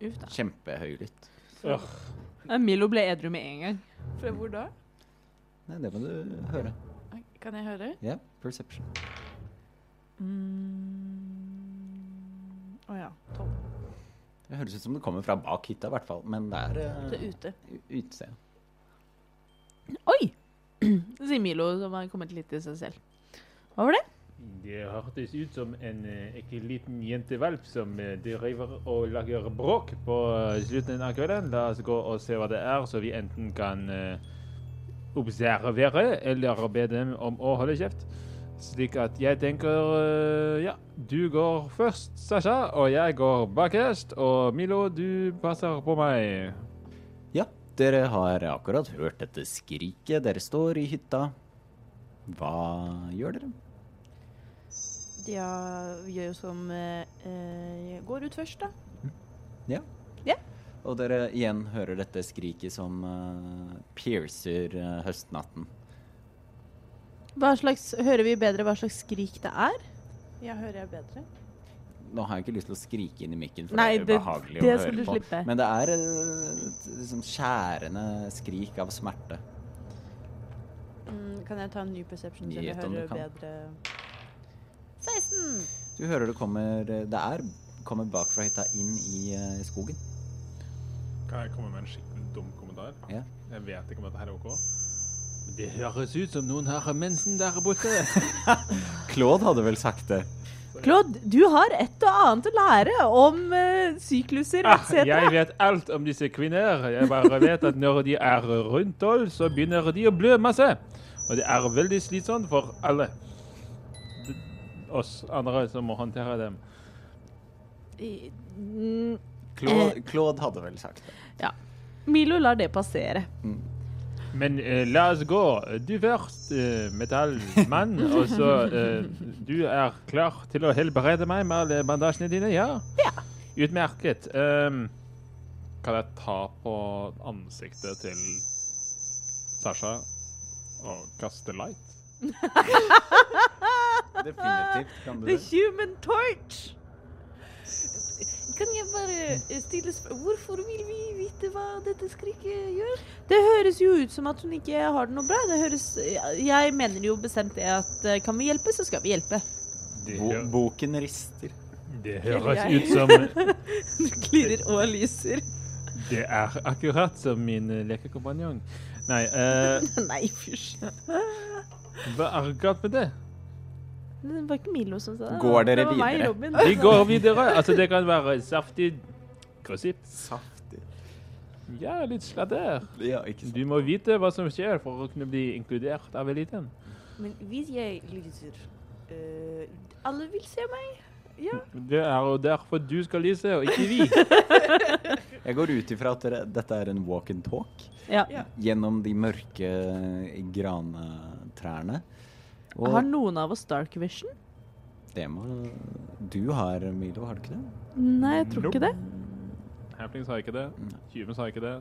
Uff da.
Kjempehøylytt.
Eh, Milo ble edru med en gang.
Fra hvor da?
Nei, det må du høre.
Kan jeg høre?
Ja, perception.
Å mm. Å ja. Tolv.
Det høres ut som det kommer fra bak hytta, i hvert fall. Men det er
Det er
uh,
ute.
utested.
Oi! *clears throat* Sier Milo, som har kommet litt til seg selv. Hva var det?
Det hørtes ut som en eh, ekkel liten jentevalp som eh, driver og lager bråk på eh, slutten av kvelden. La oss gå og se hva det er, så vi enten kan eh, observere eller be dem om å holde kjeft. Slik at jeg tenker eh, Ja, du går først, Sasha, og jeg går bakerst. Og Milo, du passer på meg.
Ja, dere har akkurat hørt dette skriket. Dere står i hytta. Hva gjør dere?
Ja, vi gjør jo som eh, eh, Går ut først, da.
Og dere igjen hører dette skriket som eh, piercer eh, høstnatten.
Hva slags, hører vi bedre hva slags skrik det er?
Ja, hører jeg bedre?
Nå har jeg ikke lyst til å skrike inn i mikken, for
Nei,
det
det-
er ubehagelig
det
å
skal
høre
du
på.
slippe.
Men det er eh, et liksom skjærende skrik av smerte.
Mm, kan jeg ta en ny perception så jeg
Gjett om
hører
du kan.
bedre?
16.
Du hører det kommer Det er kommer bakfra hytta inn i eh, skogen.
Kan jeg komme med en skikkelig dum kommentar?
Ja.
Jeg vet ikke om dette her er ok. Men det høres ut som noen har mensen der borte.
Claude hadde vel sagt det.
Claude, du har et og annet å lære om eh, sykluser
Ah, jeg
etc.
vet alt om disse kvinner. Jeg bare vet at når de er rundt tolv, så begynner de å blø masse. Og det er veldig slitsomt for alle. D- Oss andre som må håndtere dem.
Mm,
Claude, Claude hadde vel sagt det.
Milo lar det passere.
Men eh, la oss gå. Du først, eh, metallmann. Og så eh, Du er klar til å helbrede meg med alle bandasjene dine? Ja? Utmerket. Ehm, kan jeg ta på ansiktet til Sasha og kaste light?
Definitivt kan du
The
det.
human torch!
Kan jeg bare eh, stille spørsmål? Hvorfor vil vi vite hva dette skriket gjør?
Det høres jo ut som at hun ikke har det noe bra. Det høres, jeg mener jo bestemt det at eh, kan vi hjelpe, så skal vi hjelpe. *laughs*
Det,
Bo boken rister.
det høres ut som
Du klirrer og lyser. *laughs*
Det er akkurat som min eh, lekekompanjong. Nei, eh,
Nei, fysj.
hva er galt med det?
Det var ikke Milo som sa det.
Går
Altså, det
dere
var meg,
videre?
Robin.
Vi går videre. Altså, det kan være saftig gossip.
Saftig.
Ja, litt sladder.
Ja, ikke
Du må vite hva som skjer for å kunne bli inkludert av eliten.
Men hvis jeg lyser eh, Alle vil se meg.
Det er jo derfor du skal lyse, og ikke *laughs* vi.
Jeg går ut ifra at dere, dette er en walk and talk
*laughs* Ja.
gjennom de mørke grantrærne.
Har
Og
noen av oss dark vision?
det må Du har, Milo, har du ikke det?
Nei, jeg tror
Nope.
ikke det. *laughs*
Hamplings har ikke det. Tyven har ikke det.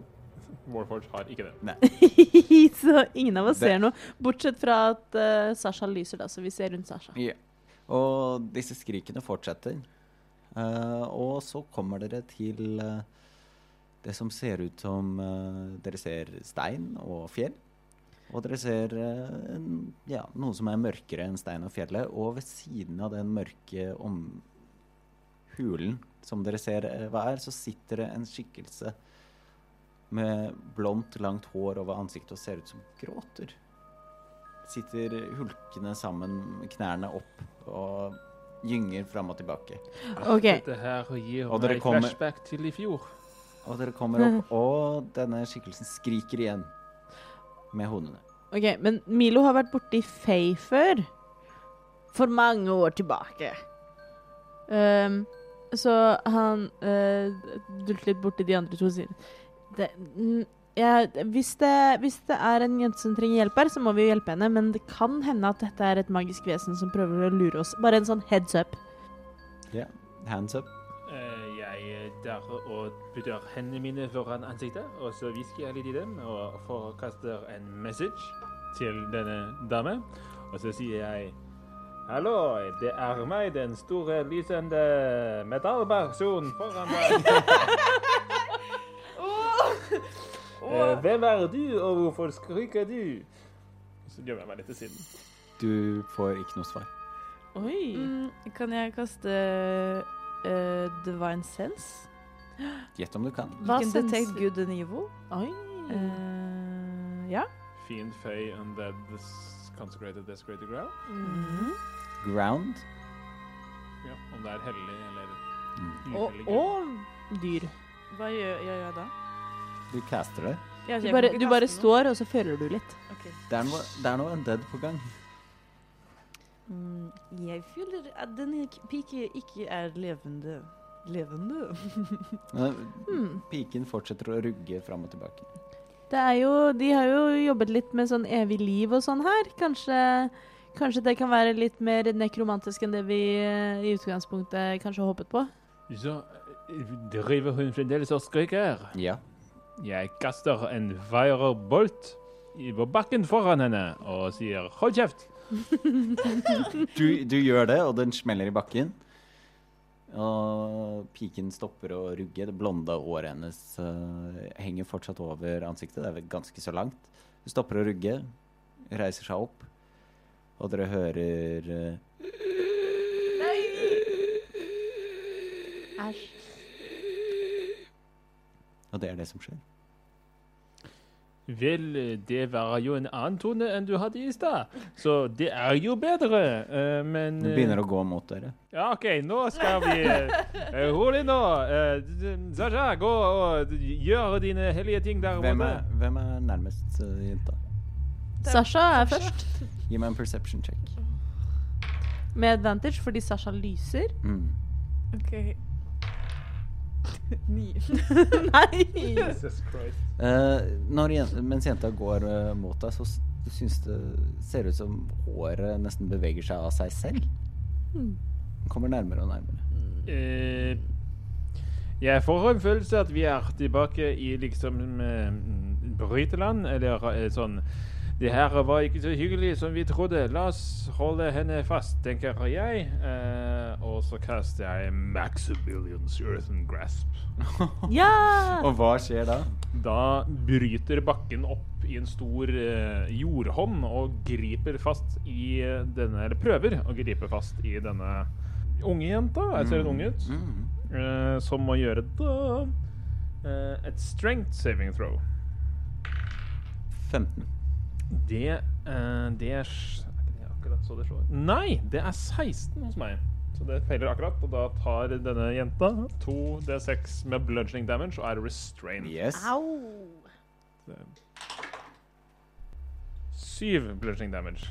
Warforge har ikke det.
så ingen av oss
Det-
ser noe. Bortsett fra at eh, Sasha lyser, da, så vi ser rundt Sasha.
Ja. Og disse skrikene fortsetter. Eh, og så kommer dere til eh, det som ser ut som eh, Dere ser stein og fjell. Og dere ser eh, en, ja, noe som er mørkere enn stein og fjellet. Og ved siden av den mørke om hulen som dere ser eh, hva er, så sitter det en skikkelse med blondt, langt hår over ansiktet og ser ut som gråter sitter hulkende sammen med knærne opp og gynger fram og tilbake.
OK.
Dette her gir
Og dere
meg
kommer-
flashback til i fjor.
Og dere kommer opp, og denne skikkelsen skriker igjen med hodene.
ok, Men Milo har vært borti Faye før. For mange år tilbake. Ehm, så han eh, dulter litt borti de andre to og sier det, mm, jeg- hvis, det, hvis det er en jente som trenger hjelp her, så må vi jo hjelpe henne. Men det kan hende at dette er et magisk vesen som prøver å lure oss. Bare en sånn heads up.
Hands up.
Eh, Jeg tar og putter hendene mine foran ansiktet, og så hvisker jeg litt i dem og forkaster en message til denne dame. Og så sier jeg Hallo, det er meg, den store lysende metallpersonen foran deg. *laughs* Eh, Hvem er du, og hvorfor skriker du? Så gjemmer jeg meg litt til siden.
Du får ikke noe svar.
Oi.
Mm, kan jeg kaste eh, divine sense?
Gjett om du kan.
Hva Mm.
you can
sense-
detect good and evil.
Oi.
Eh, ja.
Fiend, fey, undead, consecrated, desecrated ground.
Mm.
Ground.
Ja, om det er hellig eller
Mm.
og, og dyr.
Hva gjør gjør jeg da?
Du caster det.
Ja, så
Du
jeg
bare,
kan ikke
du
kaste
bare
noe.
står, og så føler du litt.
Ok.
Det er noe, det er noe undead på gang.
Mm, jeg føler at denne k- pike ikke er levende. Levende?
Men
Hmm.
Piken fortsetter å rugge fram og tilbake.
Det er jo, de har jo jobbet litt med sånn evig liv og sånn her. Kanskje, kanskje det kan være litt mer nekromantisk enn det vi eh, i utgangspunktet kanskje håpet på.
Så eh, driver hun fremdeles og skriker.
Ja.
Jeg kaster en firebolt i- på bakken foran henne og sier 'hold kjeft'.
Du, du gjør det, og den smeller i bakken. Og piken stopper å rugge. Det blonde håret hennes eh, henger fortsatt over ansiktet. Det er vel ganske så langt. Hun stopper å rugge, reiser seg opp, og dere hører eh,
Æsj.
Og det er det som skjer.
Vel, eh, det var jo en annen tone enn du hadde i stad, så det er jo bedre. Eh, men
Hun begynner å gå mot dere.
Ja, OK, nå skal vi eh, Rolig nå. Eh, Sasha, gå og gjør dine hellige ting der
Hvem er, hvem er nærmest eh, jenta?
Sasha er først,
Gi meg en perception check.
med advantage fordi Sasha lyser. *laughs*
Mm.
OK. Ni.
Nei!
*laughs* Jesus Christ.
Eh, når, jen- mens jenta går eh, mot deg, så s- syns det ser ut som håret nesten beveger seg av seg selv. Kommer nærmere og nærmere.
Eh, jeg får en følelse at vi er tilbake i liksom eh, bryteland, eller eh, sånn. Det her var ikke så hyggelig som vi trodde. La oss holde henne fast, tenker jeg. Eh, og så kaster jeg Maximilians Earthen Grasp.
Ja!
Og hva skjer da?
Da bryter bakken opp i en stor eh, jordhånd og griper fast i eh, denne Eller prøver å gripe fast i denne unge jenta. Jeg ser en ung ut.
Mm.
Eh, som må gjøre da eh, et strength saving throw.
15.
Det eh, Det er s- Er ikke det akkurat så det slår? Nei! Det er 16 hos meg. Så det feiler akkurat, og da tar denne jenta 2 D6 med bludging damage og er restrained.
Yes.
Au!
Syv bludging damage.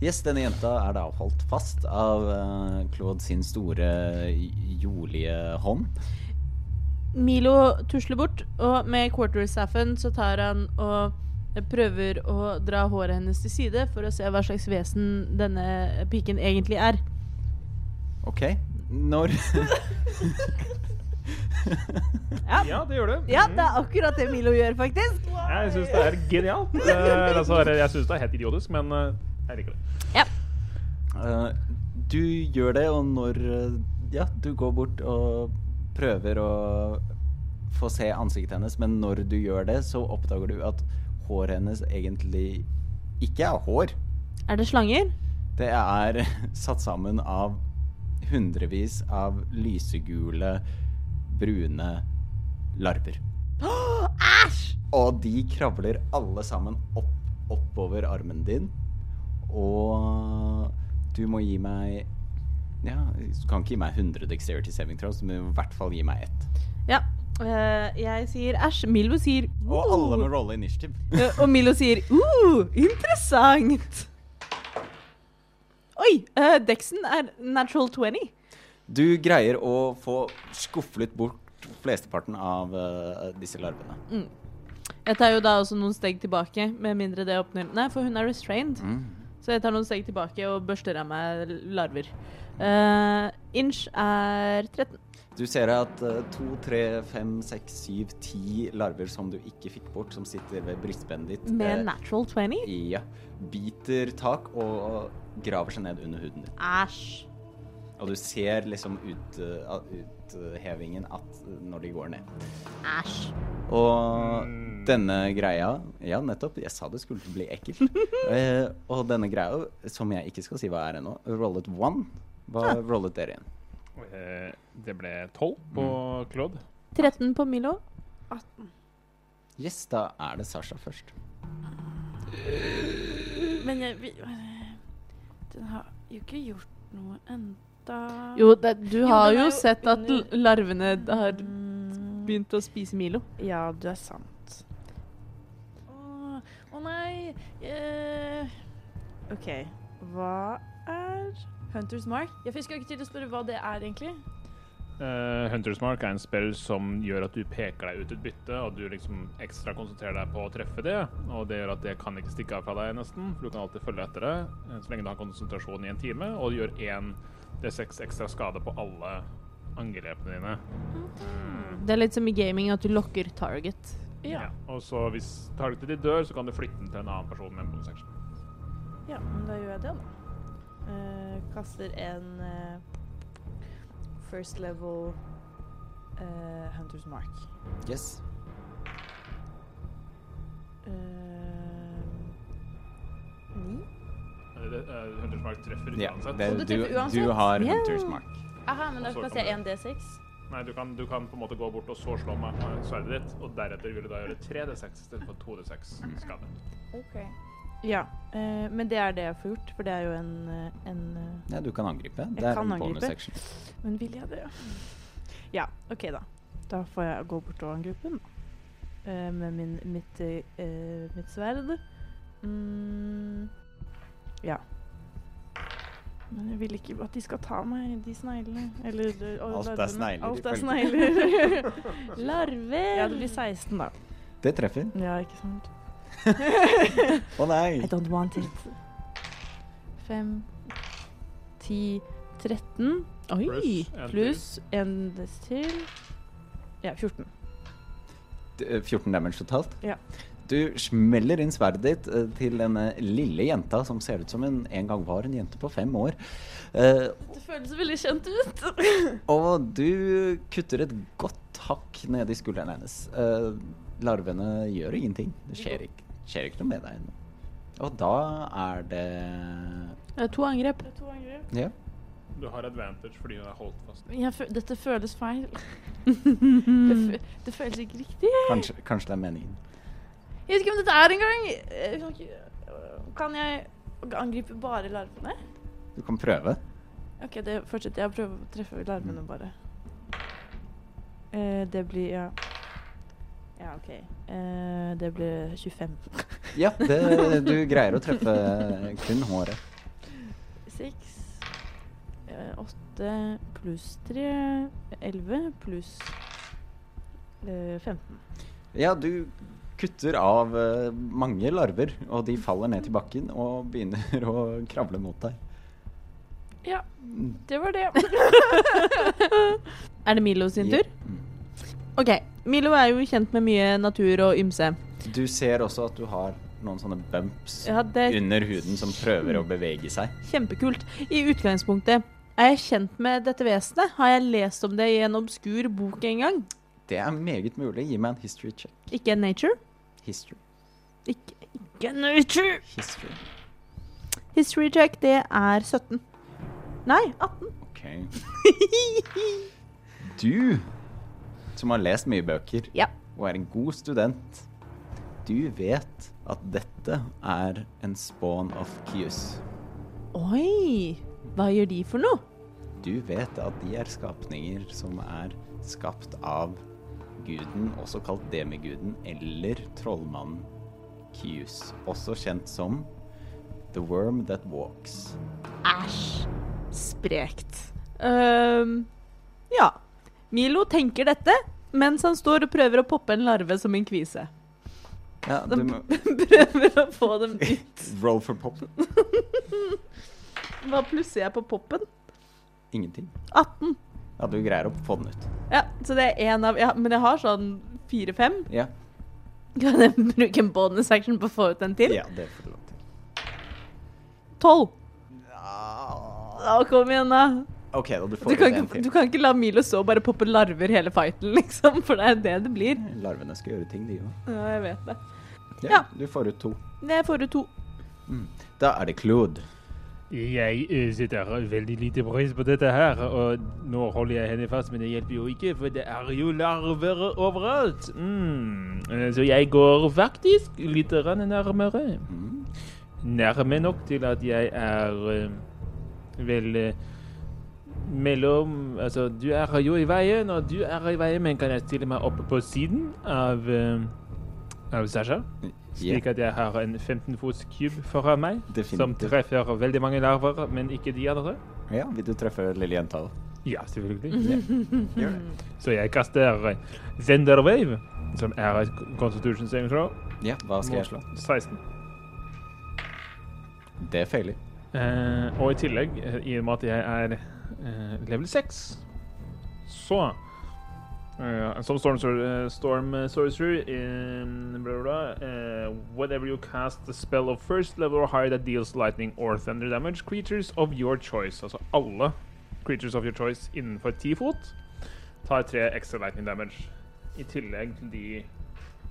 yes, denne jenta er da holdt fast av eh, Claude sin store j- jordlige hånd.
Milo tusler bort, og med quarterstaffen så tar han og prøver å dra håret hennes til side for å se hva slags vesen denne piken egentlig er.
OK.
*laughs*
Når *laughs*
Ja,
Ja, det gjør det. Mhm.
ja det er akkurat det Milo gjør, faktisk.
Jeg syns det er genialt. Eh, altså, jeg syns det er helt idiotisk, men eh, jeg liker det.
Eh, Du gjør det, og når eh, Ja, du går bort og prøver å få se ansiktet hennes, men når du gjør det, så oppdager du at håret hennes egentlig ikke er hår.
Er det slanger?
Det er *laughs* satt sammen av hundrevis av lysegule, brune larver.
*gasps* Æsj!
Og de kravler alle sammen opp, oppover armen din. Og du må gi meg Ja, du kan ikke gi meg 100 dexterity saving throws, men du må i hvert fall gi meg ett.
Ja. eh, jeg sier æsj. Milo sier
Og alle må
«Uh».
rolle
*laughs*
initiativ.
Eh, og Milo sier uh, interessant. Oi! eh, Dexen er natural 20.
Du greier å få skufflet bort flesteparten av eh, disse larvene.
Jeg tar jo da også noen steg tilbake, med mindre det åpner Nei, for hun er restrained. Så jeg tar noen steg tilbake og børster av meg larver. Eh, inch er 13.
Du ser at eh, to, tre, fem, seks, syv, ti larver som du ikke fikk bort, som sitter ved brystbenet ditt,
Med
eh,
natural 20.
ja, biter tak og graver seg ned under huden din.
Æsj.
Og du ser liksom ut, eh, av- uthevingen at eh, når de går ned.
Æsj.
Og denne greia Ja, nettopp. Jeg sa det skulle bli ekkelt. eh, og denne greia, som jeg ikke skal si hva er ennå, rollet one. Hva rollet dere igjen?
Eh, det ble tolv på Claude.
13 på Milo.
Yes, da er det Sasha først.
Men jeg vi, Den har jo ikke gjort noe enda.
Jo, det, du
Jo,
har
den er
jo
jo
sett at l-
under-
larvene har
Mm.
begynt å spise Milo.
Ja, du er sant. Å å nei eh, OK, hva er Hunters Mark? Jeg fikk ikke tid til å spørre hva det er, egentlig.
Eh, Hunter's Mark er en spill som gjør at du peker deg ut et bytte, og du liksom ekstra konsentrerer deg på å treffe det. Og det gjør at det kan ikke stikke av fra deg, nesten, for du kan alltid følge etter det eh, så lenge du har konsentrasjon i en time, og du gjør én D6 ekstra skade på alle angrepene dine.
Det er litt som i gaming at du lokker target.
Ja.
Og så hvis targetet ditt dør, så kan du flytte den til en annen person med en bonus action.
Ja, men da gjør jeg det, da. Eh, kaster en eh, first level eh, Hunters Mark.
Yes.
Eh, ni?
Eh, eh, Hunters Mark treffer
Ja,
uansett.
det,
du
du,
treffer uansett.
du har
Ja.
Hunters Mark.
Aha, men da
Og så
skal jeg
kommer
se 1D6.
Nei, du kan, du kan på en måte gå bort og så slå meg med sverdet ditt, og deretter vil du da gjøre 3D6 istedenfor 2D6 skade.
Ok.
Ja, eh, men det er det jeg får gjort, for det er jo en, eh, en eh,
Ja, du kan angripe. Det er
kan
en
angripe.
bonus action.
Men vil jeg det? Ja, OK, da. Da får jeg gå bort og angripe den, da. Eh, Med min, mitt, eh, eh, mitt sverd. Mm, ja. Men jeg vil ikke at de skal ta meg, de sneglene. Eller eh, og
Alt er
larvene.
snegler,
Alt er
ifølge-
snegler.
*laughs*
Larver!
ja, det blir 16, da.
Det treffer.
Ja, ikke sant?
Å nei!
I don't want it.
5, 10, 13
Pluss
Oi!
en til.
Pluss en til Ja, 14.
D- eh, 14 damage totalt.
Ja.
Du smeller inn sverdet ditt eh, til denne lille jenta som ser ut som hun en gang var en jente på fem år. Eh,
Det føles veldig kjent ut.
Og du kutter et godt hakk nede i skulderen hennes. Eh, larvene gjør ingenting. Det skjer ikke, skjer ikke noe med deg ennå. Og da er det
Det er to angrep.
Ja.
Du har advantage fordi hun er holdt fast.
Jeg fø- dette føles
*laughs*
feil.
Det, fø- det føles ikke riktig.
Kanskje, kanskje det er meningen.
Jeg vet ikke om dette er engang. Eh, kan ikke- øh, Kan jeg angripe bare larvene?
Du kan prøve.
OK, det fortsetter jeg å prøve å treffe larvene, bare.
Eh, det blir Ja, ja OK. Eh, det blir 25.
Ja, det, du greier å treffe kun håret.
Seks eh, Åtte pluss tre Elleve pluss eh, 15.
Ja, du kutter av eh, mange larver, og de faller ned til bakken og begynner *laughs* å kravle mot deg.
Ja.
Mm.
Det var det.
Er det Milo sin tur?
Mm.
OK. Milo er jo kjent med mye natur og ymse.
Du ser også at du har noen sånne bumps
Ja, det er
under huden som prøver å bevege seg.
kjempekult. I utgangspunktet, er jeg kjent med dette vesenet? Har jeg lest om det i en obskur bok en gang?
Det er meget mulig. Gi meg en history check.
Ikke en nature?
History.
Ikke, ikke en nature!
History.
History check, det er 17. Nei, 18.
Ok. Du, som har lest mye bøker
Ja.
og er en god student, du vet at dette er en spawn of Kius.
Oi! Hva gjør de for noe?
Du vet at de er skapninger som er skapt av guden, også kalt demiguden, eller trollmannen Kius, også kjent som The Worm That Walks.
Æsj. Sprekt. Øhm, ja. Milo tenker dette mens han står og prøver å poppe en larve som en kvise. *laughs*
Ja, du må
prøver å få dem ut.
roll for pop.
Hva plusser jeg på poppen?
Ingenting.
18.
Ja, du greier å få den ut.
Ja, så det er én av ja, Men jeg har sånn fire-fem.
Ja,
Kan jeg bruke en bonus action på å få ut en til?
ja det får du lov til.
Tolv. Ja, kom igjen, da.
OK, da. Du får
Du
ut
kan,
en
ikke,
til.
du kan ikke la Milo stå og bare poppe larver hele fighten, *laughs* liksom. For det er det det blir.
Larvene skal gjøre ting, de òg.
Ja, jeg vet det.
Ja,
Ja.
Du får ut to.
Men Jeg får ut to.
Da er det Claude.
Jeg eh, setter veldig lite pris på dette her, og nå holder jeg henne fast, men det hjelper jo ikke, for det er jo larver overalt. Mm. eh, Så jeg går faktisk litt grann nærmere.
Mm.
Nærme nok til at jeg er eh, vel eh, mellom Altså, du er jo i veien, og du er i veien, men kan jeg stille meg opp på siden av, eh, av Sasha?
Ja,
Slik at jeg har en 15 fots kube foran meg, som
Definitivt.
treffer veldig mange larver, men ikke de andre.
ja, vil du treffe lille jenta
Mhm.
òg?
Ja,
Mhm.
selvfølgelig.
Gjør det.
Så jeg kaster Zender Wave, som er et Constitution saving throw.
Ja, hva skal jeg slå?
16.
Det feiler.
Eh, og i tillegg, eh, i og med at jeg er eh, level 6, så eh, Som Storm, Sor- eh, storm eh, Sorcerer in blah, blah, blah, eh, Whenever you cast a spell of first level or higher that deals lightning or thunder damage, creatures of your choice Altså alle creatures of your choice innenfor ti fot tar tre ekstra lightning damage. I tillegg til de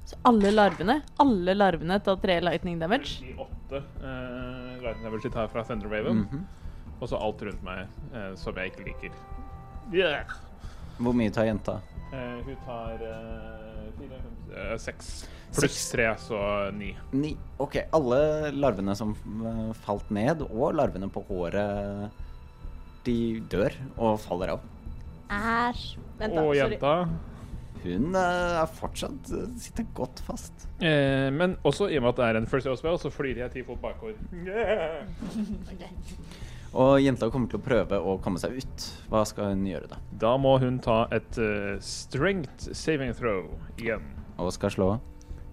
Så alle larvene alle larvene tar tre lightning damage.
48 eh, lightning damage de tar fra Thunderwaven,
Mhm.
og så alt rundt meg eh, som jeg ikke liker. Yeah.
Hvor mye tar jenta?
Eh, hun tar eh, fire, fem, eh, seks.
Seks.
Pluss tre, så ni.
Ni. OK. Alle larvene som eh, falt ned, og larvene på håret, de dør og faller av.
Æsj. Vent, da.
Og
Sorry.
jenta
Hun eh, er fortsatt eh, sitter godt fast.
eh, Men også i og med at det er en first aid spell, så flyr jeg ti fot bakover. Yeah.
Og jenta kommer til å prøve å komme seg ut. Hva skal hun gjøre da?
Da må hun ta et eh, strength saving throw igjen.
Og skal slå.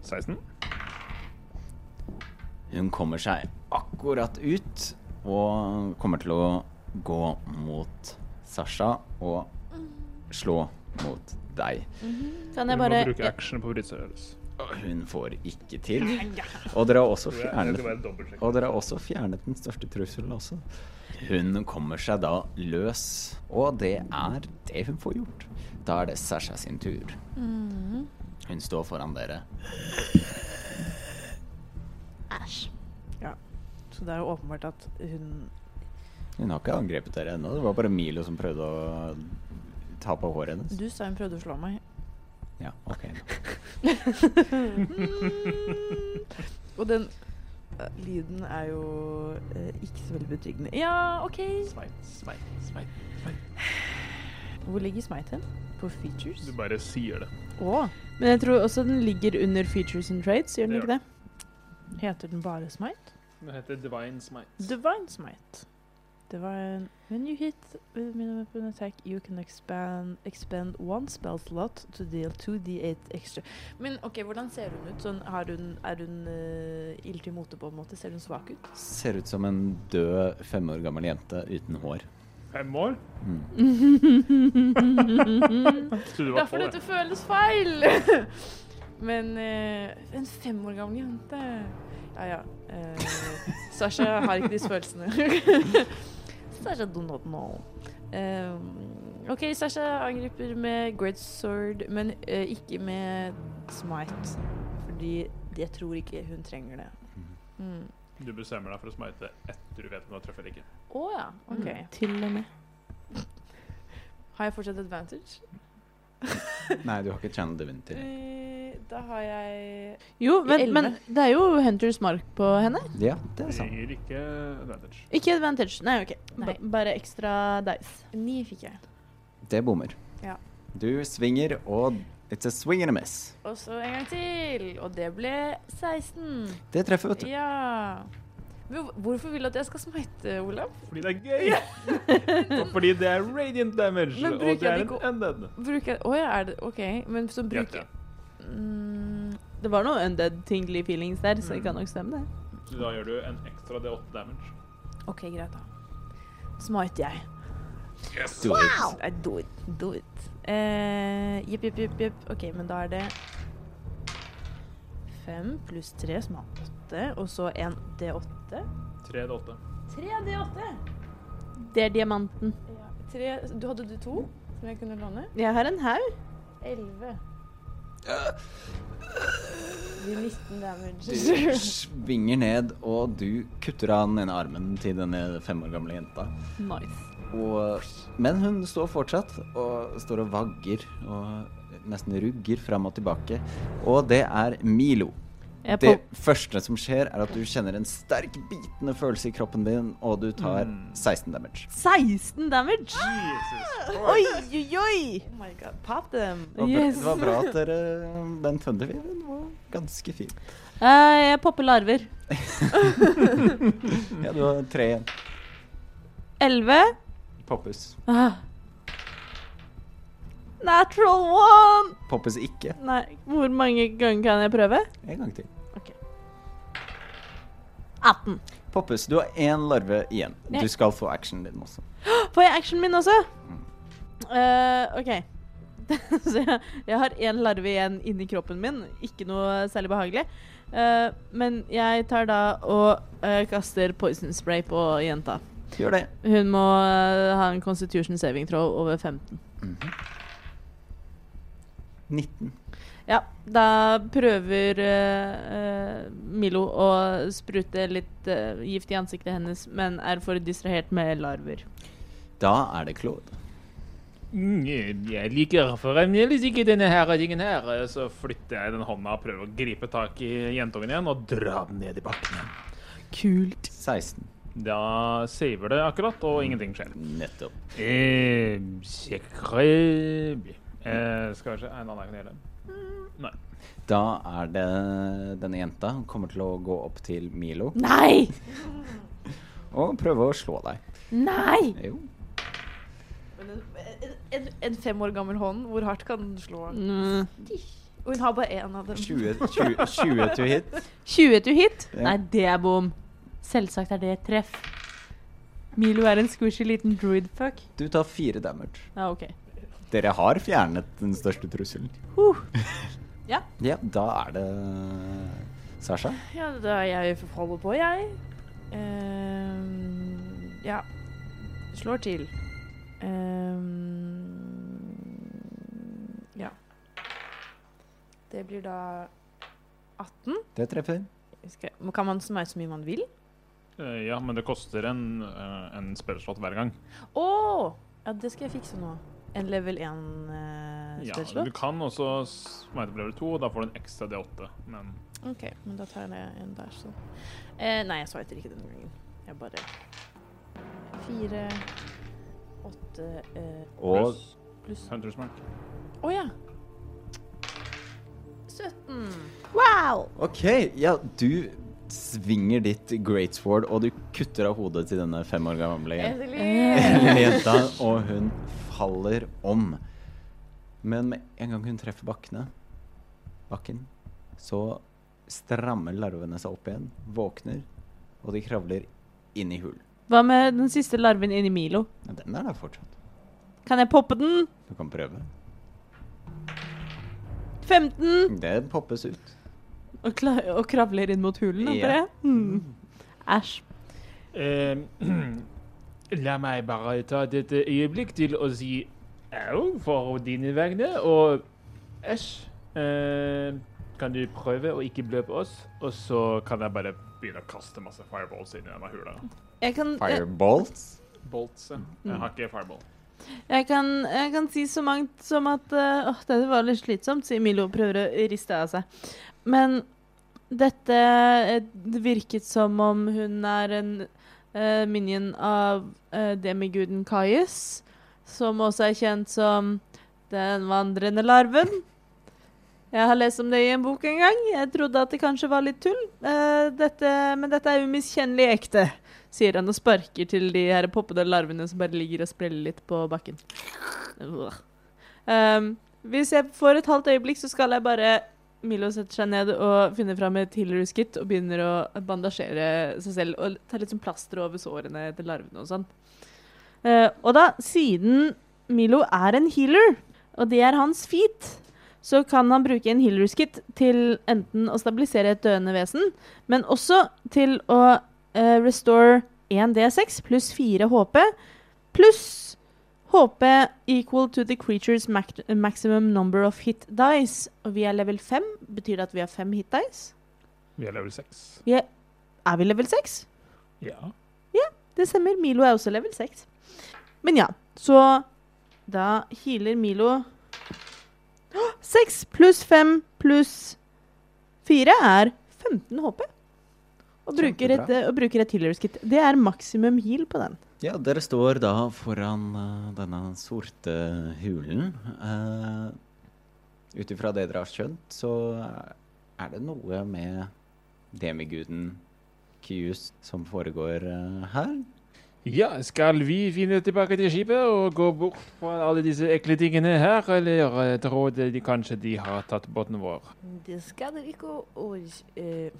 16.
Hun kommer seg akkurat ut og kommer til å gå mot Sasha og slå mot deg.
Kan
Hun
jeg
må
bare
bruke action på brytestørrelse.
Hun får ikke til. Og dere har også
Tror jeg- jeg skal
fjernet
bare dobbeltsjekke.
Og dere har også fjernet den største trusselen også. Hun kommer seg da løs, og det er det hun får gjort. Da er det Sasha sin tur. Hun står foran dere.
Æsj.
Så det er jo åpenbart at hun
Hun har ikke angrepet dere ennå. Det var bare Milo som prøvde å ta på håret hennes.
Du sa hun prøvde å slå meg.
Ja, ok.
Og den eh, lyden er jo eh, ikke så veldig betryggende. Ja, OK.
Smite, smite, smite, smite.
Hvor ligger smite hen? På features?
Du bare sier det.
Å,
Men jeg tror også den ligger under features and traits, gjør den
Det
ikke det?
heter den bare smite?
Det heter divine smite.
Divine smite. Det var en When you hit with a minimum weapon attack, you can expand, expend one spell slot to deal 2D8 extra. Men OK, hvordan ser hun ut? Sånn, har hun, er hun uh, ild til mote på en måte? Ser hun svak
*laughs*
ut?
Ser ut som en død fem år gammel jente uten hår.
Fem år?
Mm.
*laughs*
Så du var
Derfor
tolv,
dette føles feil! *laughs* Men eh, en fem år gammel jente Ja, ja. Eh, Sasha har ikke disse følelsene. *laughs*
Sasha do not know.
Eh, OK, Sasha angriper med great sword, men eh, ikke med
Smite. Fordi jeg tror ikke hun trenger det.
mm.
ja. Du bestemmer deg for å smite etter du vet om du har truffet eller ikke.
Å ja. OK.
Mm, Til og med.
Har jeg fortsatt advantage?
Nei, du har ikke Channel Divinity.
Eh, da har jeg
Jo, men,
elleve.
men det er jo Hunters mark på henne.
Ja, det er sant.
Trenger ikke advantage.
Ikke advantage. Nei, OK. Ba-
Nei.
Bare ekstra dice.
Ni fikk jeg.
Det bommer.
Ja.
Du svinger, og it's a swing and a miss.
Og så en gang til. Og det ble 16.
Det treffer, vet du.
Ja. Men hvor- hvorfor vil du at jeg skal smite, Olav?
Fordi det er gøy! *laughs* og fordi det er radiant damage,
Men
og
bruker
det
jeg
er
det
en undead.
Bruker Å ja, er det OK. Men så
Gjett
bruker
det.
jeg mm,
Det var noe undead tingly feelings der, så det kan nok stemme, det.
Så da gjør du en ekstra D8 damage.
OK, greit, da. Smite jeg.
Do it.
I do it, do it. Eh, Jepp, jepp, jepp. jepp. OK, men da er det fem pluss tre som er åtte, og så en D8.
3 D8.
Tre D8.
Det er diamanten.
Ja, tre, du hadde du to som jeg kunne låne?
Jeg har en haug.
Elleve. Det blir 19 damage.
Du svinger ned, og du kutter av den ene armen til denne fem år gamle jenta.
Nice.
Og, men hun står fortsatt, og står og vagger og nesten rugger fram og tilbake. Og det er Milo.
Jeg
Det
pop-
første som skjer, er at du kjenner en sterk bitende følelse i kroppen din, og du tar 16 damage.
16 damage!
Ah! Jesus.
Oi, oi, oi!
Oh my god, pop them!
Det var, bra-
Yes.
det var bra at dere *laughs* Den thunderweaven var ganske fin.
Eh, jeg popper larver.
Ja, du har tre igjen.
11.
Poppes.
Ah. Natural one!
Poppes ikke.
Nei, hvor mange ganger kan jeg prøve?
En gang til.
18.
Poppes, du har én larve igjen. Du
Nei.
skal få actionen din også.
Får jeg actionen min også? Eh, OK. *laughs* Så jeg, jeg har én larve igjen inni kroppen min. Ikke noe særlig behagelig. Eh, men jeg tar da og eh, kaster poison spray på jenta.
Gjør det.
Hun må
Mhm.
eh, ha en constitution saving throw over 15.
19.
Ja, da prøver eh, eh, Milo å sprute litt eh, gift i ansiktet hennes, men er for distrahert med larver.
Da er det Claude.
Mm, Jeg liker fremdeles ikke denne her tingen her. Så flytter jeg den hånda og prøver å gripe tak i jentungen igjen og dra den ned i bakken. igjen.
Kult.
16.
Da saver det akkurat, og ingenting skjer.
Nettopp.
Eh, sikre... eh, skal vi se En annen kan gjøre det. Nei.
Da er det denne jenta kommer til å gå opp til Milo
Nei!
og prøve å slå deg.
Nei!
Jo.
Men en, en, en, en fem år gammel hånd, hvor hardt kan den slå?
Mm.
Og hun har bare én av dem.
20, 20, 20 to hit.
20 to hit?
Ja.
Nei, det er bom. Selvsagt er det et treff. Milo er en squishy liten druidfuck.
Du tar fire damage.
Ja, OK.
Dere har fjernet den største trusselen. *laughs*
Huh.
Ja, da er det Sasha.
Ja, da er jeg holder på, jeg. Ehm, ja. Slår til. Ehm, ja. Det blir da 18.
Det treffer.
Skal, kan man smøre så mye man vil?
Eh, Ja, men det koster en, eh, en spillslott hver gang.
Å! ja, det skal jeg fikse nå. En eh, level 1
Ja,
spørsmål.
du kan også smite på level 2, og da får du en ekstra D8. Men
Ok, men da tar jeg en der, så. Eh, nei, jeg svarte ikke denne gangen. Jeg bare Fire, åtte eh,
Og
pluss
pluss Å
Hunters Mark.
ja! 17.
Wow!
OK, ja, du svinger ditt great sword, og du kutter av hodet til denne fem år gamle jenta.
*laughs* Eh.
Eller jenta, og hun faller om. Men med en gang hun treffer bakkene, bakken, så strammer larvene seg opp igjen, våkner, og de kravler inn i hulen.
Hva med den siste larven inni Milo?
Men den er der fortsatt.
Kan jeg poppe den?
Du kan prøve.
15!
Det poppes ut.
*laughs* Og, kla og kravler inn mot hulen, håper
Ja.
jeg. Mm. Æsj.
Eh, *clears throat* la meg bare ta dette øyeblikk til å si au for dine vegne, og æsj. Eh, kan du prøve å ikke blø på oss? Og så kan jeg bare begynne å kaste masse fireballs inn i denne hula.
Jeg kan, jeg,
Fireballs.
Bolts, ja. Jeg har ikke fireball.
jeg, kan, jeg kan si så mangt som at eh, Åh, dette var litt slitsomt, sier Milo og prøver å riste av seg. Men dette eh, det virket som om hun er en eh, minion av eh, demiguden Kaius, som også er kjent som den vandrende larven. Jeg har lest om det i en bok en gang. Jeg trodde at det kanskje var litt tull. Eh, dette, men dette er umiskjennelig ekte, sier han og sparker til de her poppede larvene som bare ligger og spreller litt på bakken. Ugh. Ehm, hvis jeg får et halvt øyeblikk, så skal jeg bare Milo setter seg ned og finner fram et healer-skit og begynner å bandasjere seg selv og ta litt sånn plaster over sårene til larvene og sånn. Eh, og da, siden Milo er en healer, og det er hans feat, så kan han bruke en healer's kit til enten å stabilisere et døende vesen, men også til å eh, restore 1D6 pluss 4 HP pluss HP equal to the creature's mac maximum number of hit dice. Og vi er level 5. Betyr det at vi har 5 hit dice?
Vi er level 6.
Er vi level 6?
Ja.
Det stemmer. Milo er også level 6. Men ja, så da healer Milo 6 pluss 5 pluss 4 er 15 HP. Og bruker, et,
Kjempebra.
og bruker et healer's kit. Det er maksimum heal på den.
Ja, dere står da foran eh, denne sorte hulen. Uh, Ut ifra det dere har skjønt, så er det noe med demiguden Kius som foregår eh, her.
Ja, skal vi finne tilbake til skipet og gå bort fra alle disse ekle tingene her, eller eh, tror de kanskje de har tatt båten vår?
Det skal dere ikke ors... eh,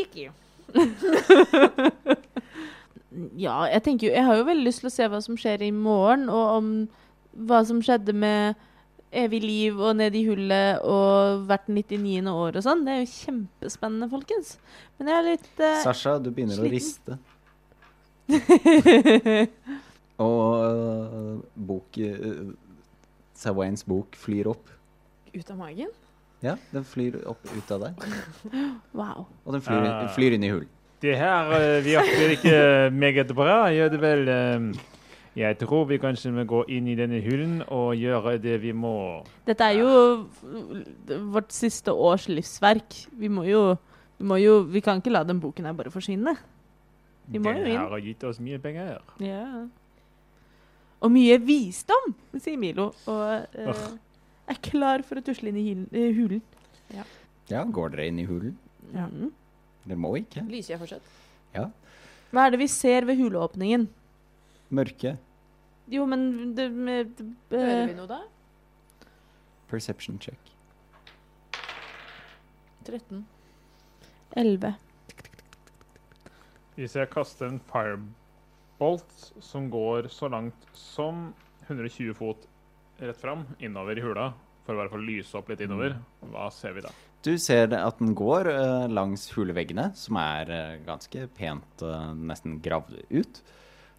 Ikke.
*laughs* Ja, jeg tenker jo Jeg har jo veldig lyst til å se hva som skjer i morgen, og om hva som skjedde med evig liv og ned i hullet og hvert 99. år og sånn. Det er jo kjempespennende, folkens. Men jeg er litt eh,
Sasha, du begynner å
sliten.
riste.
*laughs*
Og eh, bok eh, Sawains bok flyr opp.
ut av magen.
Ja, den flyr opp ut av deg.
Wow.
Og den flyr,
Ah.
flyr inn i hulen.
Det her eh, virker ikke eh, meget bra, gjør det vel? eh. Jeg tror vi kanskje må gå inn i denne hulen og gjøre det vi må.
Dette er jo v- vårt siste års livsverk. Vi må jo vi, må jo, vi kan ikke la den boken her bare forsvinne. Vi må jo
Den
inn.
her har gitt oss mye penger.
Og mye visdom, sier Milo, og eh, er klar for å tusle inn i hilen- eh, hulen. Mm.
Ja, går dere inn i hulen?
Ja.
Dere må ikke.
Lyser jeg fortsatt?
Hva er det vi ser ved huleåpningen?
Mørke.
Jo, men det, med, det,
Hører vi
eh,
noe da?
Perception check.
13.
11.
Hvis jeg kaster en firebolt som går så langt som 120 fot rett fram, innover i hula, for å i hvert fall lyse opp litt innover, hva ser vi da?
Du ser det at den går eh, langs huleveggene, som er eh, ganske pent eh, nesten gravd ut.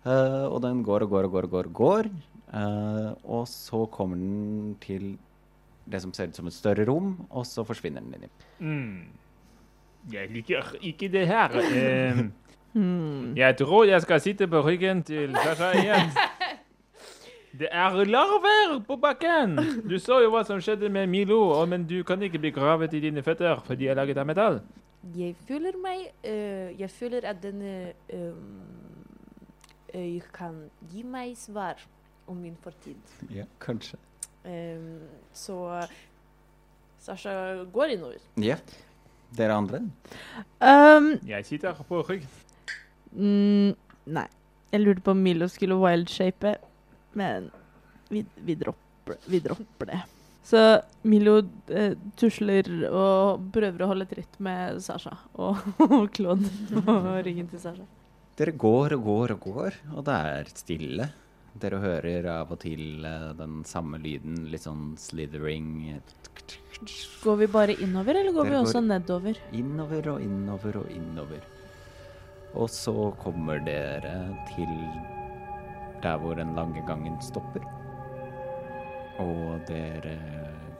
Eh, og den går og går og går og går. og går. Eh, og så kommer den til det som ser ut som et større rom, og så forsvinner den inn i.
Mm. Jeg liker ikke det her. Eh,
Hmm.
jeg tror jeg skal sitte på ryggen til Sasha igjen. Det er larver på bakken! Du så jo hva som skjedde med Milo, og- men du kan ikke bli gravet i dine føtter, for de er laget av metall.
Jeg føler meg eh, Jeg føler at denne ehm, eh, øy kan gi meg svar om min fortid.
Ja, kanskje.
Ehm, så Sasha går innover.
Ja. Dere andre?
Um,
Jeg sitter på ryggen.
mm, nei. Jeg lurte på om Milo skulle wildshape, men vi, vi, dropper, vi dropper det. Så Milo eh, tusler og prøver å holde tritt med Sasha og, *laughs* og Claude og ryggen til Sasha.
Dere går og går og går, og det er stille. Dere hører av og til eh, den samme lyden, litt sånn slithering
Går vi bare innover, eller går
Dere
vi
går-
også nedover?
Innover og innover og innover. Og så kommer dere til der hvor den lange gangen stopper. Og dere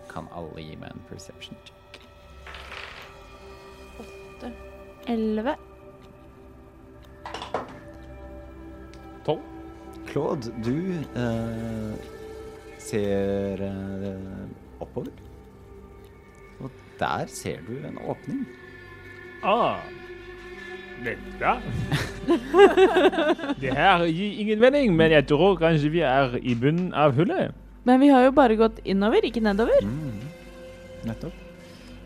kan alle gi meg en perception check.
11.
Tolv.
Claude, du eh, ser eh, oppover. Og der ser du en åpning.
Ah, vent da. det her gir ingen mening, men jeg tror kanskje vi er i bunnen av hullet.
Men vi har jo bare gått innover, ikke nedover.
Nettopp.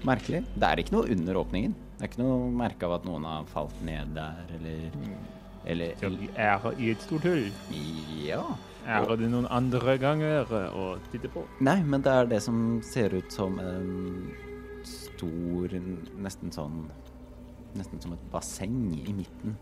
Merkelig. Det er ikke noe under åpningen. Det er ikke noe merke av at noen har falt ned der, eller Eller
Så vi er i et stort hull.
Ja.
Er det noen andre ganger å titte på?
Nei, men det er det som ser ut som en stor Nesten sånn Nesten som et basseng i midten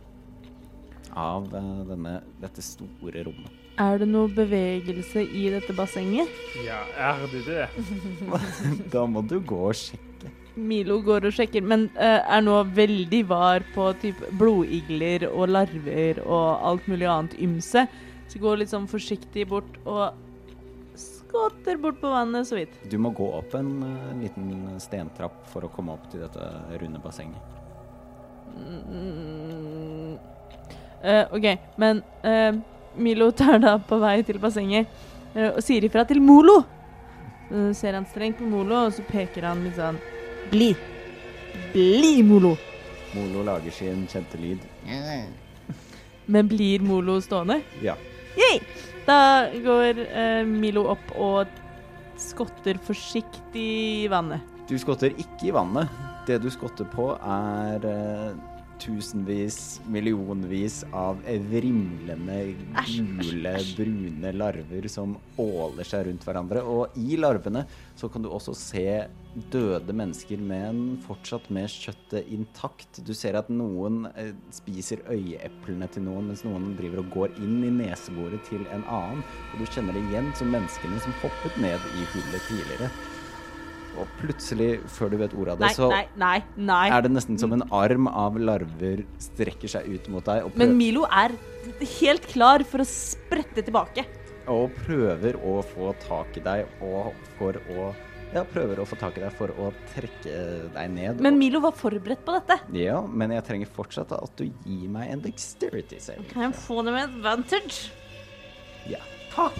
av eh, denne, dette store rommet.
Er det noe bevegelse i dette bassenget?
Ja, er det det?
da må du gå og sjekke.
Milo går og sjekker, men eh, er nå veldig var på typ blodigler og larver og alt mulig annet ymse. Så går litt sånn forsiktig bort og skotter bort på vannet så vidt.
Du må gå opp en eh, liten stentrapp for å komme opp til dette runde bassenget.
Mm. Eh, OK, men eh, Milo tar da på vei til bassenget eh, og sier ifra til Molo. Så ser han strengt på Molo, og så peker han litt sånn Bli! Bli, Molo!
Molo lager sin kjente lyd.
Men blir Molo stående?
Ja.
Yay! Da går eh, Milo opp og skotter forsiktig i vannet.
Du skotter ikke i vannet. Det du skotter på, er eh, tusenvis, millionvis av vrimlende, gule, brune larver som åler seg rundt hverandre. Og i larvene så kan du også se døde mennesker, men fortsatt med kjøttet intakt. Du ser at noen eh, spiser øyeeplene til noen, mens noen driver og går inn i neseboret til en annen. Og du kjenner det igjen som menneskene som hoppet ned i hullet tidligere. Og plutselig, før du vet ordet av det,
Nei,
så
nei, nei. nei.
er det nesten som en arm av larver strekker seg ut mot deg og
Men
prøver,
Milo er helt klar for å sprette tilbake.
og prøver å få tak i deg og for å Ja, prøver å få tak i deg for å trekke deg ned.
Men Milo var forberedt på dette.
ja, men jeg trenger fortsatt at du gir meg en dexterity save.
Kan jeg få det med advantage?
Ja. Takk!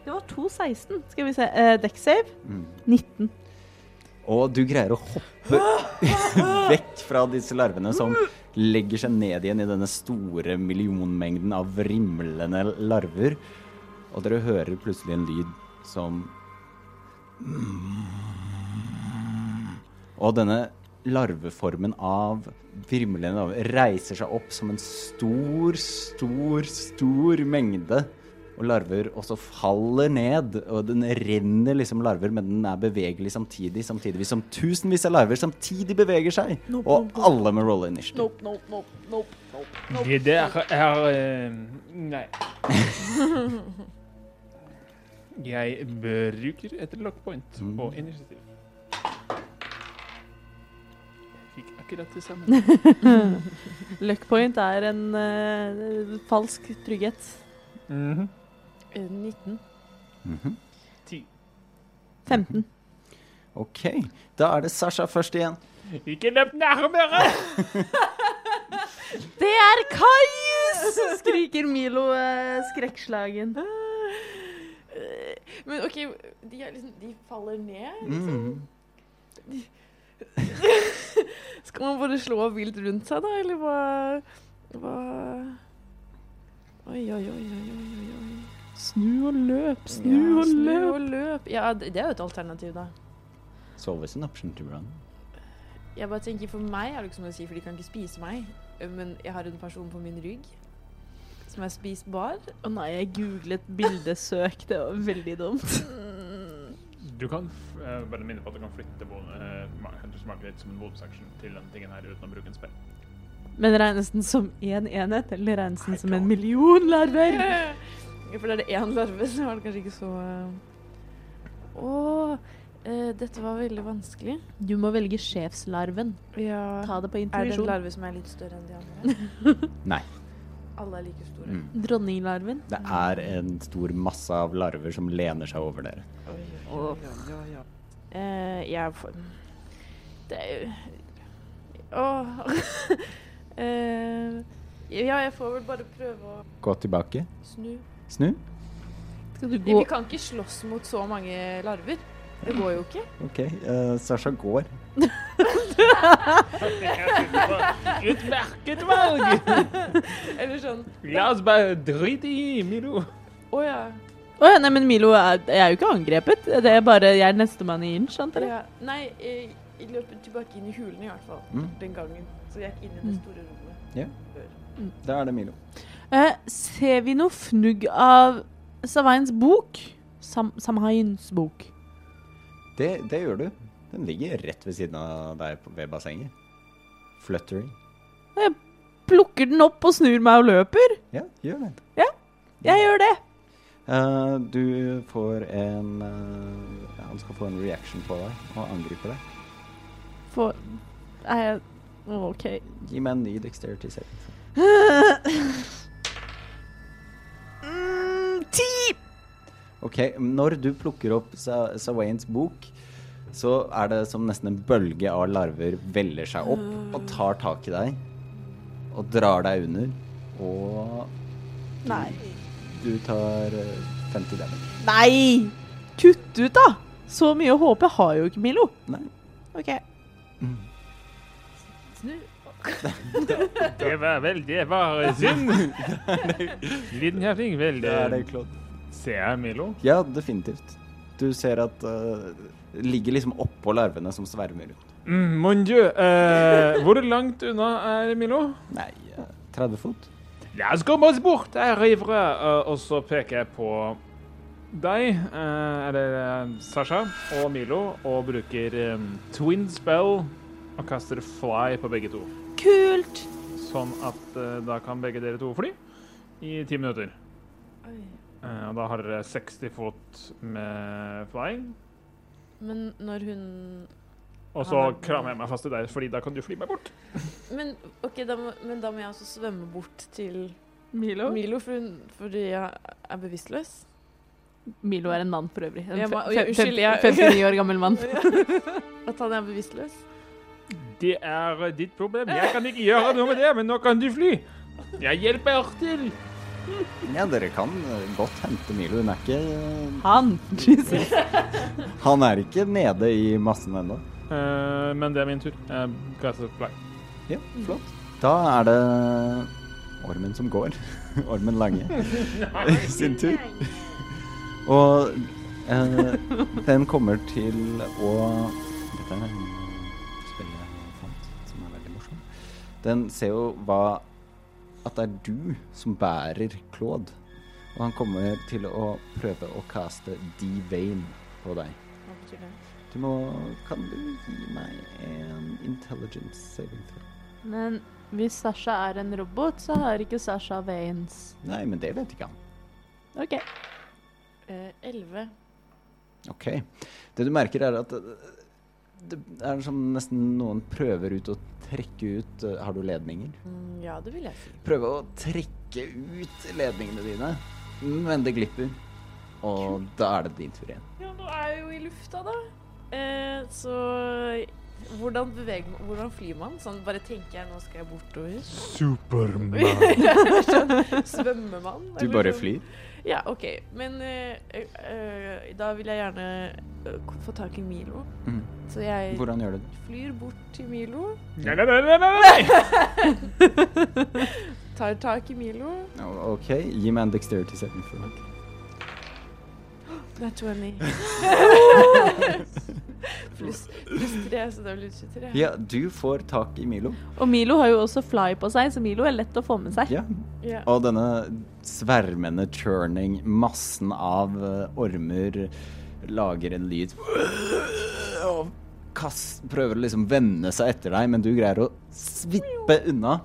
Det var 2,16. Skal vi se. Uh, Dekksave
Mm.
19.
Og du greier å hoppe
*laughs*
vekk fra disse larvene som legger seg ned igjen i denne store millionmengden av vrimlende larver. Og dere hører plutselig en lyd som Og denne larveformen av vrimlende larver reiser seg opp som en stor, stor, stor mengde. Og larver også faller ned, og den renner liksom larver, men den er bevegelig samtidig, samtidig som tusenvis av larver samtidig beveger seg. og alle må rolle initiativ.
Nope, nope, nope, nope, nope, nope.
Det der er eh, Nei. *laughs* Jeg bruker et lockpoint på initiativ. Jeg Fikk akkurat det samme.
Luckpoint er en eh, falsk trygghet.
Mhm.
Eh, 19.
Mhm.
Ti.
15.
OK. Da er det Sasha først igjen.
Ikke løp nærmere!
Det er Kaius! skriker Milo eh, skrekkslagen.
Eh, Men OK, de, er liksom, de faller ned. liksom.
Mm.
*laughs* Skal man bare slå vilt rundt seg, da, eller hva Hva Oi, oi, oi, oi, oi, oi.
Snu og løp,
Ja, snu og løp. Ja, det det er jo et alternativ, da.
It's always an option to run.
Jeg bare tenker, For meg er det ikke så mye å si, for de kan ikke spise meg. Men jeg har en person på min rygg som er spisbar.
Å nei, jeg googlet bildesøk. Det var veldig dumt.
Du kan f eh, bare minne på at du kan flytte bon eh, ma- du smaker litt som en bonus action til denne tingen her uten å bruke en *laughs* spill.
Men regnes den som én enhet, eller regnes den som en million larver? *laughs*
*laughs* Ja, For er det én larve, så var det kanskje ikke så eh. Å, eh, dette var veldig vanskelig.
Du må velge sjefslarven.
Ja.
Ta det på
Er det en
intuisjon.
larve som er litt større enn de andre? *laughs*
Nei.
Alle er like store.
Mm.
Dronninglarven.
Det er en stor masse av larver som lener seg over dere.
Eh, jeg er for... Det er jo... Åh... *laughs* Eh, ja, jeg får vel bare prøve å
Gå tilbake.
snu.
Snu.
Skal du
Vi
gå
kan ikke slåss mot så mange larver. Det går jo ikke.
OK. eh, Sasha går.
Utmerket valg!
Eller sånn...
La oss bare drite i Milo.
Å ja.
Å ja, nei, men Milo er, jeg er jo ikke angrepet. Det er bare jeg er nestemann i inch, antar jeg.
ja. Nei, jeg, jeg løper tilbake inn i hulen i hvert fall.
Mm.
Den gangen. Så jeg gikk inn i det store rommet.
Da er det Milo.
Eh, ser vi noe fnugg av Savains bok? Sam Samhains bok.
Det, det gjør du. Den ligger rett ved siden av deg på- ved bassenget. Fluttering.
Plukker den opp og snur meg og løper?
Ja, gjør det.
Jeg gjør det.
Eh, du får en eh, ja, Han skal få en reaction på deg og angripe deg.
For er jeg Å, OK.
Gi meg en ny dexterity save.
Mm, ti!
Ok, Når du plukker opp Sa- Sawains bok, så er det som nesten en bølge av larver veller seg opp og tar tak i deg. Og drar deg under. Og
Nei.
du tar eh, 50 damage.
Nei! Kutt ut, da! Så mye håp jeg har jo ikke, Milo.
Nei.
OK.
Det var vel Det var
*laughs*
synd. Linja fikk vel
Det er det,
det.
Claude.
Ser jeg Milo?
Ja, definitivt. Du ser at eh, det ligger liksom oppå larvene som svermer rundt.
Mm, mon dieu. eh, hvor langt unna er Milo?
Nei, eh, 30 fot.
La oss komme oss bort herifra. Eh, og så peker jeg på deg, eh, eller eh, Sasha og Milo, og bruker eh, twin spell og kaster fly på begge to.
Kult!
Sånn at eh, da kan begge dere to fly i ti minutter.
Oi.
Eh, og da har dere 60 fot med flying.
Men når hun...
Og så krammer jeg meg fast i deg, fordi da kan du fly meg bort.
Men, ok, da må, men da må jeg også svømme bort til...
Milo?
Milo, for hun, fordi jeg er bevisstløs.
Milo er en mann for øvrig. En
Ja, ma-
fe-
ja,
fe-
unnskyld, jeg-
59 år gammel
*laughs*
mann.
At han er bevisstløs?
Det er eh, ditt problem. Jeg kan *laughs* ikke gjøre noe med det, men nå kan du fly. Jeg hjelper til.
Ja, dere kan eh, godt hente Milo. Hun er ikke eh,
Han! Jesus.
Han er ikke nede i massen ennå.
Eh, men det er min tur. Eh, cast of fly.
Ja, flott. Da er det ormen som går. *laughs* Ormen Lange sin tur. Og eh, den kommer til å Dette er en spille jeg fant, som er veldig morsom. Den ser jo hva At det er du som bærer Claude. Og han kommer til å prøve å caste D-Vane på deg.
Hva betyr det?
Du må Kan du gi meg en intelligence saving throw?
Men hvis Sasha er en robot, så har ikke Sasha veins.
Nei, men det vet ikke han.
OK.
Eh, 11.
Ok. Det du merker, er at øh, det er som nesten noen prøver ut å trekke ut øh, Har du ledninger?
Mm, ja, det vil jeg si.
Prøve å trekke ut ledningene dine, men det glipper. Og da er det din tur igjen.
Ja, nå er jeg jo i lufta, da. Eh, så hvordan beveger man Hvordan flyr man? Sånn bare tenker jeg, nå skal jeg bortover. *laughs*
Superman.
Svømmer man?
Du
eller
bare
sånn?
flyr?
Ja, OK. Men eh, eh, da vil jeg gjerne eh, få tak i Milo.
Mhm.
Så jeg
Hvordan gjør du det?
flyr bort til
*laughs*
Milo,
Nei, nei, nei, nei, nei, nei.
tar tak i Milo.
O- OK, gi meg en dexterity setting. for meg.
Det er 20. *laughs* pluss, pluss 3, så det blir 23.
Ja, du får tak i Milo.
Og Milo har jo også fly på seg, så Milo er lett å få med seg.
Ja.
Ja.
Og denne svermende churning, massen av eh, ormer, lager en lyd og kast, prøver å liksom vende seg etter deg, men du greier å svippe unna.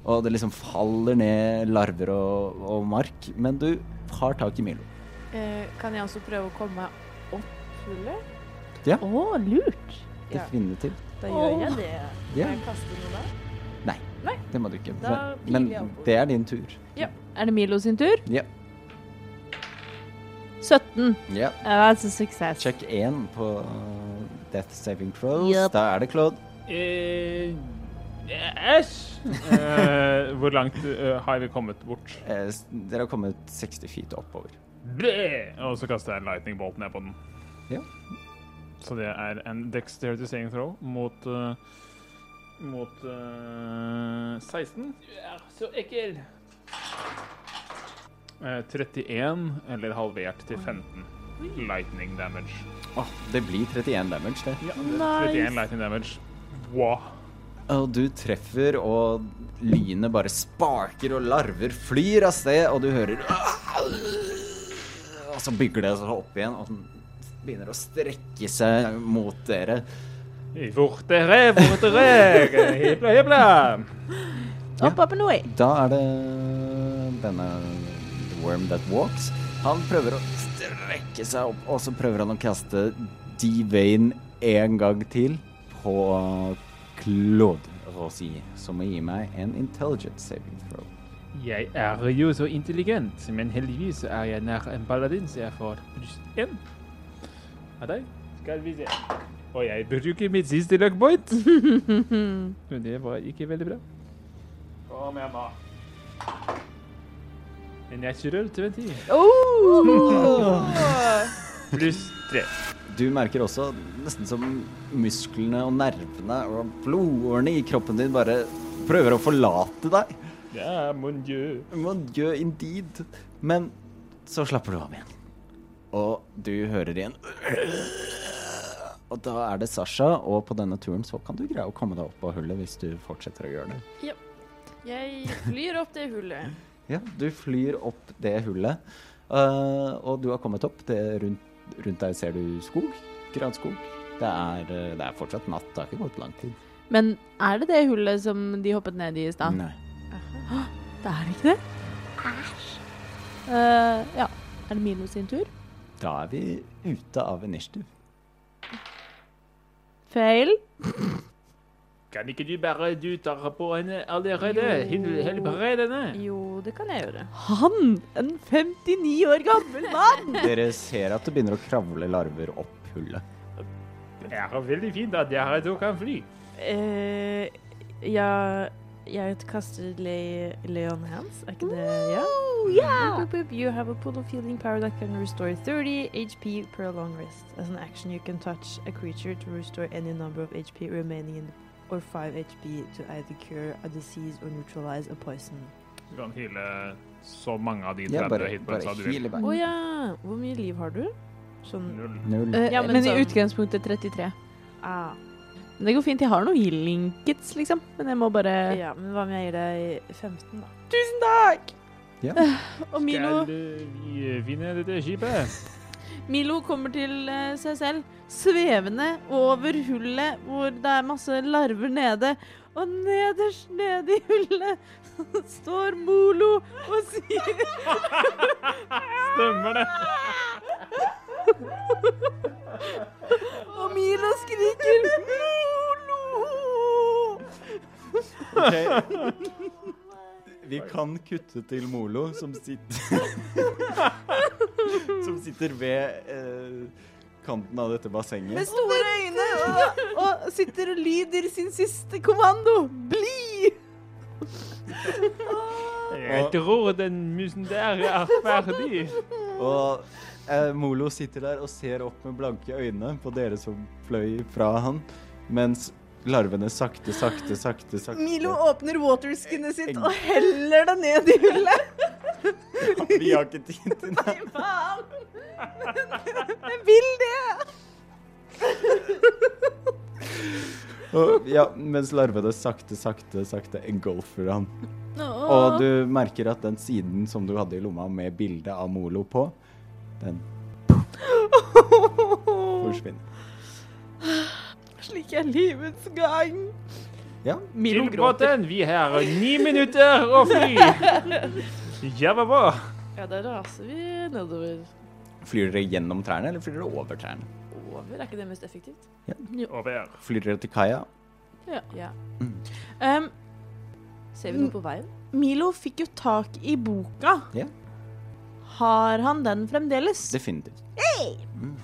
Og det liksom faller ned larver og, og mark, men du har tak i Milo.
Eh, kan jeg også prøve å komme meg opp hullet?
Å, lurt!
Ja.
Definitivt.
Da gjør jeg det.
Ja.
Kan jeg kaste noe da?
Det må du ikke.
Da piler
Men
jeg oppover.
det er din tur.
Er det Milo sin tur?
Ja.
17.
Ja.
Uh, that's a success.
Check 1 på uh, Death Saving Throws.
Yep.
Da er det Claude.
Eh, yes. Eh, hvor langt eh, har vi kommet bort?
Eh, s- dere har kommet 60 feet oppover.
Blæ! Og så kaster jeg en lightning bolt ned på den.
Ja.
Så det er en dexterity saving throw mot eh, mot eh, 16. Ja, så ekkel! Eh, 31, eller halvert til 15. Lightning damage.
Åh, det blir 31 damage, det.
Ja,
Nice.
31 lightning damage. Wow.
Og du treffer, og lynet bare sparker, og larver flyr av sted, og du hører Og så bygger det seg opp igjen, og den begynner å strekke seg mot dere.
Fortere, fortere! *laughs* Hipla, hipla!
Up, up and away.
Da er det denne The Worm That Walks. Han prøver å strekke seg opp, og så prøver han å kaste D-Vein en gang til på Claude Rossi, som må gi meg en intelligent saving throw.
Jeg er jo så intelligent, men heldigvis er jeg nær en paladin, så jeg får pluss én av deg. Skal vi se. Og jeg bruker mitt siste luck
*laughs*
point. Men det var ikke veldig bra. Kom igjen, da. En natural 20 pluss 3.
Du merker også nesten som musklene og nervene og blodårene i kroppen din bare prøver å forlate deg.
Ja, mon dieu.
Mon dieu indeed. Men så slapper du av igjen. Og du hører igjen Og da er det Sasha, og på denne turen så kan du greie å komme deg opp av hullet hvis du fortsetter å gjøre det.
Jeg flyr opp det hullet.
Ja, du flyr opp det hullet, eh, og du har kommet opp. Det er rundt, rundt deg ser du skog. Granskog. Det er, eh, det er fortsatt natt, det har ikke gått lang tid.
Men er det det hullet som de hoppet ned i i stad?
Nei.
Det er det ikke det. Æsj. Eh, ja. Er det Milo sin tur?
Da er vi ute av initiativ.
Fail.
Kan ikke du bare du tar på henne allerede? Hin- Helbred henne.
Jo, det kan jeg gjøre.
Han! En 59 år gammel mann!
Dere ser at det begynner å kravle larver opp hullet.
Det er veldig fint at dere to kan fly.
Eh, ja, jeg kaster le Leon Hands, er ikke det? Ja.
yeah!
Boop, boop, boop. You have a pool of healing power that can restore 30 HP per long rest. As an action, you can touch a creature to restore any number of HP remaining in or 5 HP to either cure a disease or neutralize a poison.
Du kan hyle så mange av de
Ja,
30
bare,
hitpointsa
bare
du vil.
heal i
Å
vei.
ja! Hvor mye liv har du? Sånn
Null.
Null.
*laughs* Eh,
Ja, men
men, i
sånn-
utgangspunktet 33.
ah,
Men det går fint. Jeg har noen healing kits, liksom. Men jeg må bare
Ja, men hva om jeg gir deg 15, da?
Tusen takk!
Ja.
Og Milo,
Skal eh, vi finne dette skipet?
Milo kommer til eh, seg selv, svevende over hullet hvor det er masse larver nede. Og nederst nede i hullet *laughs* står Molo og sier
Stemmer det.
Og Milo skriker 'Molo!'
Vi kan kutte til Molo, som sitter *laughs* Som sitter ved eh, kanten av dette
med
bassenget.
store øyne og, og sitter og lyder sin siste kommando. *laughs* Bli!
Jeg tror den musen der er ferdig.
Og eh, Molo sitter der og ser opp med blanke øyne på dere som fløy fra han, mens larvene sakte, sakte, sakte, sakte
Milo åpner waterskinnet sitt og heller det ned i hullet.
Vi har ikke tid til det.
Fy faen! Jeg vil det!
Og, ja, mens larvene sakte, sakte, sakte engulfer han. Og du merker at den siden som du hadde i lomma med bilde av Molo på, den forsvinner.
Slik er livets gang.
Ja.
Milo
Til
gråter.
båten. Vi har ni minutter å fly. Jævla bra.
Ja, da raser vi nedover.
Flyr dere gjennom trærne, eller flyr dere over trærne?
Over, er ikke det mest effektivt?
Over.
Flyr dere til kaia?
Um,
Ser
Mm.
vi noe på veien?
Milo fikk jo tak i boka.
Ja.
Har han den fremdeles?
Definitivt. Mm.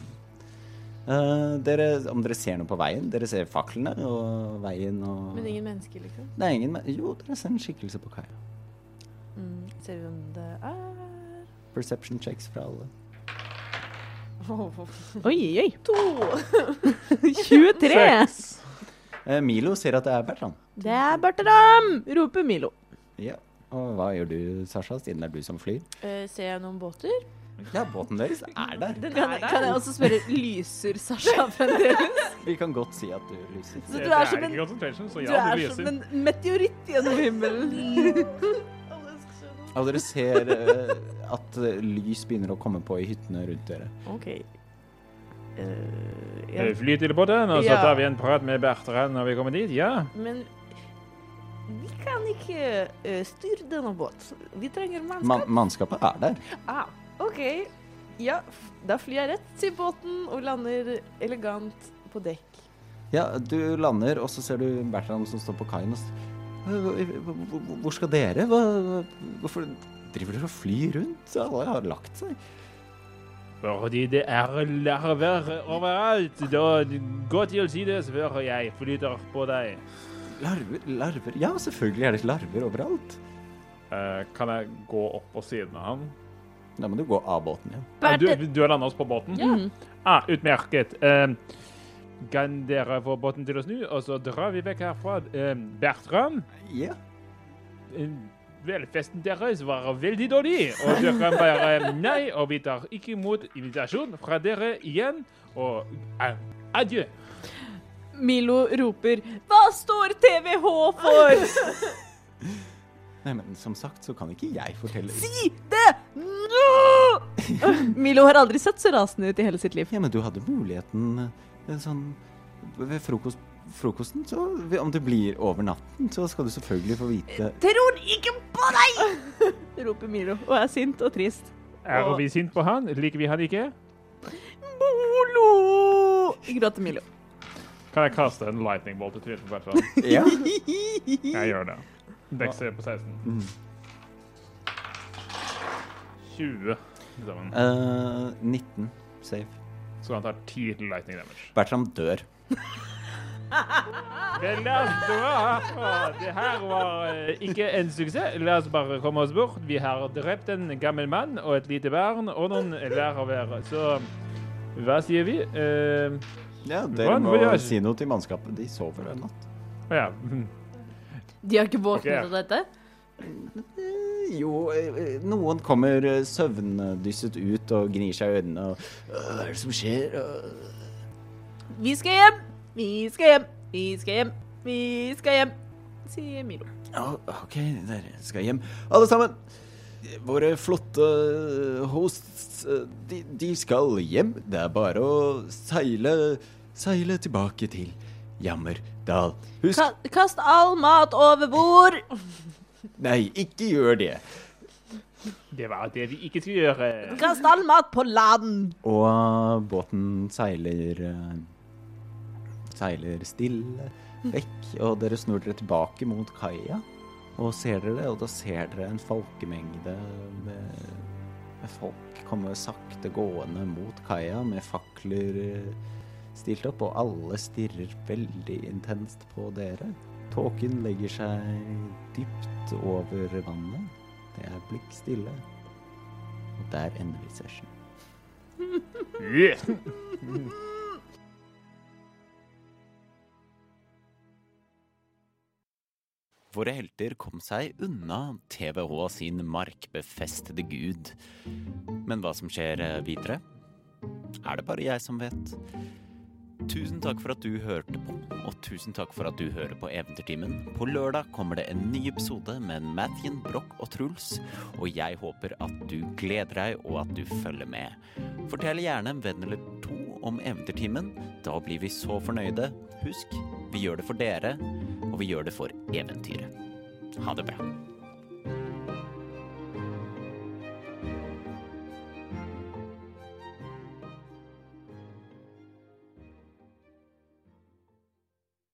Eh, dere, om dere ser noe på veien? Dere ser faklene og veien og
Men ingen mennesker, liksom.
Det er ingen me- Jo, dere ser en skikkelse på kaia.
Mm, ser vi hvem det er?
Perception checks fra alle.
Oi, oi. To. 23.
Eh, Milo ser at det er Bertrand.
Det er Bertram! roper Milo.
Ja. Og hva gjør du, Sasha, siden det er du som flyr?
Eh, ser jeg noen båter?
Ja, båten deres er der.
Kan, kan jeg også spørre lyser Sasha fremdeles?
Vi kan godt si at du lyser.
Så du er som en,
concentration, så
du
ja,
er
det
som
lyser.
en meteoritt gjennom himmelen.
Og dere ser eh, at eh, lys begynner å komme på i hyttene rundt dere.
OK. Eh,
Eh,
jeg
Fly til båten, og så
Ja.
tar vi en prat med Bertrand når vi kommer dit. Ja.
Men vi kan ikke eh, styre denne båt. Vi trenger mannskap.
Man mannskapet er der.
Ah, OK. Ja, f- da flyr jeg rett til båten og lander elegant på dekk.
Ja, du lander, og så ser du Bertrand som står på kaien og s- Hva- hva- hva- Hvor skal dere? Hva, hva- hvorfor driver dere og flyr rundt? Alle har lagt seg.
Fordi det er larver overalt. Da gå til sides før jeg flytter på deg.
Larver, larver Ja, selvfølgelig er det larver overalt.
Eh, kan jeg gå opp på siden av han?
Da må du gå av båten igjen.
Du, du har landa oss på båten?
Mm.
Ah, utmerket. Eh, kan dere få båten til å snu, og så drar vi vekk herfra? Eh, Bertrand,
Ja.
eh, velfesten deres var veldig dårlig, og dere kan bare Nei, og vi tar ikke imot invitasjon fra dere igjen, og eh, adjø.
Milo roper 'Hva står TVH for?'
Nei, men som sagt så kan ikke jeg fortelle
Si det nå! *laughs* Milo har aldri sett så rasende ut i hele sitt liv.
Ja, men du hadde muligheten eh, sånn ved frokost, frokosten, så om det blir over natten, så skal du selvfølgelig få *laughs* vite
Tror ikke på deg! *laughs* roper Milo og er sint og trist.
Er vi sint på han? Liker vi han ikke?
*laughs* Molo! gråter Milo.
Kan jeg kaste en lightning bolt i trynet på *laughs* Bertrand?
Ja.
sånn? Jeg gjør det. Dexter på 16. 20 til sammen.
Eh, 19 save.
Så han tar 10 til lightning damage.
Bertram dør.
Det, la oss dra. det her var eh, ikke en suksess. La oss bare komme oss bort. Vi har drept en gammel mann og et lite barn og noen lærere. Så hva sier vi? Eh,
Ja,
Hva
Dere
er det
må
for gjør?
si noe til mannskapet. De sover en natt.
Å ja.
De har ikke våknet
Ok.
av dette?
Eh, Jo, eh, eh, noen kommer eh, søvndysset ut og gnir seg i øynene og «Øh, Hva er det som skjer? Øh,
Vi skal hjem! Vi skal hjem! Vi skal hjem! Vi skal hjem! Sier Milo.
Ja, OK, dere skal hjem. Alle sammen! Våre flotte hosts, eh, de, de skal hjem. Det er bare å seile Seile tilbake til Jammerdal. Husk
Ka kast all mat over bord!
Nei, ikke gjør det.
Det var det vi ikke skulle gjøre.
Kast all mat på land!
Og båten seiler eh, Seiler stille vekk, og dere snur dere tilbake mot kaia. Og ser dere det, og da ser dere en folkemengde med, med folk komme sakte gående mot kaia med fakler eh, stilt opp, og alle stirrer veldig intenst på dere. Tåken legger seg dypt over vannet. Det er blikkstille. Og der ender vi session.
Yeah.
Våre helter kom seg unna TVH sin markbefestede gud. Men hva som skjer eh, videre, er det bare jeg som vet. Tusen takk for at du hørte på, og tusen takk for at du hører på Eventyrtimen. På lørdag kommer det en ny episode med Mathien, Broch og Truls, og jeg håper at du gleder deg, og at du følger med. Fortell gjerne en venn eller to om Eventyrtimen. Da blir vi så fornøyde. Husk, vi gjør det for dere og vi gjør det for eventyret. Ha det bra.